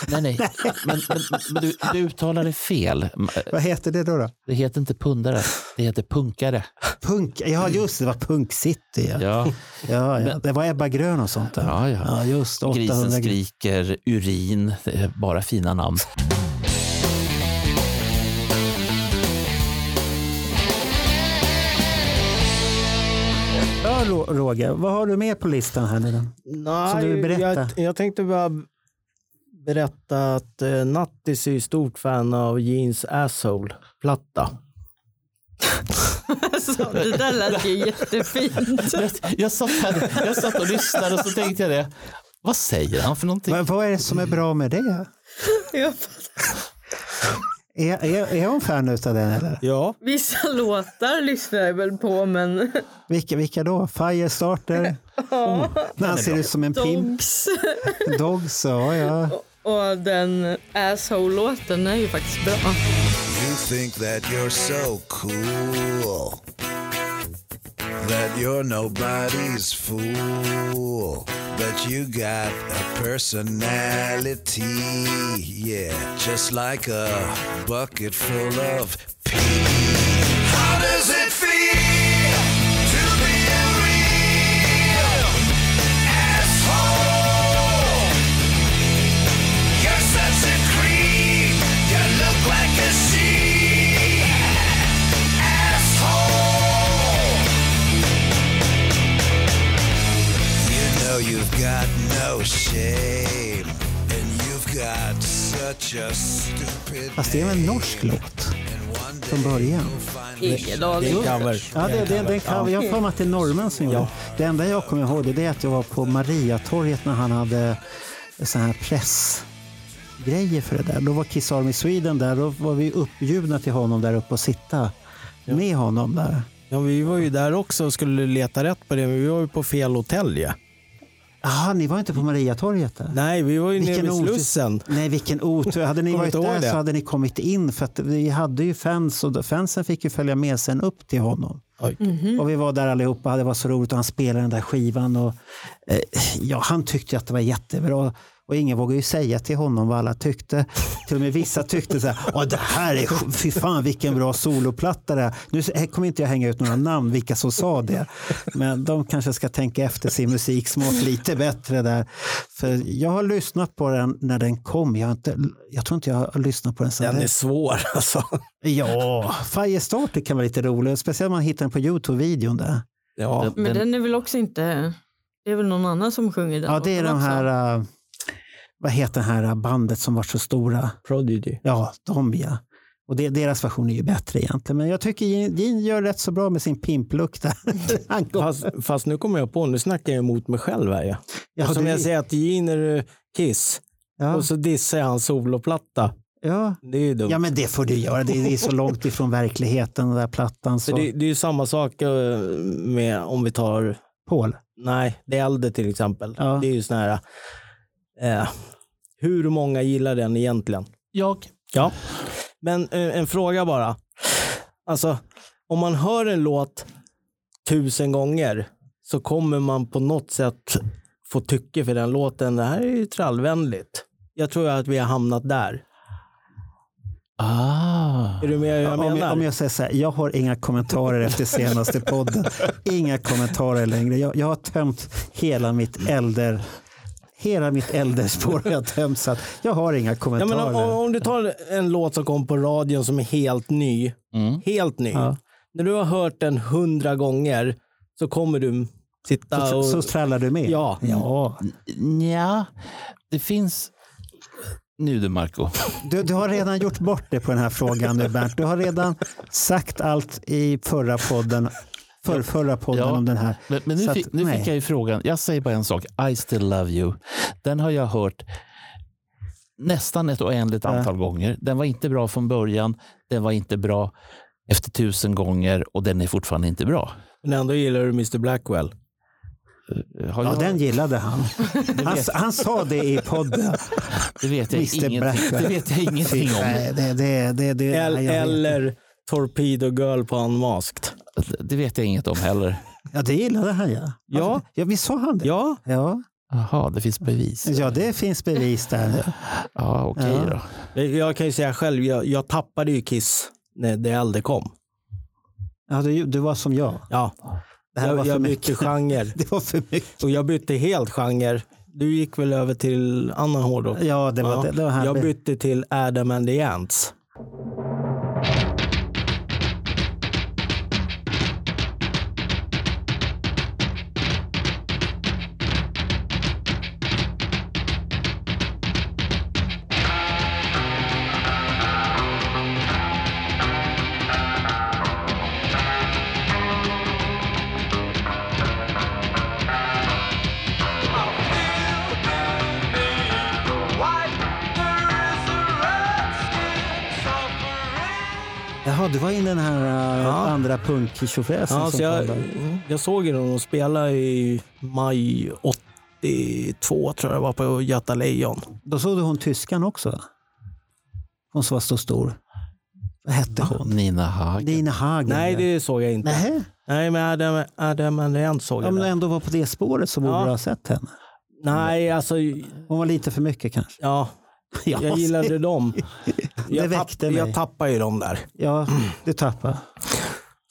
Nej, nej. Men, men, men du, du uttalade fel.
Vad heter det då? då?
Det heter inte pundare, det heter punkare.
Punk, ja, just det, det var Punk City. Ja.
Ja.
Ja, ja. Det var Ebba Grön och sånt där.
Ja, ja.
just 800
Grisen skriker, urin, det är bara fina namn.
Ja, Ro- Roger, vad har du mer på listan här nu då?
Nej,
Som du vill berätta?
Jag, jag tänkte bara berätta att eh, Nattis är ju stort fan av Jeans Asshole-platta.
Så, det där lät ju jättefint.
Jag, jag, satt här, jag satt och lyssnade och så tänkte jag det. Vad säger han för någonting?
Vad, vad är det som är bra med det?
Jag
Är, är, är hon fan utav den eller?
Ja.
Vissa låtar lyssnar jag väl på, men...
Vilka, vilka då? Firestarter?
Ja.
När han ser ut som en pimp.
Dogs.
Dogs, ja. ja.
Och den Asshole-låten är ju faktiskt bra.
You think that you're so cool. That you're nobody's fool. But you got a personality. Yeah, just like a bucket full of pee. How does it feel to be a real asshole? You're such a creep. You look like a sheep. Asshole. You know you've got no shame. And you've got such a stupid
Fast det är väl en norsk låt från början?
Ingen aning.
Det är en cover.
Ja, det, det, det, kan, jag har för mig att det är norrmän som gjorde det. Det enda jag kommer ihåg det är att jag var på Mariatorget när han hade sån här pressgrejer för det där. Då var Kiss Army Sweden där. Då var vi uppbjudna till honom där uppe och sitta med honom där.
Ja, vi var ju där också och skulle leta rätt på det, men vi var ju på fel hotell ju.
Jaha, ni var inte på Mariatorget där?
Nej, vi var ju nere vid
otur.
Slussen.
Nej, vilken otur. Hade ni
Kommer
varit
inte ihåg
där
det.
så hade ni kommit in för att vi hade ju fans och fansen fick ju följa med sen upp till honom.
Oj.
Och vi var där allihopa, det var så roligt och han spelade den där skivan och eh, ja, han tyckte ju att det var jättebra. Och ingen vågade ju säga till honom vad alla tyckte. Till och med vissa tyckte så här, Åh, det här är, sj- fy fan vilken bra soloplatta det här. Nu s- här kommer inte jag hänga ut några namn vilka som sa det. Men de kanske ska tänka efter sin musiksmak lite bättre där. För jag har lyssnat på den när den kom. Jag, har inte, jag tror inte jag har lyssnat på den sedan
Den är
dess.
svår alltså.
Ja, Firestarter kan vara lite rolig. Speciellt om man hittar den på Youtube-videon där.
Ja.
Men den är väl också inte... Det är väl någon annan som sjunger den
Ja, det är
låten
de
Typ. också.
här, eh, vad heter det här eh, bandet som var så stora?
Prodigy.
Ja, de ja. Och det, deras version är ju bättre egentligen. Men jag tycker Gene Gene gör rätt så bra med sin pimpluck där. Han går-
Fast, fast nu kommer jag på, nu snackar jag emot mig själv här ju.
Ja,
Som
det-
jag säger att Gene är eh, Kiss
ja,
och så dissar jag hans soloplatta.
ja.
Det är ju dumt.
ja, men det får du göra. Det det är så långt ifrån verkligheten, den där plattan.
För
Så.
det, det är ju samma sak eh, med om vi tar,
Paul.
nej, det äldre till exempel.
Ja.
Det är ju sån här, eh, hur många gillar den egentligen?
Jag.
Ja, men eh, en fråga bara. Alltså, om man hör en låt tusen gånger så kommer man på något sätt få tycke för den låten. Det här är ju trallvänligt. Jag tror att vi har hamnat där.
Ah.
Är du med hur jag
om,
menar?
jag, om jag säger så här, jag har inga kommentarer efter senaste podden. Inga kommentarer längre. Jag, jag har tömt hela mitt elder... Hela mitt elderspår har jag tömt så att jag har inga
Ja,
kommentarer.
men om, om- om du tar en låt som kom på radion som är helt ny. Helt ny. När du har hört den hundra gånger så kommer du sitta
så,
och...
så trallar du med?
Ja.
ja.
Ja, det finns... Nu du, Marco.
Du, du har redan gjort bort det på den här frågan nu Bernt. Du har redan sagt allt i förra podden, för, förra podden
Ja,
om den här.
Men, men nu,
Så att,
fick, nu
nej.
fick jag ju frågan. Jag säger bara en sak. I still love you. Den har jag hört nästan ett oändligt antal gånger. Den var inte bra från början. Den var inte bra efter tusen gånger och den är fortfarande inte bra.
Men ändå gillar du Mr Blackwell.
Har
Ja,
jag,
den gillade han. Han, han sa det i podden.
det, vet jag
Mr.
ingenting,
Blackwell.
det vet jag ingenting om.
Nej, det, det, det, det,
El-
nej, jag vet inte.
eller Torpedo Girl på Unmasked.
Det vet jag inget om heller.
Ja, det gillade han ja.
Ja.
ja visst sa han det?
Ja,
Ja.
Jaha, det finns bevis.
Ja, det finns bevis där.
Ja, okej
Ja.
då.
jag kan ju säga själv, jag, jag tappade ju Kiss när det äldre kom.
Ja, du, du var som jag.
Ja,
Det här var
jag,
för
jag bytte
mycket.
genre.
Det var för mycket.
Och jag bytte helt genre. Du gick väl över till annan hårdrock?
Ja, det var,
Ja.
Det, det var han.
jag bytte till Adam and the Ants.
Why there is a redskin
Jaha, du var in den här eh, andra punktjofräsen
Ja, så
som
jag, mm.
kom där.
jag såg ju dem spela i maj 82 tror jag det var på Göta Lejon.
Då såg du hon tyskan också? va? Hon som var så stor. Vad hette hon?
Nina Hagen.
Nina Hagen.
Nej,
ja.
det såg jag inte.
Nähä.
Nej, men Adam, Adam Andrean såg
Om
jag.
du
den.
ändå var på det spåret så borde
Ja.
du ha sett henne.
Nej, alltså
Hon var lite för mycket kanske.
ja,
Ja,
jag gillade dem. Jag,
väckte
tapp,
mig.
jag tappade ju dem där.
Ja, du tappade.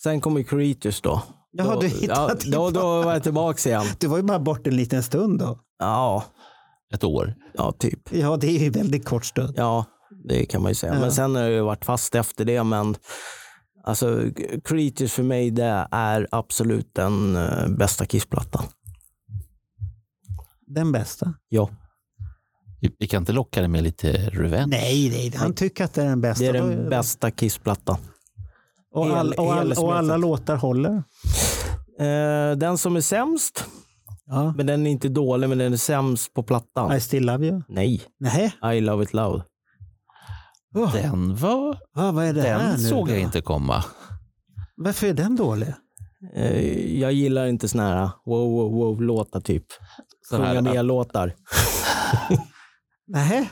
Sen kom ju Creatures då.
Jaha,
då,
du hittade
ja, då, då var jag tillbaka igen.
Du var ju bara bort en liten stund då.
Ja,
Ett år.
ja typ.
Ja, det är ju en väldigt kort stund.
Ja, det kan man ju säga.
Ja.
Men sen har jag ju varit fast efter det. Men alltså, Creatures för mig det är absolut den eh, bästa Kiss-plattan.
Den bästa.
Ja,
Vi- Vi kan inte locka dig med lite revenge?
Nej, nej, han tycker att det är den bästa.
det är
Då-
den bästa Kiss-plattan.
Och, all, och, all, och alla
Helsmeten.
låtar håller.
Eh, den som är sämst,
Ja.
men den är inte dålig, men den är sämst på plattan.
I still love you.
Nej,
Nej,
I love it loud.
oh,
Den, var,
va, Ah, vad är det här
den
nu?
såg
då?
jag inte komma.
Varför är den dålig?
Eh, jag gillar inte såna här wow, wow, wow-låtar typ.
Sån här- eh,
Sjunga med-låtar.
Nej,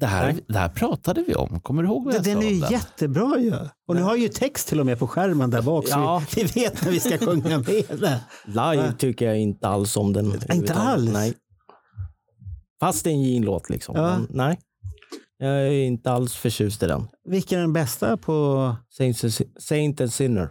Det här, det här pratade vi om. Kommer du ihåg vad
det,
jag sa
den är
om
ju
den?
jättebra ju. Och nu har ju text till och med på skärmen där bak.
Ja.
Så vi, vi vet när vi ska sjunga med den.
Live tycker jag inte alls om den. överhuvudtaget.
alls?
Nej. Fast det är en Gene-låt liksom.
Ja.
Men, nej. Jag är inte alls förtjust i den.
Vilken är den bästa på...
Saint, Saint and Sinner.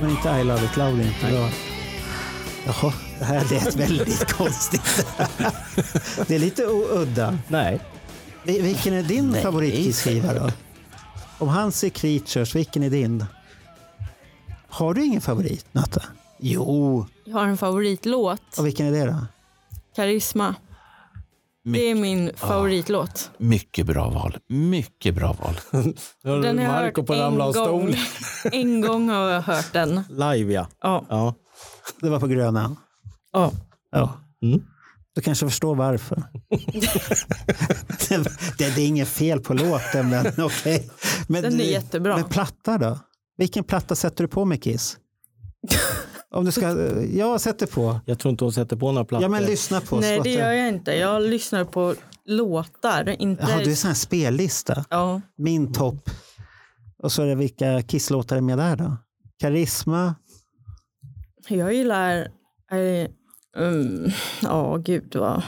Men inte I love it loud är inte bra. Jaha, det här lät väldigt konstigt. det är lite o- udda.
Nej.
Vi- Vilken är din favoritskiva då? Om hans är Creatures, vilken är din? Har du ingen favorit, Natta? Jo.
Jag har en favoritlåt,
Och vilken är det då?
Karisma. Det är min favoritlåt.
Mycket bra val. Mycket bra val.
Nu har
Den har jag hört
Marco på
en
ramla av
gång.
stol.
En gång har jag hört den.
Live ja.
Ja.
ja.
Det var på Grönan.
ja.
Ja.
Mm.
Du kanske förstår varför. det, det, det är inget fel på låten, men okej. Men-
Den är jättebra.
Men platta då? Vilken platta sätter du på med Kiss? Om du ska, jag sätter på.
Jag tror inte hon sätter på några plattor.
Ja, men lyssna på.
Nej,
så
det
att
gör jag inte. Jag lyssnar på låtar. Inte...
Jaha, du är sån här spellista.
Ja.
Min topp. Och så är det vilka kisslåtar är med där då? Karisma.
Jag gillar... Ja, um, ja, gud vad...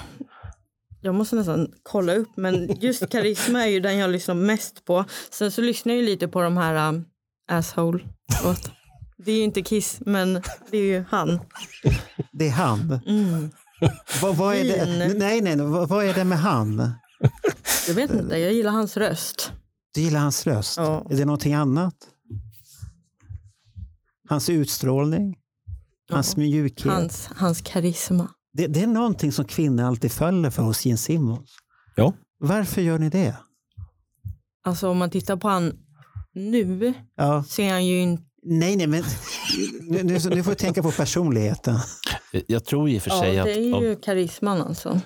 Jag måste nästan kolla upp, men just Karisma är ju den jag lyssnar mest på. Sen så lyssnar jag ju lite på de här um, asshole låt. Det är ju inte Kiss, men det är ju han.
Det är han.
Mm.
Vad, vad är det?
Fin.
Nej, nej, nej. Vad, vad är det med han?
Jag vet inte, jag gillar hans röst.
Du gillar hans röst.
Ja.
Är det någonting annat? Hans utstrålning? Hans mjukhet?
Hans, hans karisma.
Det, det är någonting som kvinnor alltid faller för hos Gene Simmons.
Ja.
Varför gör ni det?
Alltså om man tittar på han nu
Ja.
så är han ju inte...
Nej, nej, men nu, nu, nu får du tänka på personligheten.
Jag tror i och för
Ja,
sig
det
att...
är
om-
ju karisman alltså.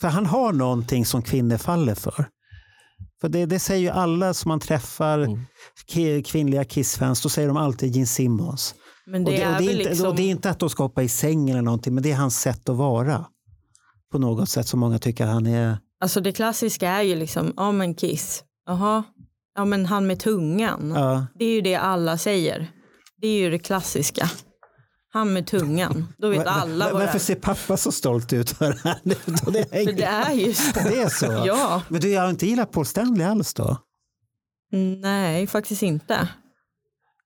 För han har någonting som kvinnor faller för. För det, det säger ju alla som man träffar, ki- kvinnliga Kiss-fans, då säger de alltid Gene Simmons.
Men det,
Och det,
är
och det, är
väl
inte,
liksom...
och det är inte att de ska hoppa i sängen eller någonting, men det är hans sätt att vara. På något sätt som många tycker han är.
Alltså det klassiska är ju liksom, ja men Kiss, jaha, ja men han med tungan.
Ja.
Det är ju det alla säger. Det är ju det klassiska. Han med tungan, då vet
Va- va-
alla vad det
varför
är.
ser pappa så stolt ut för det här nu? då? Det
För det
är,
är ju så.
det är så?
Ja, Mm.
Men du, jag har inte gillat Paul Stanley alls då?
nej faktiskt inte.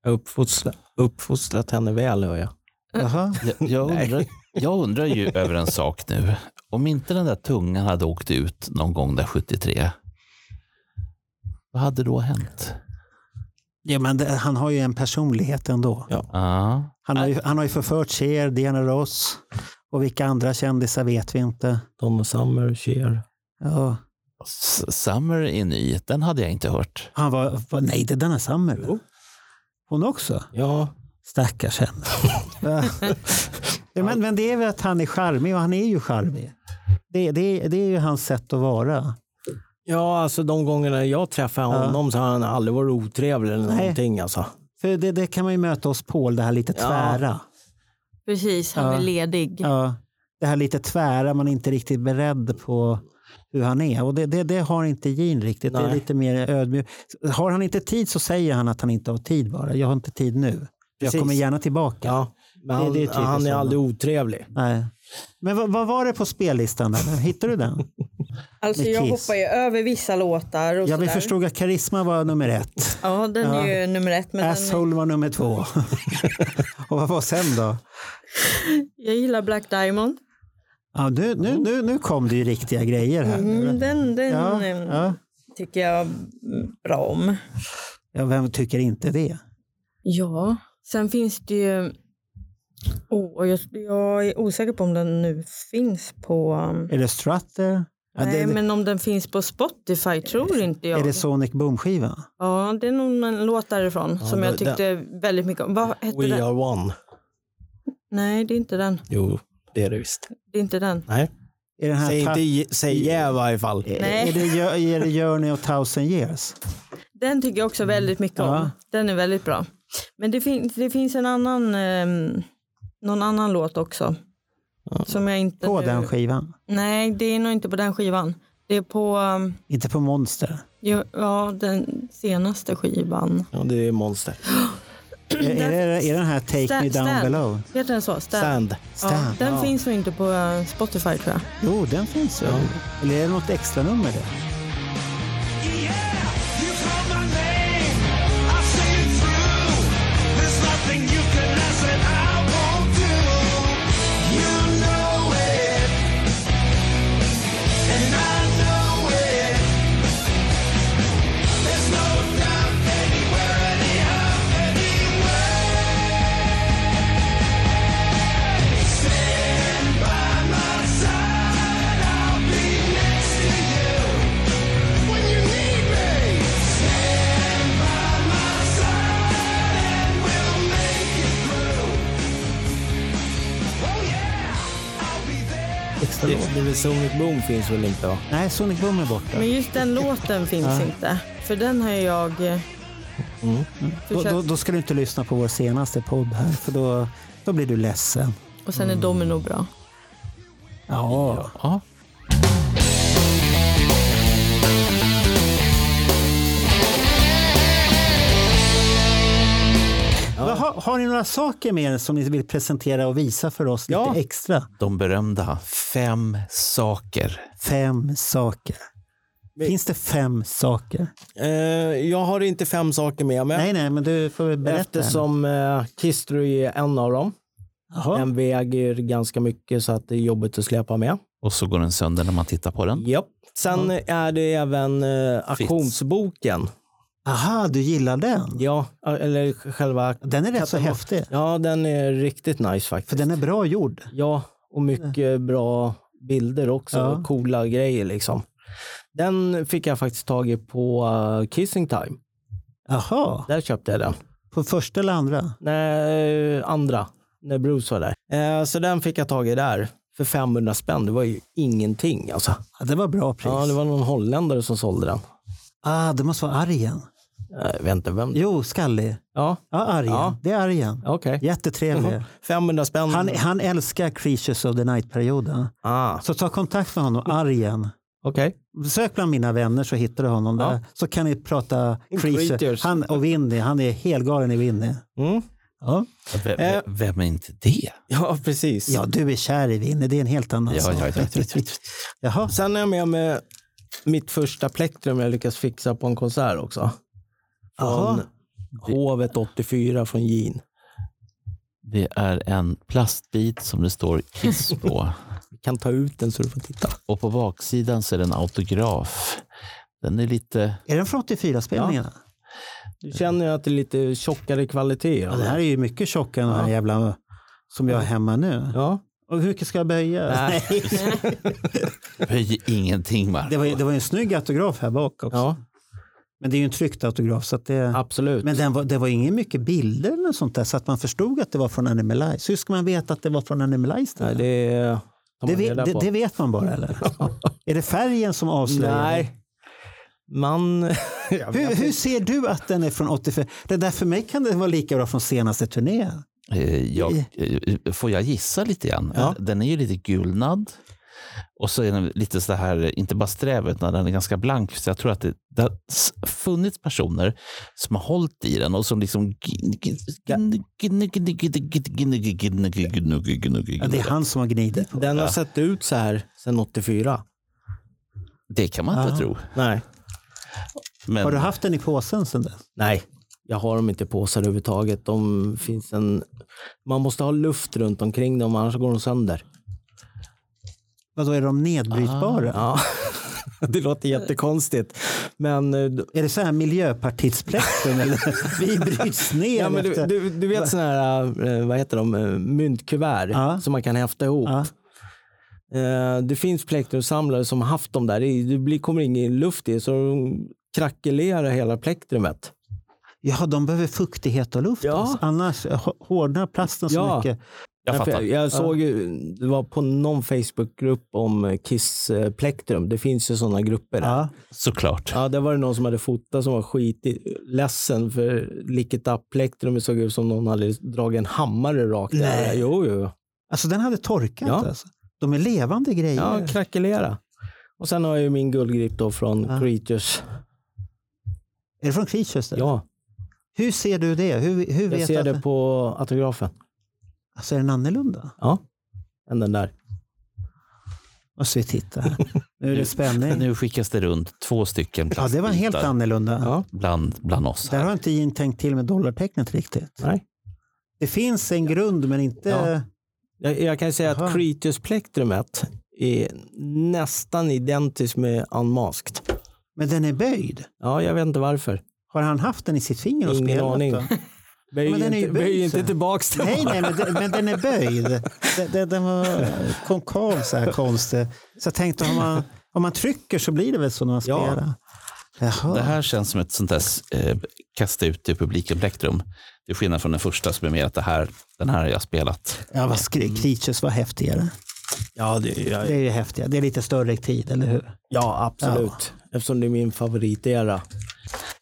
Jag har uppfostrat, uppfostrat henne väl, hör jag.
Jag, jag, undrar, jag undrar ju över en sak nu. Om inte den där tungan hade åkt ut någon gång där 73, vad hade då hänt?
Ja, men det, han har ju en personlighet ändå.
Ja.
Han, har ju, han har ju förfört Cher, Diana Ross och vilka andra kändisar vet vi inte.
Donna Summer, Cher.
Ja.
S- Summer är ny, den hade jag inte hört.
Han var, var nej, det är Donna Summer. väl? Hon också?
Ja.
Stackars henne. Ja. Ja, men, men det är väl att han är charmig och han är ju charmig. Det, det, det är ju hans sätt att vara.
Ja, alltså de gångerna jag träffar honom så har han aldrig varit otrevlig eller
Nej.
någonting. Alltså.
För det, det kan man ju möta hos Paul, det här lite
Ja.
tvära.
Precis, han
Ja.
är ledig.
Ja. Det här lite tvära, man är inte riktigt beredd på hur han är. Och det, det, det har inte Jean riktigt. Det är
Nej.
lite mer ödmjuk. Har han inte tid så säger han att han inte har tid bara. Jag har inte tid nu. Jag
Precis.
kommer gärna tillbaka.
Ja, men
Det-
han,
det är
är,
typiskt
han är
honom.
aldrig otrevlig.
Nej. Men vad, vad var det på spellistan? Eller? Hittade du den?
Alltså
Med
jag
Kiss.
hoppar ju över vissa låtar och
Ja, vi
sådär.
förstod att karisma var nummer ett.
Ja, den är ju nummer ett. Men den,
Asshole var nummer två. och vad var sen då?
jag gillar Black Diamond.
Ja, nu, nu, nu, nu kom det ju riktiga grejer här.
Mm, den den
Ja,
eh,
ja.
tycker jag mm, bra om.
Ja, vem tycker inte det?
Ja, sen finns det ju... Oh, och jag, jag är osäker på om den nu finns på... um,
Är det Strutter? Ja,
nej,
det, det-
men om den finns på Spotify tror inte jag.
Är det Sonic Boom-skiva?
Ja, det är nog en låt därifrån som
det-
jag tyckte väldigt mycket om. Vad hette
We
den?
are one.
Nej, det är inte den.
Jo, det är det visst.
Det är inte den.
Nej.
Är den här
Säg,
ta-
inte, j- säg yeah i varje fall.
Nej.
Är det, Gö- är det Journey of Thousand Years?
Den tycker jag också väldigt mycket om.
Mm, Ja.
Den är väldigt bra. Men det, fin- det finns en annan, ehm, någon annan låt också. Som jag inte...
På
nu-
den skivan?
Nej, det är nog inte på den skivan. Det är på ehm,
Inte på Monster?
ja, ja, den senaste skivan.
Ja, det är monster.
Är, är, det, är den här Take
Sta-
Me Down
Stand.
Below?
Heter den så? Stand.
Sand.
Ja,
Stand.
den finns nog inte på eh, Spotify tror jag.
Jo, den finns väl? Eller är det något extra nummer det? Extra
Det,
låt.
det är väl Sonic Boom finns väl inte? Va?
Nej, Sonic Boom är borta.
Men just den låten finns inte. För den har jag... eh,
Mm. Då,
försökt-
då, då ska du inte lyssna på vår senaste podd här, för då, då blir du ledsen.
Och sen är Domino bra.
Ja.
Ja.
Vad Har, har ni några saker med er som ni vill presentera och visa för oss
Ja.
lite extra?
De berömda fem saker.
Fem saker. Finns det fem saker?
Eh, jag har inte fem saker med mig.
Nej, nej, men du får väl berätta.
Eftersom eh, Kistry är en av dem.
Jaha.
Den väger ganska mycket så att det är jobbigt att släpa med.
Och så går den sönder när man tittar på den.
Japp. Sen är det även eh, auktionsboken.
Aha, du gillar den?
Ja, eller själva...
Den är rätt så häftig.
Ja, den är riktigt nice faktiskt.
För den är bra gjord.
Ja, och mycket bra bilder också.
Ja.
och Coola grejer liksom. Den fick jag faktiskt tag i på eh, Kissing Time.
Jaha,
Där köpte jag den.
på första eller andra?
Nej, eh, andra, när Bruce var där. Eh, Så den fick jag tag i där för 500 spänn. Det var ju ingenting alltså.
Ja, det var bra pris.
Ja, det var någon holländare som sålde den.
ah, det måste vara Arjen.
Eh, Jag vet inte vem.
Jo, skallig.
Ja,
Ja, Arjen.
Ja.
Det är Arjen.
okej.
Jättetrevlig.
500 spänn.
Han, han älskar Creatures of the Night-perioden.
Ah,
Så ta kontakt med
Mm.
honom, Arjen.
okej.
Sök bland mina vänner så hittar du honom
Ja.
där. Så kan ni prata
Creatures.
Creatures. Han och Winnie, han är helgalen i Winnie.
Mm.
Ja.
Ve- ve- Vem är inte det?
Ja, precis.
ja, du är kär i Winnie, det är en helt annan
Ja,
sak.
ja, ja, ja, ja.
Jaha.
Sen är jag med med mitt första plektrum jag lyckas fixa på en konsert också.
Jaha.
Från Hovet 84 från Jean.
Det är en plastbit som det står Kiss på.
Vi kan ta ut den så du får titta.
Och på baksidan så är det en autograf. Den är lite...
Är den från 84-spelningarna?
Du känner ju att det är lite tjockare kvalitet.
Ja, det här är ju mycket tjockare än de här jävla som jag har hemma nu.
Ja.
Och hur mycket ska jag böja?
Nej.
Höjer ingenting Mark.
Det var, ju- det var ju en snygg autograf här bak också.
Ja,
Men det är ju en tryckt autograf. Så att det,
absolut.
men den var, det var ingen mycket bilder eller något sånt där så att man förstod att det var från Animalize. Hur ska man veta att det var från Animalize?
Nej,
där?
det är... tar
det,
man
vet,
reda
det,
på.
det vet man bara eller? är det färgen som avslöjar?
Nej. Man... Jag
Hur,
vet
hur
inte.
ser du att den är från 85? Det där för mig kan det vara lika bra från senaste turnén.
Eh, Jag, eh, får jag gissa lite grann?
Ja.
Den är ju lite gulnad. Och så är den lite så här, inte bara sträv, utan den är ganska blank. Så jag tror att det, det har s- funnits personer som har hållit i den och som liksom...
Ja, det är han som har gnidit. på.
Den har sett ut så här sedan 84.
Det kan man inte
Ja.
tro.
Nej.
Men,
Har du haft den i påsen sedan dess?
Nej. Jag har dem inte i påsar överhuvudtaget. De finns en... Man måste ha luft runt omkring dem, annars går de sönder.
Vadå, är de nedbrytbara?
Ah, Ja. Det låter jättekonstigt. Men, eh,
Är det så här miljöpartistpläkten? eller? Vi bryts ner
ja, men du,
efter...
du, du vet sådana här, eh, vad heter de, eh, myntkuvert
Ja.
som man kan häfta ihop.
Ja.
Eh, Det finns plektrumsamlare som har haft dem där. i. Det blir, kommer ingen luft i så de krackelerar hela plektrumet.
Ja, de behöver fuktighet och luft.
Ja.
Alltså. Annars h- hårdnar plasten så
Ja.
mycket.
jag
Nej, för
fattar.
Jag, jag såg ju, det var på någon Facebookgrupp om eh, Kiss eh, Plektrum. Det finns ju sådana grupper. där.
Ja.
Såklart.
Ja, där var det någon som hade fotat som var skitledsen för Lick Plektrum såg ut som någon hade dragit en hammare rakt över.
Nej.
Jo, jo.
Alltså den hade torkat.
Ja.
Alltså. De är levande grejer.
Ja, krackelera. Och sen har jag ju min guldgrip då från
Ja.
Creatures.
Är det från Creatures? där?
Ja,
Hur ser du det? Hur, hur
jag
vet
ser
att
det på autografen.
Alltså, är den annorlunda?
Ja, än den där.
Måste vi titta här. Nu är det spänning.
Nu skickas det runt två stycken
Ja, det var helt
plastbitar
annorlunda.
Ja,
bland, bland oss.
Där
Här.
har inte Jean tänkt till med dollartecknet riktigt.
nej.
Det finns en grund men inte...
Ja. Jag, jag kan ju säga
Jaha.
att Creatures Plektrumet är nästan identiskt med Unmasked.
Men den är böjd.
Ja, jag vet inte varför.
Har han haft den i sitt finger och
Ingen
spelat
aning.
då?
Böj
men den är ju
inte, böj
böjd
inte
sen.
tillbaks den.
Nej, nej men, den, men den är böjd. Den, den, den var konkav så här konstig. Så jag tänkte om man, om man trycker så blir det väl så när man
Ja.
spelar. Jaha.
Det här känns som ett sånt där eh, kasta ut i publiken plektrum. Det är skillnad från den första som är mer att det här, den här har jag spelat.
Ja, vad skri- Creatures var häftigare.
Mm. Ja, det, ja,
Det är ju häftiga. Det är lite större tid, eller hur?
ja, absolut. Eftersom det är min favoritera.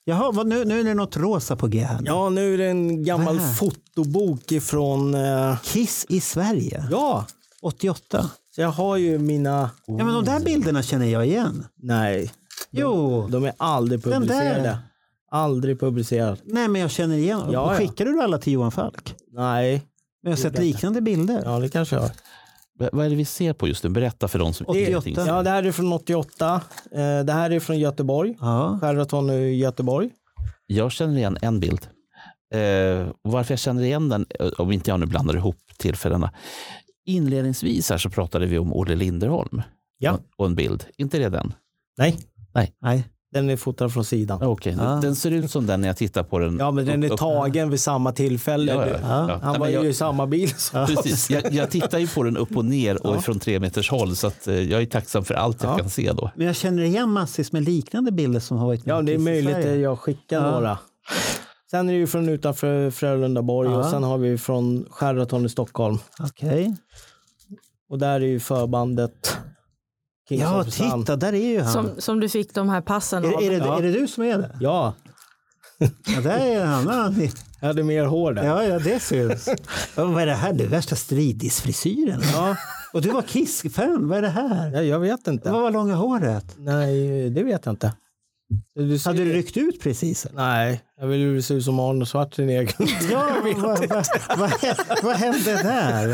Jaha, vad, nu, nu är det något rosa på G här.
Ja, nu är det en gammal
Vad är det här?
fotobok ifrån... Eh,
Kiss i Sverige,
ja,
88.
så jag har ju mina...
Ja, men de
Oh.
där bilderna känner jag igen.
Nej,
Jo,
de är aldrig
Den där.
publicerade. Aldrig publicerade.
nej men jag känner igen.
Ja, ja.
Skickade du alla till Johan Falk?
Nej,
Men jag har sett liknande bilder.
ja det kanske jag har.
V- vad är det vi ser på just nu? Berätta för de som
88.
ingenting-
Ja, det här är från 88. Eh, Det här är från Göteborg.
Ja.
Sheraton i Göteborg.
Jag känner igen en bild. Eh, och varför jag känner igen den, eh, om inte jag nu blandar ihop tillfällena. Inledningsvis här så pratade vi om Olle Linderholm
Ja.
och, och en bild. Inte det den?
Nej,
Nej.
den är fotad från sidan.
Ah, Okej,
Ah.
den ser ut som den när jag tittar på den.
Ja, men den är
upp- upp-
tagen vid samma tillfälle.
Ja, ja,
Du-
ja. Nej,
Han
men
var
jag-
ju i samma bil som
Precis. Jag, jag tittar ju på den upp och ner och från tre meters håll så att eh, jag är tacksam för allt jag
Ja.
kan se då.
Men jag känner igen massvis med liknande bilder som har varit med
Ja,
i
det är
Kiss i
möjligt att
Sverige.
jag skickar
Ja.
några. Sen är det ju från utanför Frölundaborg och
Ja.
sen har vi från Sheraton i Stockholm.
Okej.
Och där är ju förbandet Kings
Ja,
of Sand.
titta, där är ju han.
Som, som du fick de här passen av.
Är, är, det,
Ja.
är det du som är det?
Ja,
Ja, där är han. Ja,
jag hade mer hår där.
Ja, ja det syns. Ja, vad är det här? Du värsta stridisfrisyren.
Ja.
Och du var Kiss-fan. Vad är det här?
Ja, jag vet inte.
Vad var långa håret?
Nej, det vet jag inte. Du ser...
Hade du ryckt ut precis? eller?
Nej, jag vill ju se ut som Arnold Schwarzenegger.
Ja, vad, vad, vad, hä- vad hände där?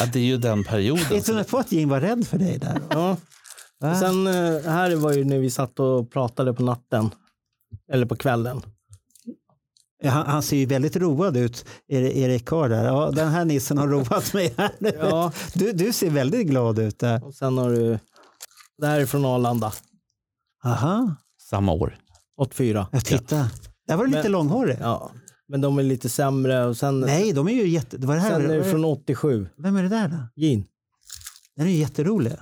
Ja, det är ju den perioden.
Vet du på att Jim var rädd för dig där?
Ja.
Va?
Sen eh, här var ju när vi satt och pratade på natten. Eller på kvällen.
Ja, Han, han ser ju väldigt road ut, Eri- Erik Karl. där. Ja, den här nissen har roat mig. Här.
Ja.
Du, du ser väldigt glad ut. Där.
Och sen har du, det här är från Arlanda,
Aha,
Samma år.
84.
jag tittar. Där var du lite
Men-
långhårig.
Ja, men de är lite sämre. Och sen,
Nej, de är ju jätte... Det var det här.
sen är det från 87,
Vem är det där då?
Jean.
Den är ju jätterolig.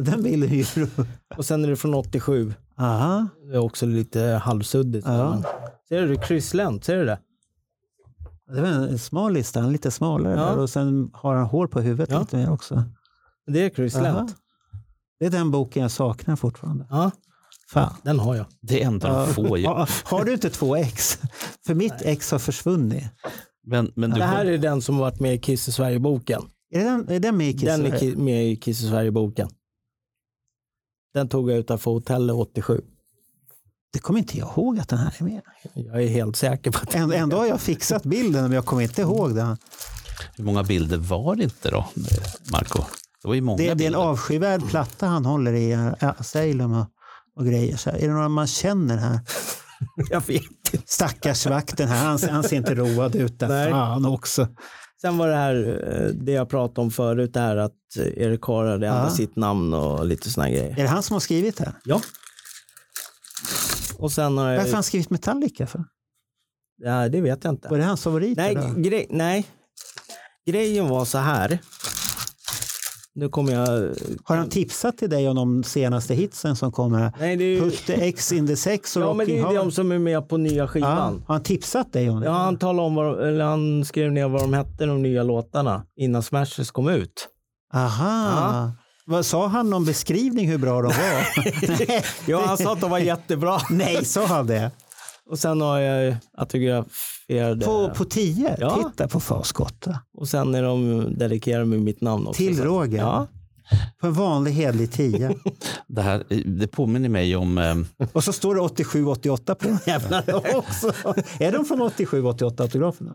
den bilden är ju rolig.
Och sen är det från 87,
Aha.
det är också lite halvsuddigt.
Ja.
Ser du, krysslänt, ser du det?
Det var en smal lista, han är lite smalare
Ja.
där och sen har han hår på huvudet
Ja.
lite mer också.
Det är
Aha.
krysslänt.
Det är den boken jag saknar fortfarande.
Ja,
Fan.
den har jag.
Det enda de får ju.
Ja, har du inte två ex? För mitt ex har försvunnit.
Men, men du
Det här
kom,
är den som varit med i Kiss i Sverige-boken.
Är det den, är den med i Kiss?
Den är ki- med i Kiss i Sverige-boken. Den tog jag utanför hotellet 87.
Det kommer inte jag ihåg att den här är med.
Jag är helt säker på att
Än- Ändå har jag fixat bilden men jag kommer inte ihåg den.
hur många bilder var det inte då, eh, Marco? Det var ju många
Det, det är en
bilder.
avskyvärd platta han håller i, eh, Asylum och, och grejer. Så här. Är det några man känner här?
jag vet.
Stackars vakten här, han, han ser inte road ut. Där.
Nej.
Fan också.
Sen var det här, eh, det jag pratade om förut, det här att Erik Karl hade ändrat
Ja.
sitt namn och lite sådana grejer.
Är det han som har skrivit det? här?
Ja. Och sen har jag,
Varför har han skrivit Metallica? För?
ja, det vet jag inte.
Var det hans favorit?
Nej,
eller?
grej, nej, grejen var så här. Nu kommer jag...
Har han tipsat till dig om de senaste hitsen som kommer?
Nej, det är ju,
Putte X in the sex och
ja, men det
Rocking
är ju de
Hard.
som är med på nya
Ja,
skivan.
har han tipsat dig om det?
Ja, han, talade om vad, de- eller han skrev ner vad de hette, de nya låtarna, innan Smashers kom ut.
Aha. Vad, sa han någon beskrivning hur bra de var? Nej.
Ja, han sa att de var jättebra.
Nej, sa han det?
Och sen har jag ju autograferade.
På, på tio?
Ja.
Titta på Faskotta.
Och sen är de dedikerade med mitt namn också.
Till Roger.
Ja.
På en vanlig hederlig tia.
Det, här, eh, det påminner mig om... ehm,
Och så står det 87-88 på den jävla också. Är de från 87-88 autograferna?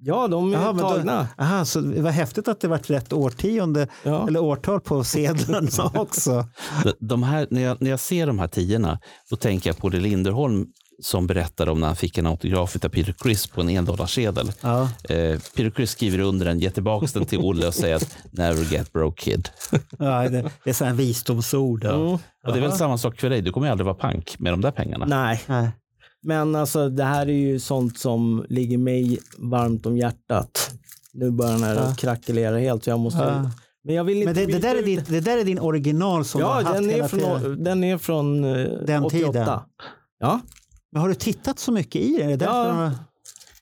ja, de är
Jaha, men då-
tagna.
aha, så det var häftigt att det var rätt årtionde
Ja.
eller årtal på sedlarna också.
De här, när, jag, när jag ser de här tiorna, då tänker jag på det Linderholm som berättade om när han fick en autograf av Peter Criss på en endollarsedel.
Ja.
Eh, Peter Criss skriver under den, ger tillbaka den till Olle och säger att never get broke kid.
Ja, det, det är så här visdomsord. Ja.
Och det är väl samma sak för dig, du kommer ju aldrig vara pank med de där pengarna.
Nej,
Nej.
men alltså det här är ju sånt som ligger mig varmt om hjärtat. Nu börjar den här
Ja.
krackelera helt. Så jag måste...
Ja.
Men jag vill inte
Men det, det,
byta
där är
ut
din, det där är din original som du har
Ja,
haft
den är,
hela tiden.
från, den är från eh,
Den
88.
tiden.
Ja,
Men har du tittat så mycket i den? Är det, därför
Ja.
de har-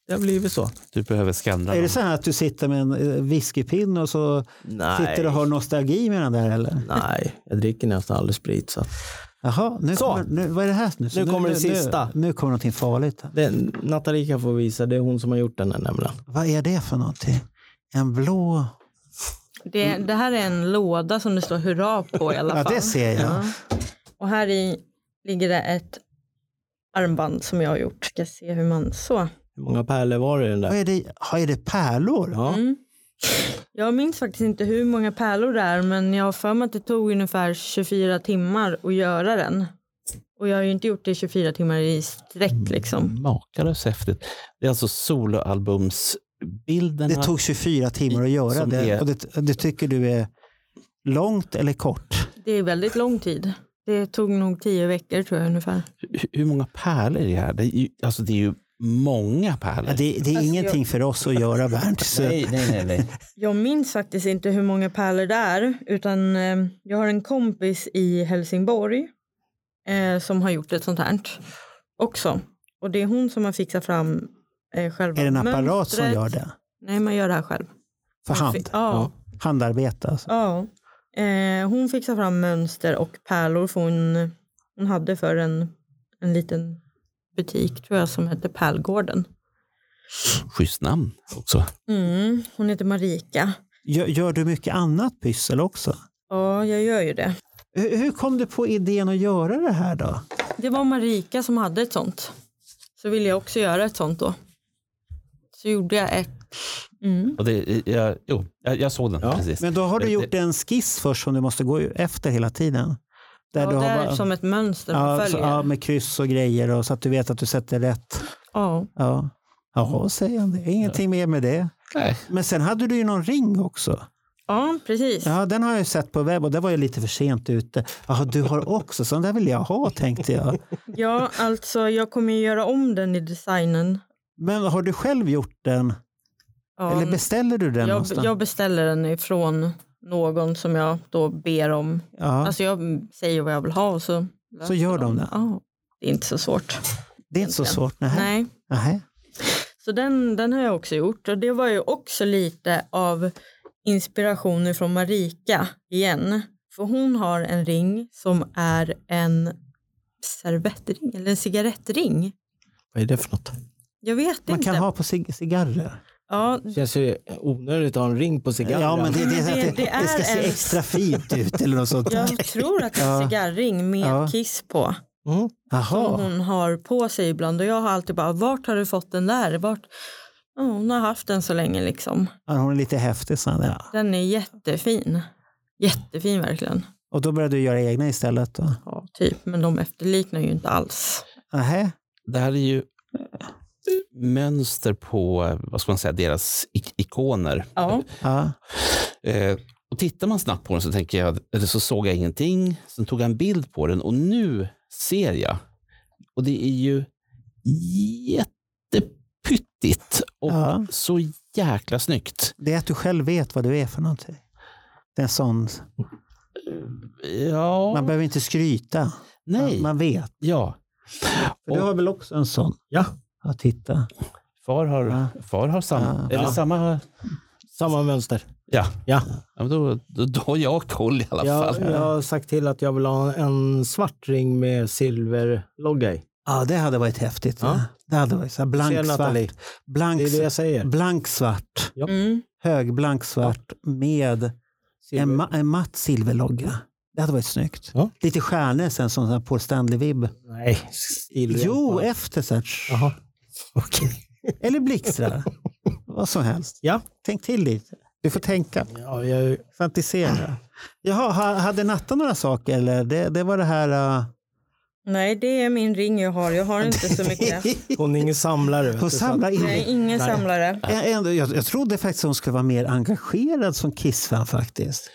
det har blivit så.
Du behöver skallra
är det
dem.
så här att du sitter med en eh, whiskypinne och så
Nej.
sitter du och har nostalgi med den där eller?
Nej, jag dricker nästan aldrig sprit. Så.
Jaha, nu
Så.
Kommer, nu, vad är det här nu? Så
Nu kommer det sista.
Nu, nu kommer någonting farligt.
Det, Natalika får visa, det är hon som har gjort den här nämligen.
Vad är det för någonting? En blå...
Det, det här är en låda som det står hurra på i alla
Ja,
fall.
det ser jag.
Och här i ligger det ett armband som jag har gjort. Ska se hur man... Så.
Hur många pärlor var det i den
Vad
där?
är det? Har är det pärlor?
Ja.
Jag minns faktiskt inte hur många pärlor det är men jag har för mig att det tog ungefär 24 timmar att göra den. Och jag har ju inte gjort det i 24 timmar i
Mm.
sträck liksom.
Makalöst häftigt. Det är alltså soloalbumsbilderna.
Det tog 24 timmar att göra
Som
det.
är-
Och det, det tycker du är långt eller kort?
Det är väldigt lång tid. Det tog nog 10 veckor tror jag ungefär.
Hur- Hur många pärlor är det här? Det är ju, alltså det är ju många pärlor.
Ja,
Alltså,
det, det är ingenting för oss att göra Bernt. Så.
Nej, nej, nej. nej.
Jag minns faktiskt inte hur många pärlor det är utan eh, jag har en kompis i Helsingborg eh, som har gjort ett sånt här också. Och det är hon som har fixat fram eh, själva
Är det en apparat som
mönstret.
gör det?
Nej, man gör det här själv.
För hand?
Ja.
Handarbete alltså.
ja. Eh, hon fixar fram mönster och pärlor för hon, hon hade för en, en liten butik tror jag som hette Pärlgården.
Schysst namn också.
Mm, hon heter Marika.
Gör, gör du mycket annat pyssel också?
Ja, jag gör ju det.
Hur, hur kom du på idén att göra det här då?
Det var Marika som hade ett sånt. Så ville jag också göra ett sånt då. Så gjorde jag ett. Mm.
Och det, jag, jo, jag, jag såg den precis.
Men då har du
Det-
gjort en skiss först som du måste gå efter hela tiden. Där
Ja,
du
det
har
är
bara-
som ett mönster
ja,
man
så,
följer.
ja, med kryss och grejer och så att du vet att du sätter rätt.
Ja.
Ja. Jaha, säger han det. Ingenting mer med det. Men sen hade du ju någon ring också.
Ja, precis.
Ja, den har jag ju sett på webb och det var ju lite för sent ute. Jaha, du har också, sån där vill jag ha tänkte jag.
Ja, alltså jag kommer ju göra om den i designen.
Men har du själv gjort den?
Ja,
Eller beställer du den
jag,
någonstans?
jag beställer den ifrån någon som jag då ber om.
Ja.
Alltså jag säger vad jag vill ha och så
Så gör de det?
Ja, det är inte så svårt.
Det är inte så svårt? Nej.
Nej.
Nej.
Så den, den har jag också gjort och det var ju också lite av inspiration från Marika igen. För hon har en ring som är en servettring eller en cigarettring.
Vad är det för något?
Jag vet
Man
inte.
kan ha på cig- cigarrer.
Ja,
Det känns ju onödigt att ha en ring på cigarren.
Ja, men det, det,
Men det-
det,
det
det,
är
ska se
en-
extra fint ut eller något sånt.
jag tror att det är en
Ja.
cigarrring med
Ja.
kiss på.
Mm.
som
Jaha,
hon har på sig ibland och jag har alltid bara vart har du fått den där? Vart? Ja, hon har haft den så länge liksom.
Ja, hon är lite häftig. Så ja.
Den är jättefin. Jättefin verkligen.
Och då började du göra egna istället? Då.
Ja, typ. Men de efterliknar ju inte alls.
Nähä.
Det här är ju mönster på eh, vad ska man säga, deras ik- ikoner.
Ja,
Ja.
Eh, och tittar man snabbt på den så, tänker jag, eller så såg jag ingenting. Sen tog jag en bild på den och nu ser jag. Och det är ju jättepyttigt och
Ja.
så jäkla snyggt.
Det är att du själv vet vad du är för någonting. Det är en sån.
Ja,
Man behöver inte skryta.
nej,
Man vet.
ja.
För du
Och-
har väl också en sån?
Ja.
Ja, titta.
Far har,
Ja.
far har samma.
Ja.
Eller samma
Samma mönster.
ja.
Ja.
Ja, men då, då, då har jag koll i alla
Jag,
fall.
jag har sagt till att jag vill ha en svart ring med silverlogga i.
Ja, det hade varit häftigt.
Ja.
Det hade varit så här
Ser
blank
Nathalie?
svart. Blank,
Det är det jag säger.
blank svart.
mm.
Hög blank svart med en, ma- en matt silverlogga. Det hade varit snyggt.
Ja.
Lite stjärnor sen, som sån här Paul Stanley-vibb.
Nej, stilren.
Jo, efter så här.
Jaha. Okej.
Eller blixtrar. Vad som helst.
Ja.
Tänk till lite. Du får tänka.
Ja, jag,
Fantisera. Jaha, ha- hade Natta några saker? Eller? Det, det var det här... Uh...
Nej, det är min ring jag har. Jag har inte så mycket.
hon är ingen samlare. vet
Hon
du, så
samlar in.
Jag är ingen samlare.
Jag, ändå- jag, jag trodde faktiskt hon skulle vara mer engagerad som Kiss-fan faktiskt.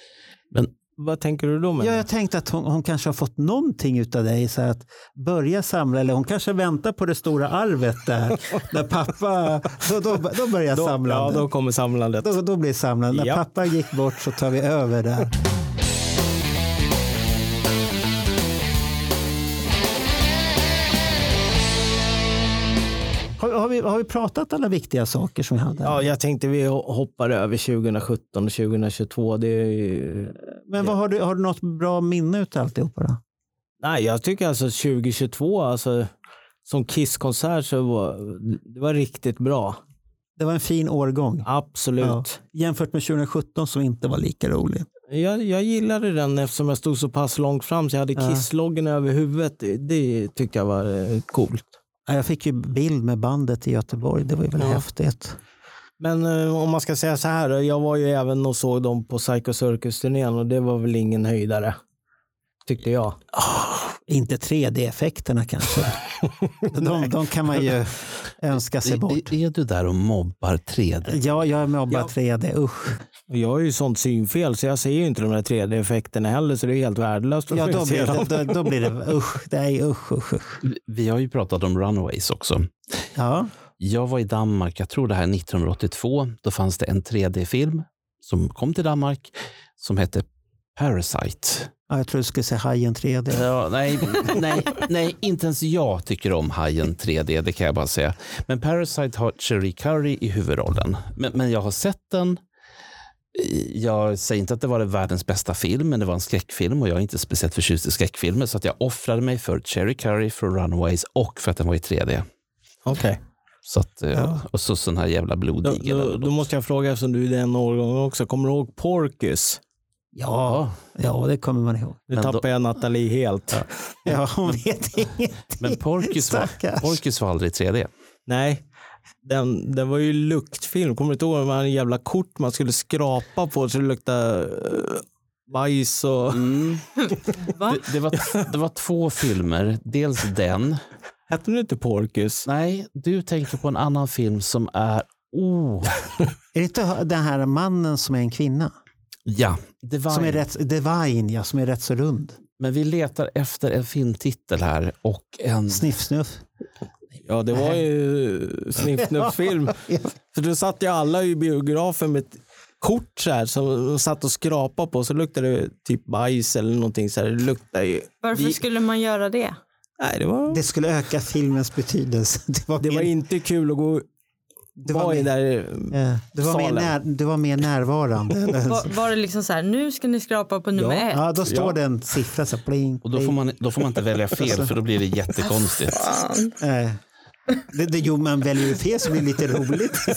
att- Vad tänker du då med
Ja,
det?
jag tänkte att hon, hon kanske har fått någonting utav dig. Så att börja samla, eller hon kanske väntar på det stora arvet där. där pappa, då, då, då börjar
Då, ja,
samlandet.
då kommer samlandet.
Då, då blir det samlandet. När
Ja.
pappa gick bort så tar vi över där. Har, har, vi, har vi pratat alla viktiga saker som vi hade?
Ja, jag tänkte vi hoppar över 2017 och 2022. Det är ju...
Men vad har, du, har du något bra minne utav alltihopa? Då?
Nej, jag tycker alltså 2022, alltså, som Kiss-konsert så var det var riktigt bra.
Det var en fin årgång. Ja.
Absolut.
Jämfört med 2017 som inte var lika rolig.
Jag, jag gillade den eftersom jag stod så pass långt fram så jag hade
Ja.
kissloggen över huvudet. Det, det tyckte jag var eh, coolt.
Ja, Jag fick ju bild med bandet i Göteborg. Det var ju väl
Ja.
häftigt.
Men eh, om man ska säga så här, jag var ju även och såg dem på Psycho Circus-turnén och det var väl ingen höjdare. Tyckte jag.
Inte 3D-effekterna kanske. de, de kan man ju önska sig bort.
Är, är du där och mobbar 3D?
Ja, jag är mobbar
Ja.
3D. Usch.
Och jag har ju sånt synfel så jag ser ju inte de där 3D-effekterna heller så det är helt värdelöst. att
Ja, då
se
blir
dem.
det, då, då blir det usch. Det är usch, usch, usch.
Vi- Vi har ju pratat om Runaways också.
Ja.
Jag var i Danmark, jag tror det här är 1982. Då fanns det en 3D-film som kom till Danmark som hette Parasite.
ja, jag tror du skulle säga Hajen 3D.
Ja, nej, nej, nej, inte ens jag tycker om Hajen 3D, det kan jag bara säga. Men Parasite har Cherry Curry i huvudrollen. Men, men jag har sett den. Jag säger inte att det var det världens bästa film, men det var en skräckfilm och jag är inte speciellt förtjust i skräckfilmer så att jag offrade mig för Cherry Curry, för Runaways och för att den var i 3D.
Okej.
Så att, eh,
Ja.
Och så sån här jävla
Då,
blodig.
då, då måste jag fråga eftersom du är den årgången också. Kommer du ihåg Porkis?
Ja, ja, det kommer man ihåg.
Nu
Men då-
tappar jag Nathalie helt.
Ja, hon vet ingenting.
Men Porkis var,
Stackars.
Porkis var aldrig i 3D.
Nej, den, den var ju luktfilm. Kommer du inte ihåg? Det var en jävla kort man skulle skrapa på så det luktade eh, bajs och...
Mm.
Va?
Det, det, var, det var två filmer. Dels den
Hette den inte Porkus?
Nej, du tänker på en annan film som är... Oh.
Är det inte den här mannen som är en kvinna?
Ja, Divine.
Som är rätt, Divine, ja, som är rätt så rund.
Men vi letar efter en filmtitel här och en...
Sniffsnuff.
Ja, det var ju sniffnuff-film. För då satt ju alla i biografen med ett kort så här som de satt och skrapade på. Så luktade det typ bajs eller någonting. Så här. Det luktade ju...
Varför
Vi-
skulle man göra det?
Nej, det var,
Det skulle öka filmens betydelse. Det var,
det var
mer,
inte kul att gå
det var
var
mer-
i där
eh, det var mer,
salen.
när, det var mer närvarande. Alltså.
Var, var det liksom så här, nu ska ni skrapa på nummer ett?
ja, då står det en siffra så här, pling,
Och då får,
pling.
man, då får man inte välja fel för då blir det jättekonstigt.
Eh, det, det, jo, man väljer ju fel så blir det lite roligt.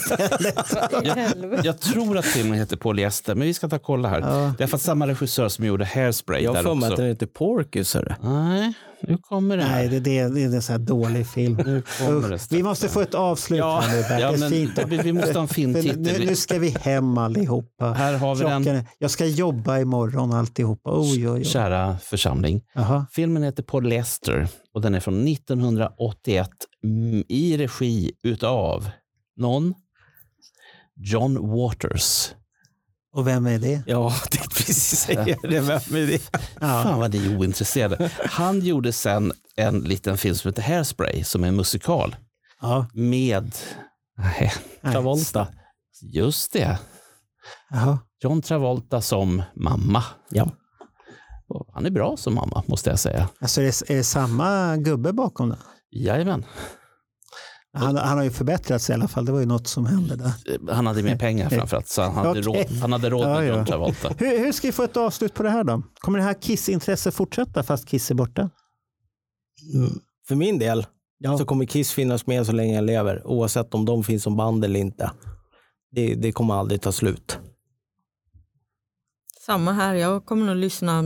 Jag, jag tror att filmen heter Polyester, men vi ska ta och kolla här. Det är för att samma regissör som gjorde Hairspray
Jag har
där
för mig
också.
att den heter Porkus. hörru.
Nej, nu kommer det här.
Nej, det, det, det är en sån här dålig film.
kommer det,
Usch, vi måste få ett avslut
Ja,
här nu. Bert.
ja,
det är
men
fint.
vi- vi måste ha en fin
För
titel.
Nu, nu ska vi hem allihopa.
Här har vi den.
Klockan är- Jag ska jobba imorgon alltihopa. Oj, oj, oj.
Kära församling.
Jaha.
Filmen heter Polyester och den är från 1981 mm, i regi utav någon? John Waters. Eh,
Och vem är det?
Ja, det är precis säga det. Vem är det?
Fan vad ni är ointresserade. Han gjorde sen en liten film som heter Hairspray som är en musikal
Ja.
med, nej,
Travolta.
just det,
Jaha.
John Travolta som mamma.
Ja.
Och Han är bra som mamma måste jag säga.
Alltså, är det, är det samma gubbe bakom den?
Jajamän.
Han, han har ju förbättrats i alla fall. Det var ju något som hände där.
Han hade mer pengar framförallt så han hade
Okej.
råd, han hade råd med
Ja, ja.
John Travolta.
Hur, hur ska vi få ett avslut på det här då? Kommer det här kissintresset fortsätta fast Kiss är borta?
För min del så kommer Kiss finnas med så länge jag lever. Oavsett om de finns som band eller inte. Det, det kommer aldrig ta slut.
Samma här, jag kommer nog lyssna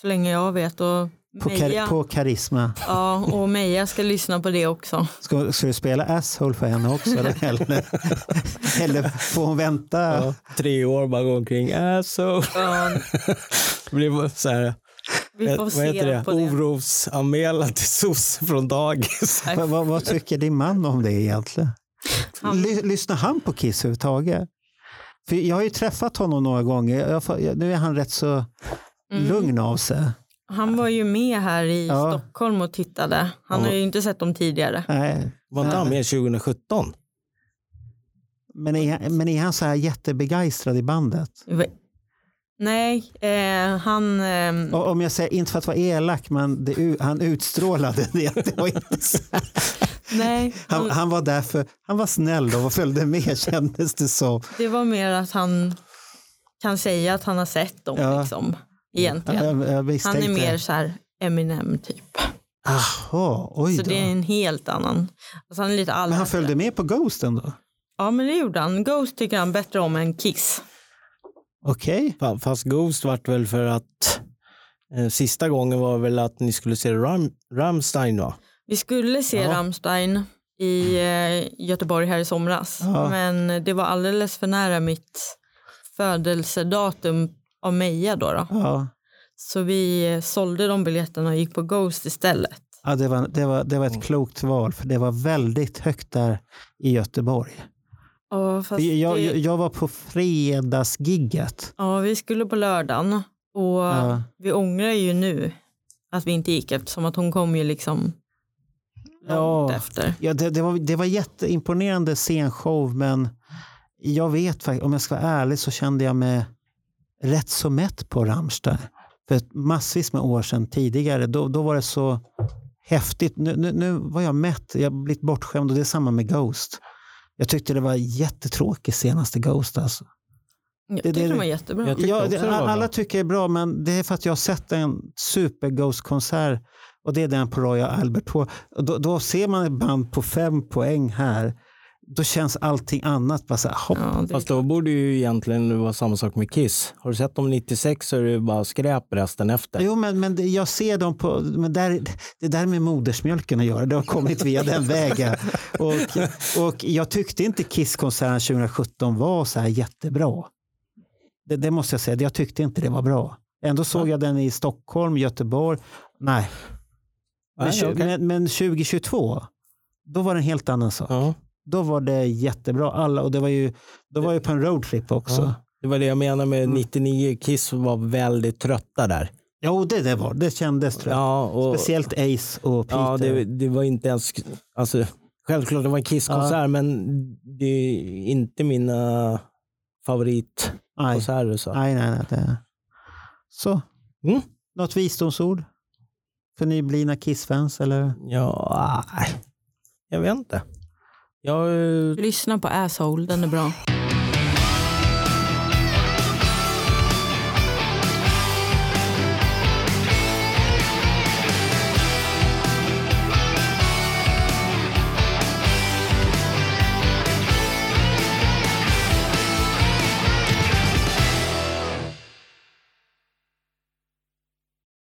så länge jag vet. Och
På,
Meja,
kar, på karisma.
ja, och Meja ska lyssna på det också.
Ska, ska du spela asshole för henne också? Eller, eller, eller får hon vänta?
Tre år bara gå omkring. Äh, så.
Ja,
Det blir så här,
vi får
vad
se
heter det?
på det.
Orosanmälan till SOS från dagis.
Vad, vad, vad tycker din man om det egentligen?
Han-
Ly, lyssnar han på Kiss överhuvudtaget? För jag har ju träffat honom några gånger. Jag, får- jag, nu är han rätt så lugn av sig.
Han var ju med här i
Ja.
Stockholm och tittade. Han har ju inte sett dem tidigare.
Nej.
Var inte han med 2017?
Men, är, men är han så här jättebegeistrad i bandet?
Nej, eh, han... ehm,
Och om jag säger, inte för att vara elak, men det, u- han utstrålade det. det var inte så.
nej,
Han,
han,
han var därför, han var snäll och följde med kändes det som.
det var mer att han kan säga att han har sett dem.
Ja.
Liksom, egentligen.
Jag, jag
han är
misstänkte-
mer så här Eminem typ.
Jaha, oj
Så
då.
det är en helt annan. Alltså han är lite
Men han
allmänt.
följde med på Ghost ändå?
Ja men det gjorde han. Ghost tycker han bättre om än Kiss.
Okej.
Fa- Fast Ghost vart väl för att eh, sista gången var väl att ni skulle se Ram, Rammstein va?
Vi skulle se Rammstein i eh, Göteborg här i somras. Men det var alldeles för nära mitt födelsedatum av Meja då. då.
Ja.
Så vi eh, sålde de biljetterna och gick på Ghost istället.
Ja, det, var, det, var, det var
Mm.
ett klokt val, för det var väldigt högt där i Göteborg.
Och fast
Jag,
det,
jag, jag var på fredagsgigget.
Ja, vi skulle på lördagen och
Ja.
vi ångrar ju nu att vi inte gick eftersom att hon kom ju liksom långt
Ja.
efter.
Ja, det, det, var, det var jätteimponerande scenshow, men jag vet faktiskt, om jag ska vara ärlig så kände jag mig rätt så mätt på Rammstein. För ett massvis med år sedan tidigare, då, då var det så häftigt. Nu, nu, nu var jag mätt, jag har blivit bortskämd och det är samma med Ghost. Jag tyckte det var jättetråkigt senaste Ghost alltså.
Jag
det-
tycker
det-
den var jättebra.
Jag tyckte
Ja,
också
det,
det var bra.
alla tycker det är bra, men det är för att jag har sett en super Ghost-konsert och det är den på Royal Albert Hall. Och Då, då ser man ett band på fem poäng här. Då känns allting annat bara så här, hopp.
Ja, det,
Fast då borde ju egentligen vara samma sak med Kiss. Har du sett dem 96 så är det bara skräp resten efter.
Jo, men, men det- jag ser dem på... Men där, det där med modersmjölken att göra, det har kommit via den vägen. Och, och jag tyckte inte Kiss-konserten 2017 var så här jättebra. Det, det måste jag säga, jag tyckte inte det var bra. Ändå såg jag den i Stockholm, Göteborg. Nej, Men,
Nej,
tju-
okej.
men, men 2022, då var det en helt annan sak. Då var det jättebra. Alla, och det var ju, då var jag på en roadtrip också.
Ja. Det var det jag menade med
Mm.
99. Kiss var väldigt trötta där.
Jo, det, det var det. kändes tror jag. Speciellt Ace och Peter.
Ja, det, det var inte ens... Alltså, självklart det var en Kiss-konsert,
Ja.
men det är inte mina favoritkonserter. Så.
Nej, nej, nej. Det... Så.
Mm.
Något visdomsord? För nyblivna Kiss-fans eller?
Ja, nej. jag eh, vet inte. Jag...
Lyssna på Asshole, den är bra.